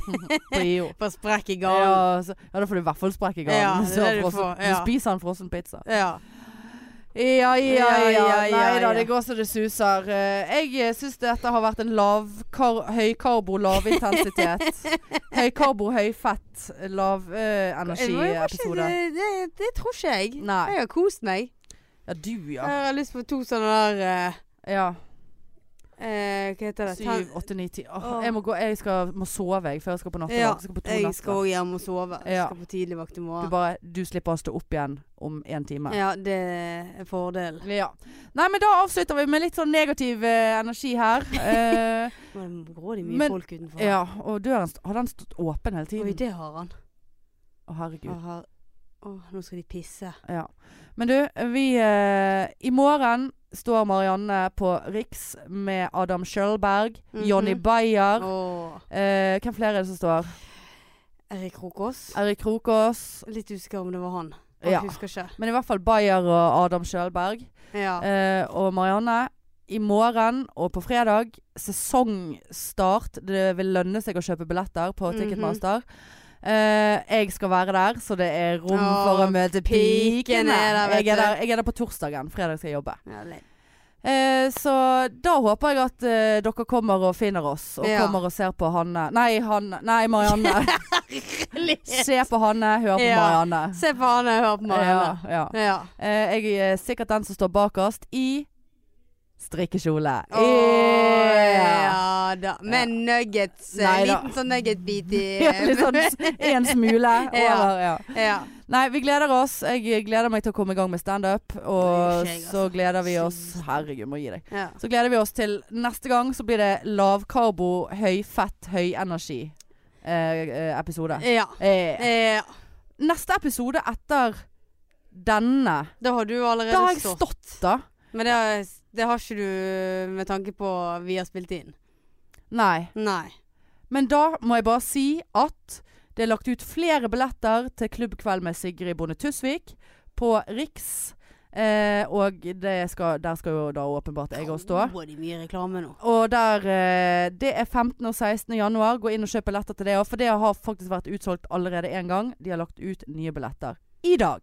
[SPEAKER 1] På IO.
[SPEAKER 2] For sprekk i gang.
[SPEAKER 1] Ja, så, ja, da får du i hvert fall sprekk i gangen.
[SPEAKER 2] Ja, det er
[SPEAKER 1] Så
[SPEAKER 2] det du
[SPEAKER 1] frossen-
[SPEAKER 2] får, ja.
[SPEAKER 1] Du spiser en frossen pizza.
[SPEAKER 2] Ja.
[SPEAKER 1] Ja, ja,
[SPEAKER 2] ja, ja,
[SPEAKER 1] Nei da,
[SPEAKER 2] ja.
[SPEAKER 1] det går så det suser. Eh, Jeg syns dette har vært en lav kar høykarbo, lavintensitet. høykarbo, høyfett,
[SPEAKER 2] Jeg må- jeg må ikke-
[SPEAKER 1] lavenergiepisode.
[SPEAKER 2] Det, det, det tror ikke jeg.
[SPEAKER 1] eh, Nei.
[SPEAKER 2] Jeg har kost meg.
[SPEAKER 1] Ja, du, ja.
[SPEAKER 2] Jeg har lyst på to sånne der eh,
[SPEAKER 1] ja.
[SPEAKER 2] eh, Hva heter det? Ten-
[SPEAKER 1] Syv, åtte, ni, ti. Åh,
[SPEAKER 2] Åh.
[SPEAKER 1] Jeg må gå, jeg skal, må sove jeg før jeg skal på nattevakt.
[SPEAKER 2] Ja,
[SPEAKER 1] jeg skal på to
[SPEAKER 2] Jeg
[SPEAKER 1] netter.
[SPEAKER 2] skal også hjem og sove. Jeg
[SPEAKER 1] Ja.
[SPEAKER 2] skal på tidligvakt i
[SPEAKER 1] Du
[SPEAKER 2] morgen.
[SPEAKER 1] bare, du slipper å stå opp igjen om en time.
[SPEAKER 2] Ja, det er en fordel.
[SPEAKER 1] Ja. Nei, men da avslutter vi med litt sånn negativ eh, energi her. Eh,
[SPEAKER 2] Nå er det grådig mye
[SPEAKER 1] Men-
[SPEAKER 2] folk utenfor.
[SPEAKER 1] ja, og døren st- har den stått åpen hele
[SPEAKER 2] Oi,
[SPEAKER 1] tiden.
[SPEAKER 2] det har han.
[SPEAKER 1] Å, herregud.
[SPEAKER 2] Han har- Å, nå skal de pisse.
[SPEAKER 1] Ja. Men du, vi eh, I morgen står Marianne på Riks med Adam Schjølberg,
[SPEAKER 2] Mhm.
[SPEAKER 1] Jonny Bayer
[SPEAKER 2] Åh.
[SPEAKER 1] eh, Hvem flere er det som står?
[SPEAKER 2] Erik Rokås.
[SPEAKER 1] Erik Krokås.
[SPEAKER 2] Litt usikker om det var han. Jeg
[SPEAKER 1] Ja.
[SPEAKER 2] husker ikke.
[SPEAKER 1] Men i hvert fall Bayer og Adam Schjølberg.
[SPEAKER 2] Ja.
[SPEAKER 1] Eh, og Marianne, i morgen og på fredag, sesongstart. Det vil lønne seg å kjøpe billetter på
[SPEAKER 2] Mhm.
[SPEAKER 1] Ticketmaster. Eh, jeg skal være der, så det er rom
[SPEAKER 2] Åh,
[SPEAKER 1] for å møte
[SPEAKER 2] piken
[SPEAKER 1] pikene.
[SPEAKER 2] er der, vet
[SPEAKER 1] jeg, er
[SPEAKER 2] du.
[SPEAKER 1] der, jeg er der på torsdagen. Fredag skal jeg jobbe.
[SPEAKER 2] Ja, le-
[SPEAKER 1] Eh, så da håper jeg at eh, dere kommer og finner oss. Og
[SPEAKER 2] Ja.
[SPEAKER 1] kommer og ser på Hanne Nei, Hanne. Nei, Marianne. Se på Hanne, hør på
[SPEAKER 2] Ja.
[SPEAKER 1] Marianne.
[SPEAKER 2] Se på han og hør på Marianne.
[SPEAKER 1] Ja, ja.
[SPEAKER 2] Ja.
[SPEAKER 1] Eh, jeg er sikkert den som står bakerst i strikkekjole.
[SPEAKER 2] Åh,
[SPEAKER 1] Yeah.
[SPEAKER 2] ja, da. Med nuggets. eh,
[SPEAKER 1] Nei da.
[SPEAKER 2] liten sånn nugget-bit i eh,
[SPEAKER 1] Litt sånn s- en smule over. Ja.
[SPEAKER 2] ja.
[SPEAKER 1] Nei, vi gleder oss. Jeg gleder meg til å komme i gang med standup.
[SPEAKER 2] Oi,
[SPEAKER 1] Og
[SPEAKER 2] skjegg, altså.
[SPEAKER 1] så gleder vi oss Herregud, må gi deg.
[SPEAKER 2] ja.
[SPEAKER 1] Så gleder vi oss til neste gang, så blir det lavkarbo, høyfett, høyenergi-episode.
[SPEAKER 2] ja.
[SPEAKER 1] Eh,
[SPEAKER 2] Eh,
[SPEAKER 1] neste episode etter denne
[SPEAKER 2] da har du allerede
[SPEAKER 1] Da har jeg
[SPEAKER 2] stått.
[SPEAKER 1] stått, da.
[SPEAKER 2] Men det har, det har ikke du eh, med tanke på vi har spilt inn.
[SPEAKER 1] Nei.
[SPEAKER 2] Nei.
[SPEAKER 1] Men da må jeg bare si at det er lagt ut flere billetter til klubbkveld med Sigrid Bonde Tusvik på Riks. Eh, og det skal, der skal jo da åpenbart jeg òg stå.
[SPEAKER 2] Å, det er mye reklame nå.
[SPEAKER 1] Og der eh, Det er 15. og 16. januar. Gå inn og kjøp billetter til det òg, for det har faktisk vært utsolgt allerede én gang. De har lagt ut nye billetter i dag.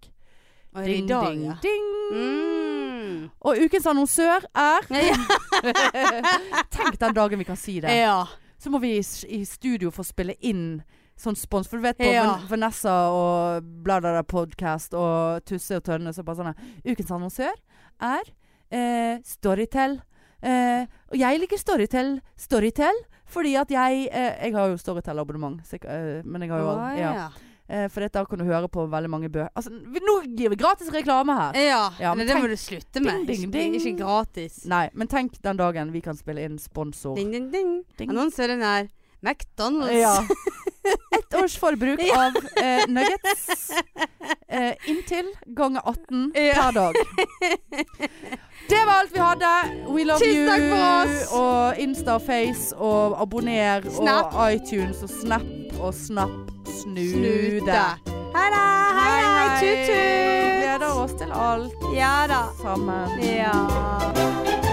[SPEAKER 2] Og er det i dag, ja?
[SPEAKER 1] ding.
[SPEAKER 2] Mm.
[SPEAKER 1] Og ukens annonsør er
[SPEAKER 2] Ja.
[SPEAKER 1] Tenk den dagen vi kan si det.
[SPEAKER 2] ja.
[SPEAKER 1] Så må vi i, s- i studio få spille inn sånn spons. For du vet på
[SPEAKER 2] Ja.
[SPEAKER 1] Van- Vanessa og Bladada podcast og Tusse og Tønne så bare sånn her, Ukens annonsør er eh, Storytel. Eh, og jeg liker Storytel. Storytel fordi at jeg eh, Jeg har jo Storytel-abonnement, sikk- eh, men jeg har jo
[SPEAKER 2] Å,
[SPEAKER 1] all- ja.
[SPEAKER 2] ja.
[SPEAKER 1] eh, For dette kan du høre på veldig mange bøker Altså, vi- nå gir vi gratis reklame her!
[SPEAKER 2] Ja,
[SPEAKER 1] Ja, men
[SPEAKER 2] men det må
[SPEAKER 1] tenk-
[SPEAKER 2] du slutte med.
[SPEAKER 1] Ding, ding,
[SPEAKER 2] Ikke- det er Ikke
[SPEAKER 1] ding.
[SPEAKER 2] gratis.
[SPEAKER 1] Nei, men tenk den dagen vi kan spille inn sponsor.
[SPEAKER 2] Ding, ding, ding.
[SPEAKER 1] Ding.
[SPEAKER 2] Annonsøren er McDonald's.
[SPEAKER 1] Ja. Ett års forbruk
[SPEAKER 2] Ja.
[SPEAKER 1] av eh, nuggets eh, inntil ganger 18
[SPEAKER 2] Ja.
[SPEAKER 1] per dag. Det var alt vi hadde. We love you.
[SPEAKER 2] Tusen takk for oss.
[SPEAKER 1] Og Insta og Face og abonner
[SPEAKER 2] Snap.
[SPEAKER 1] og iTunes og Snap og Snap Snude.
[SPEAKER 2] Snute. Ha det! Hei, hei,
[SPEAKER 1] Vi
[SPEAKER 2] tut-tut!
[SPEAKER 1] gleder oss til alt
[SPEAKER 2] Ja da.
[SPEAKER 1] sammen.
[SPEAKER 2] Ja.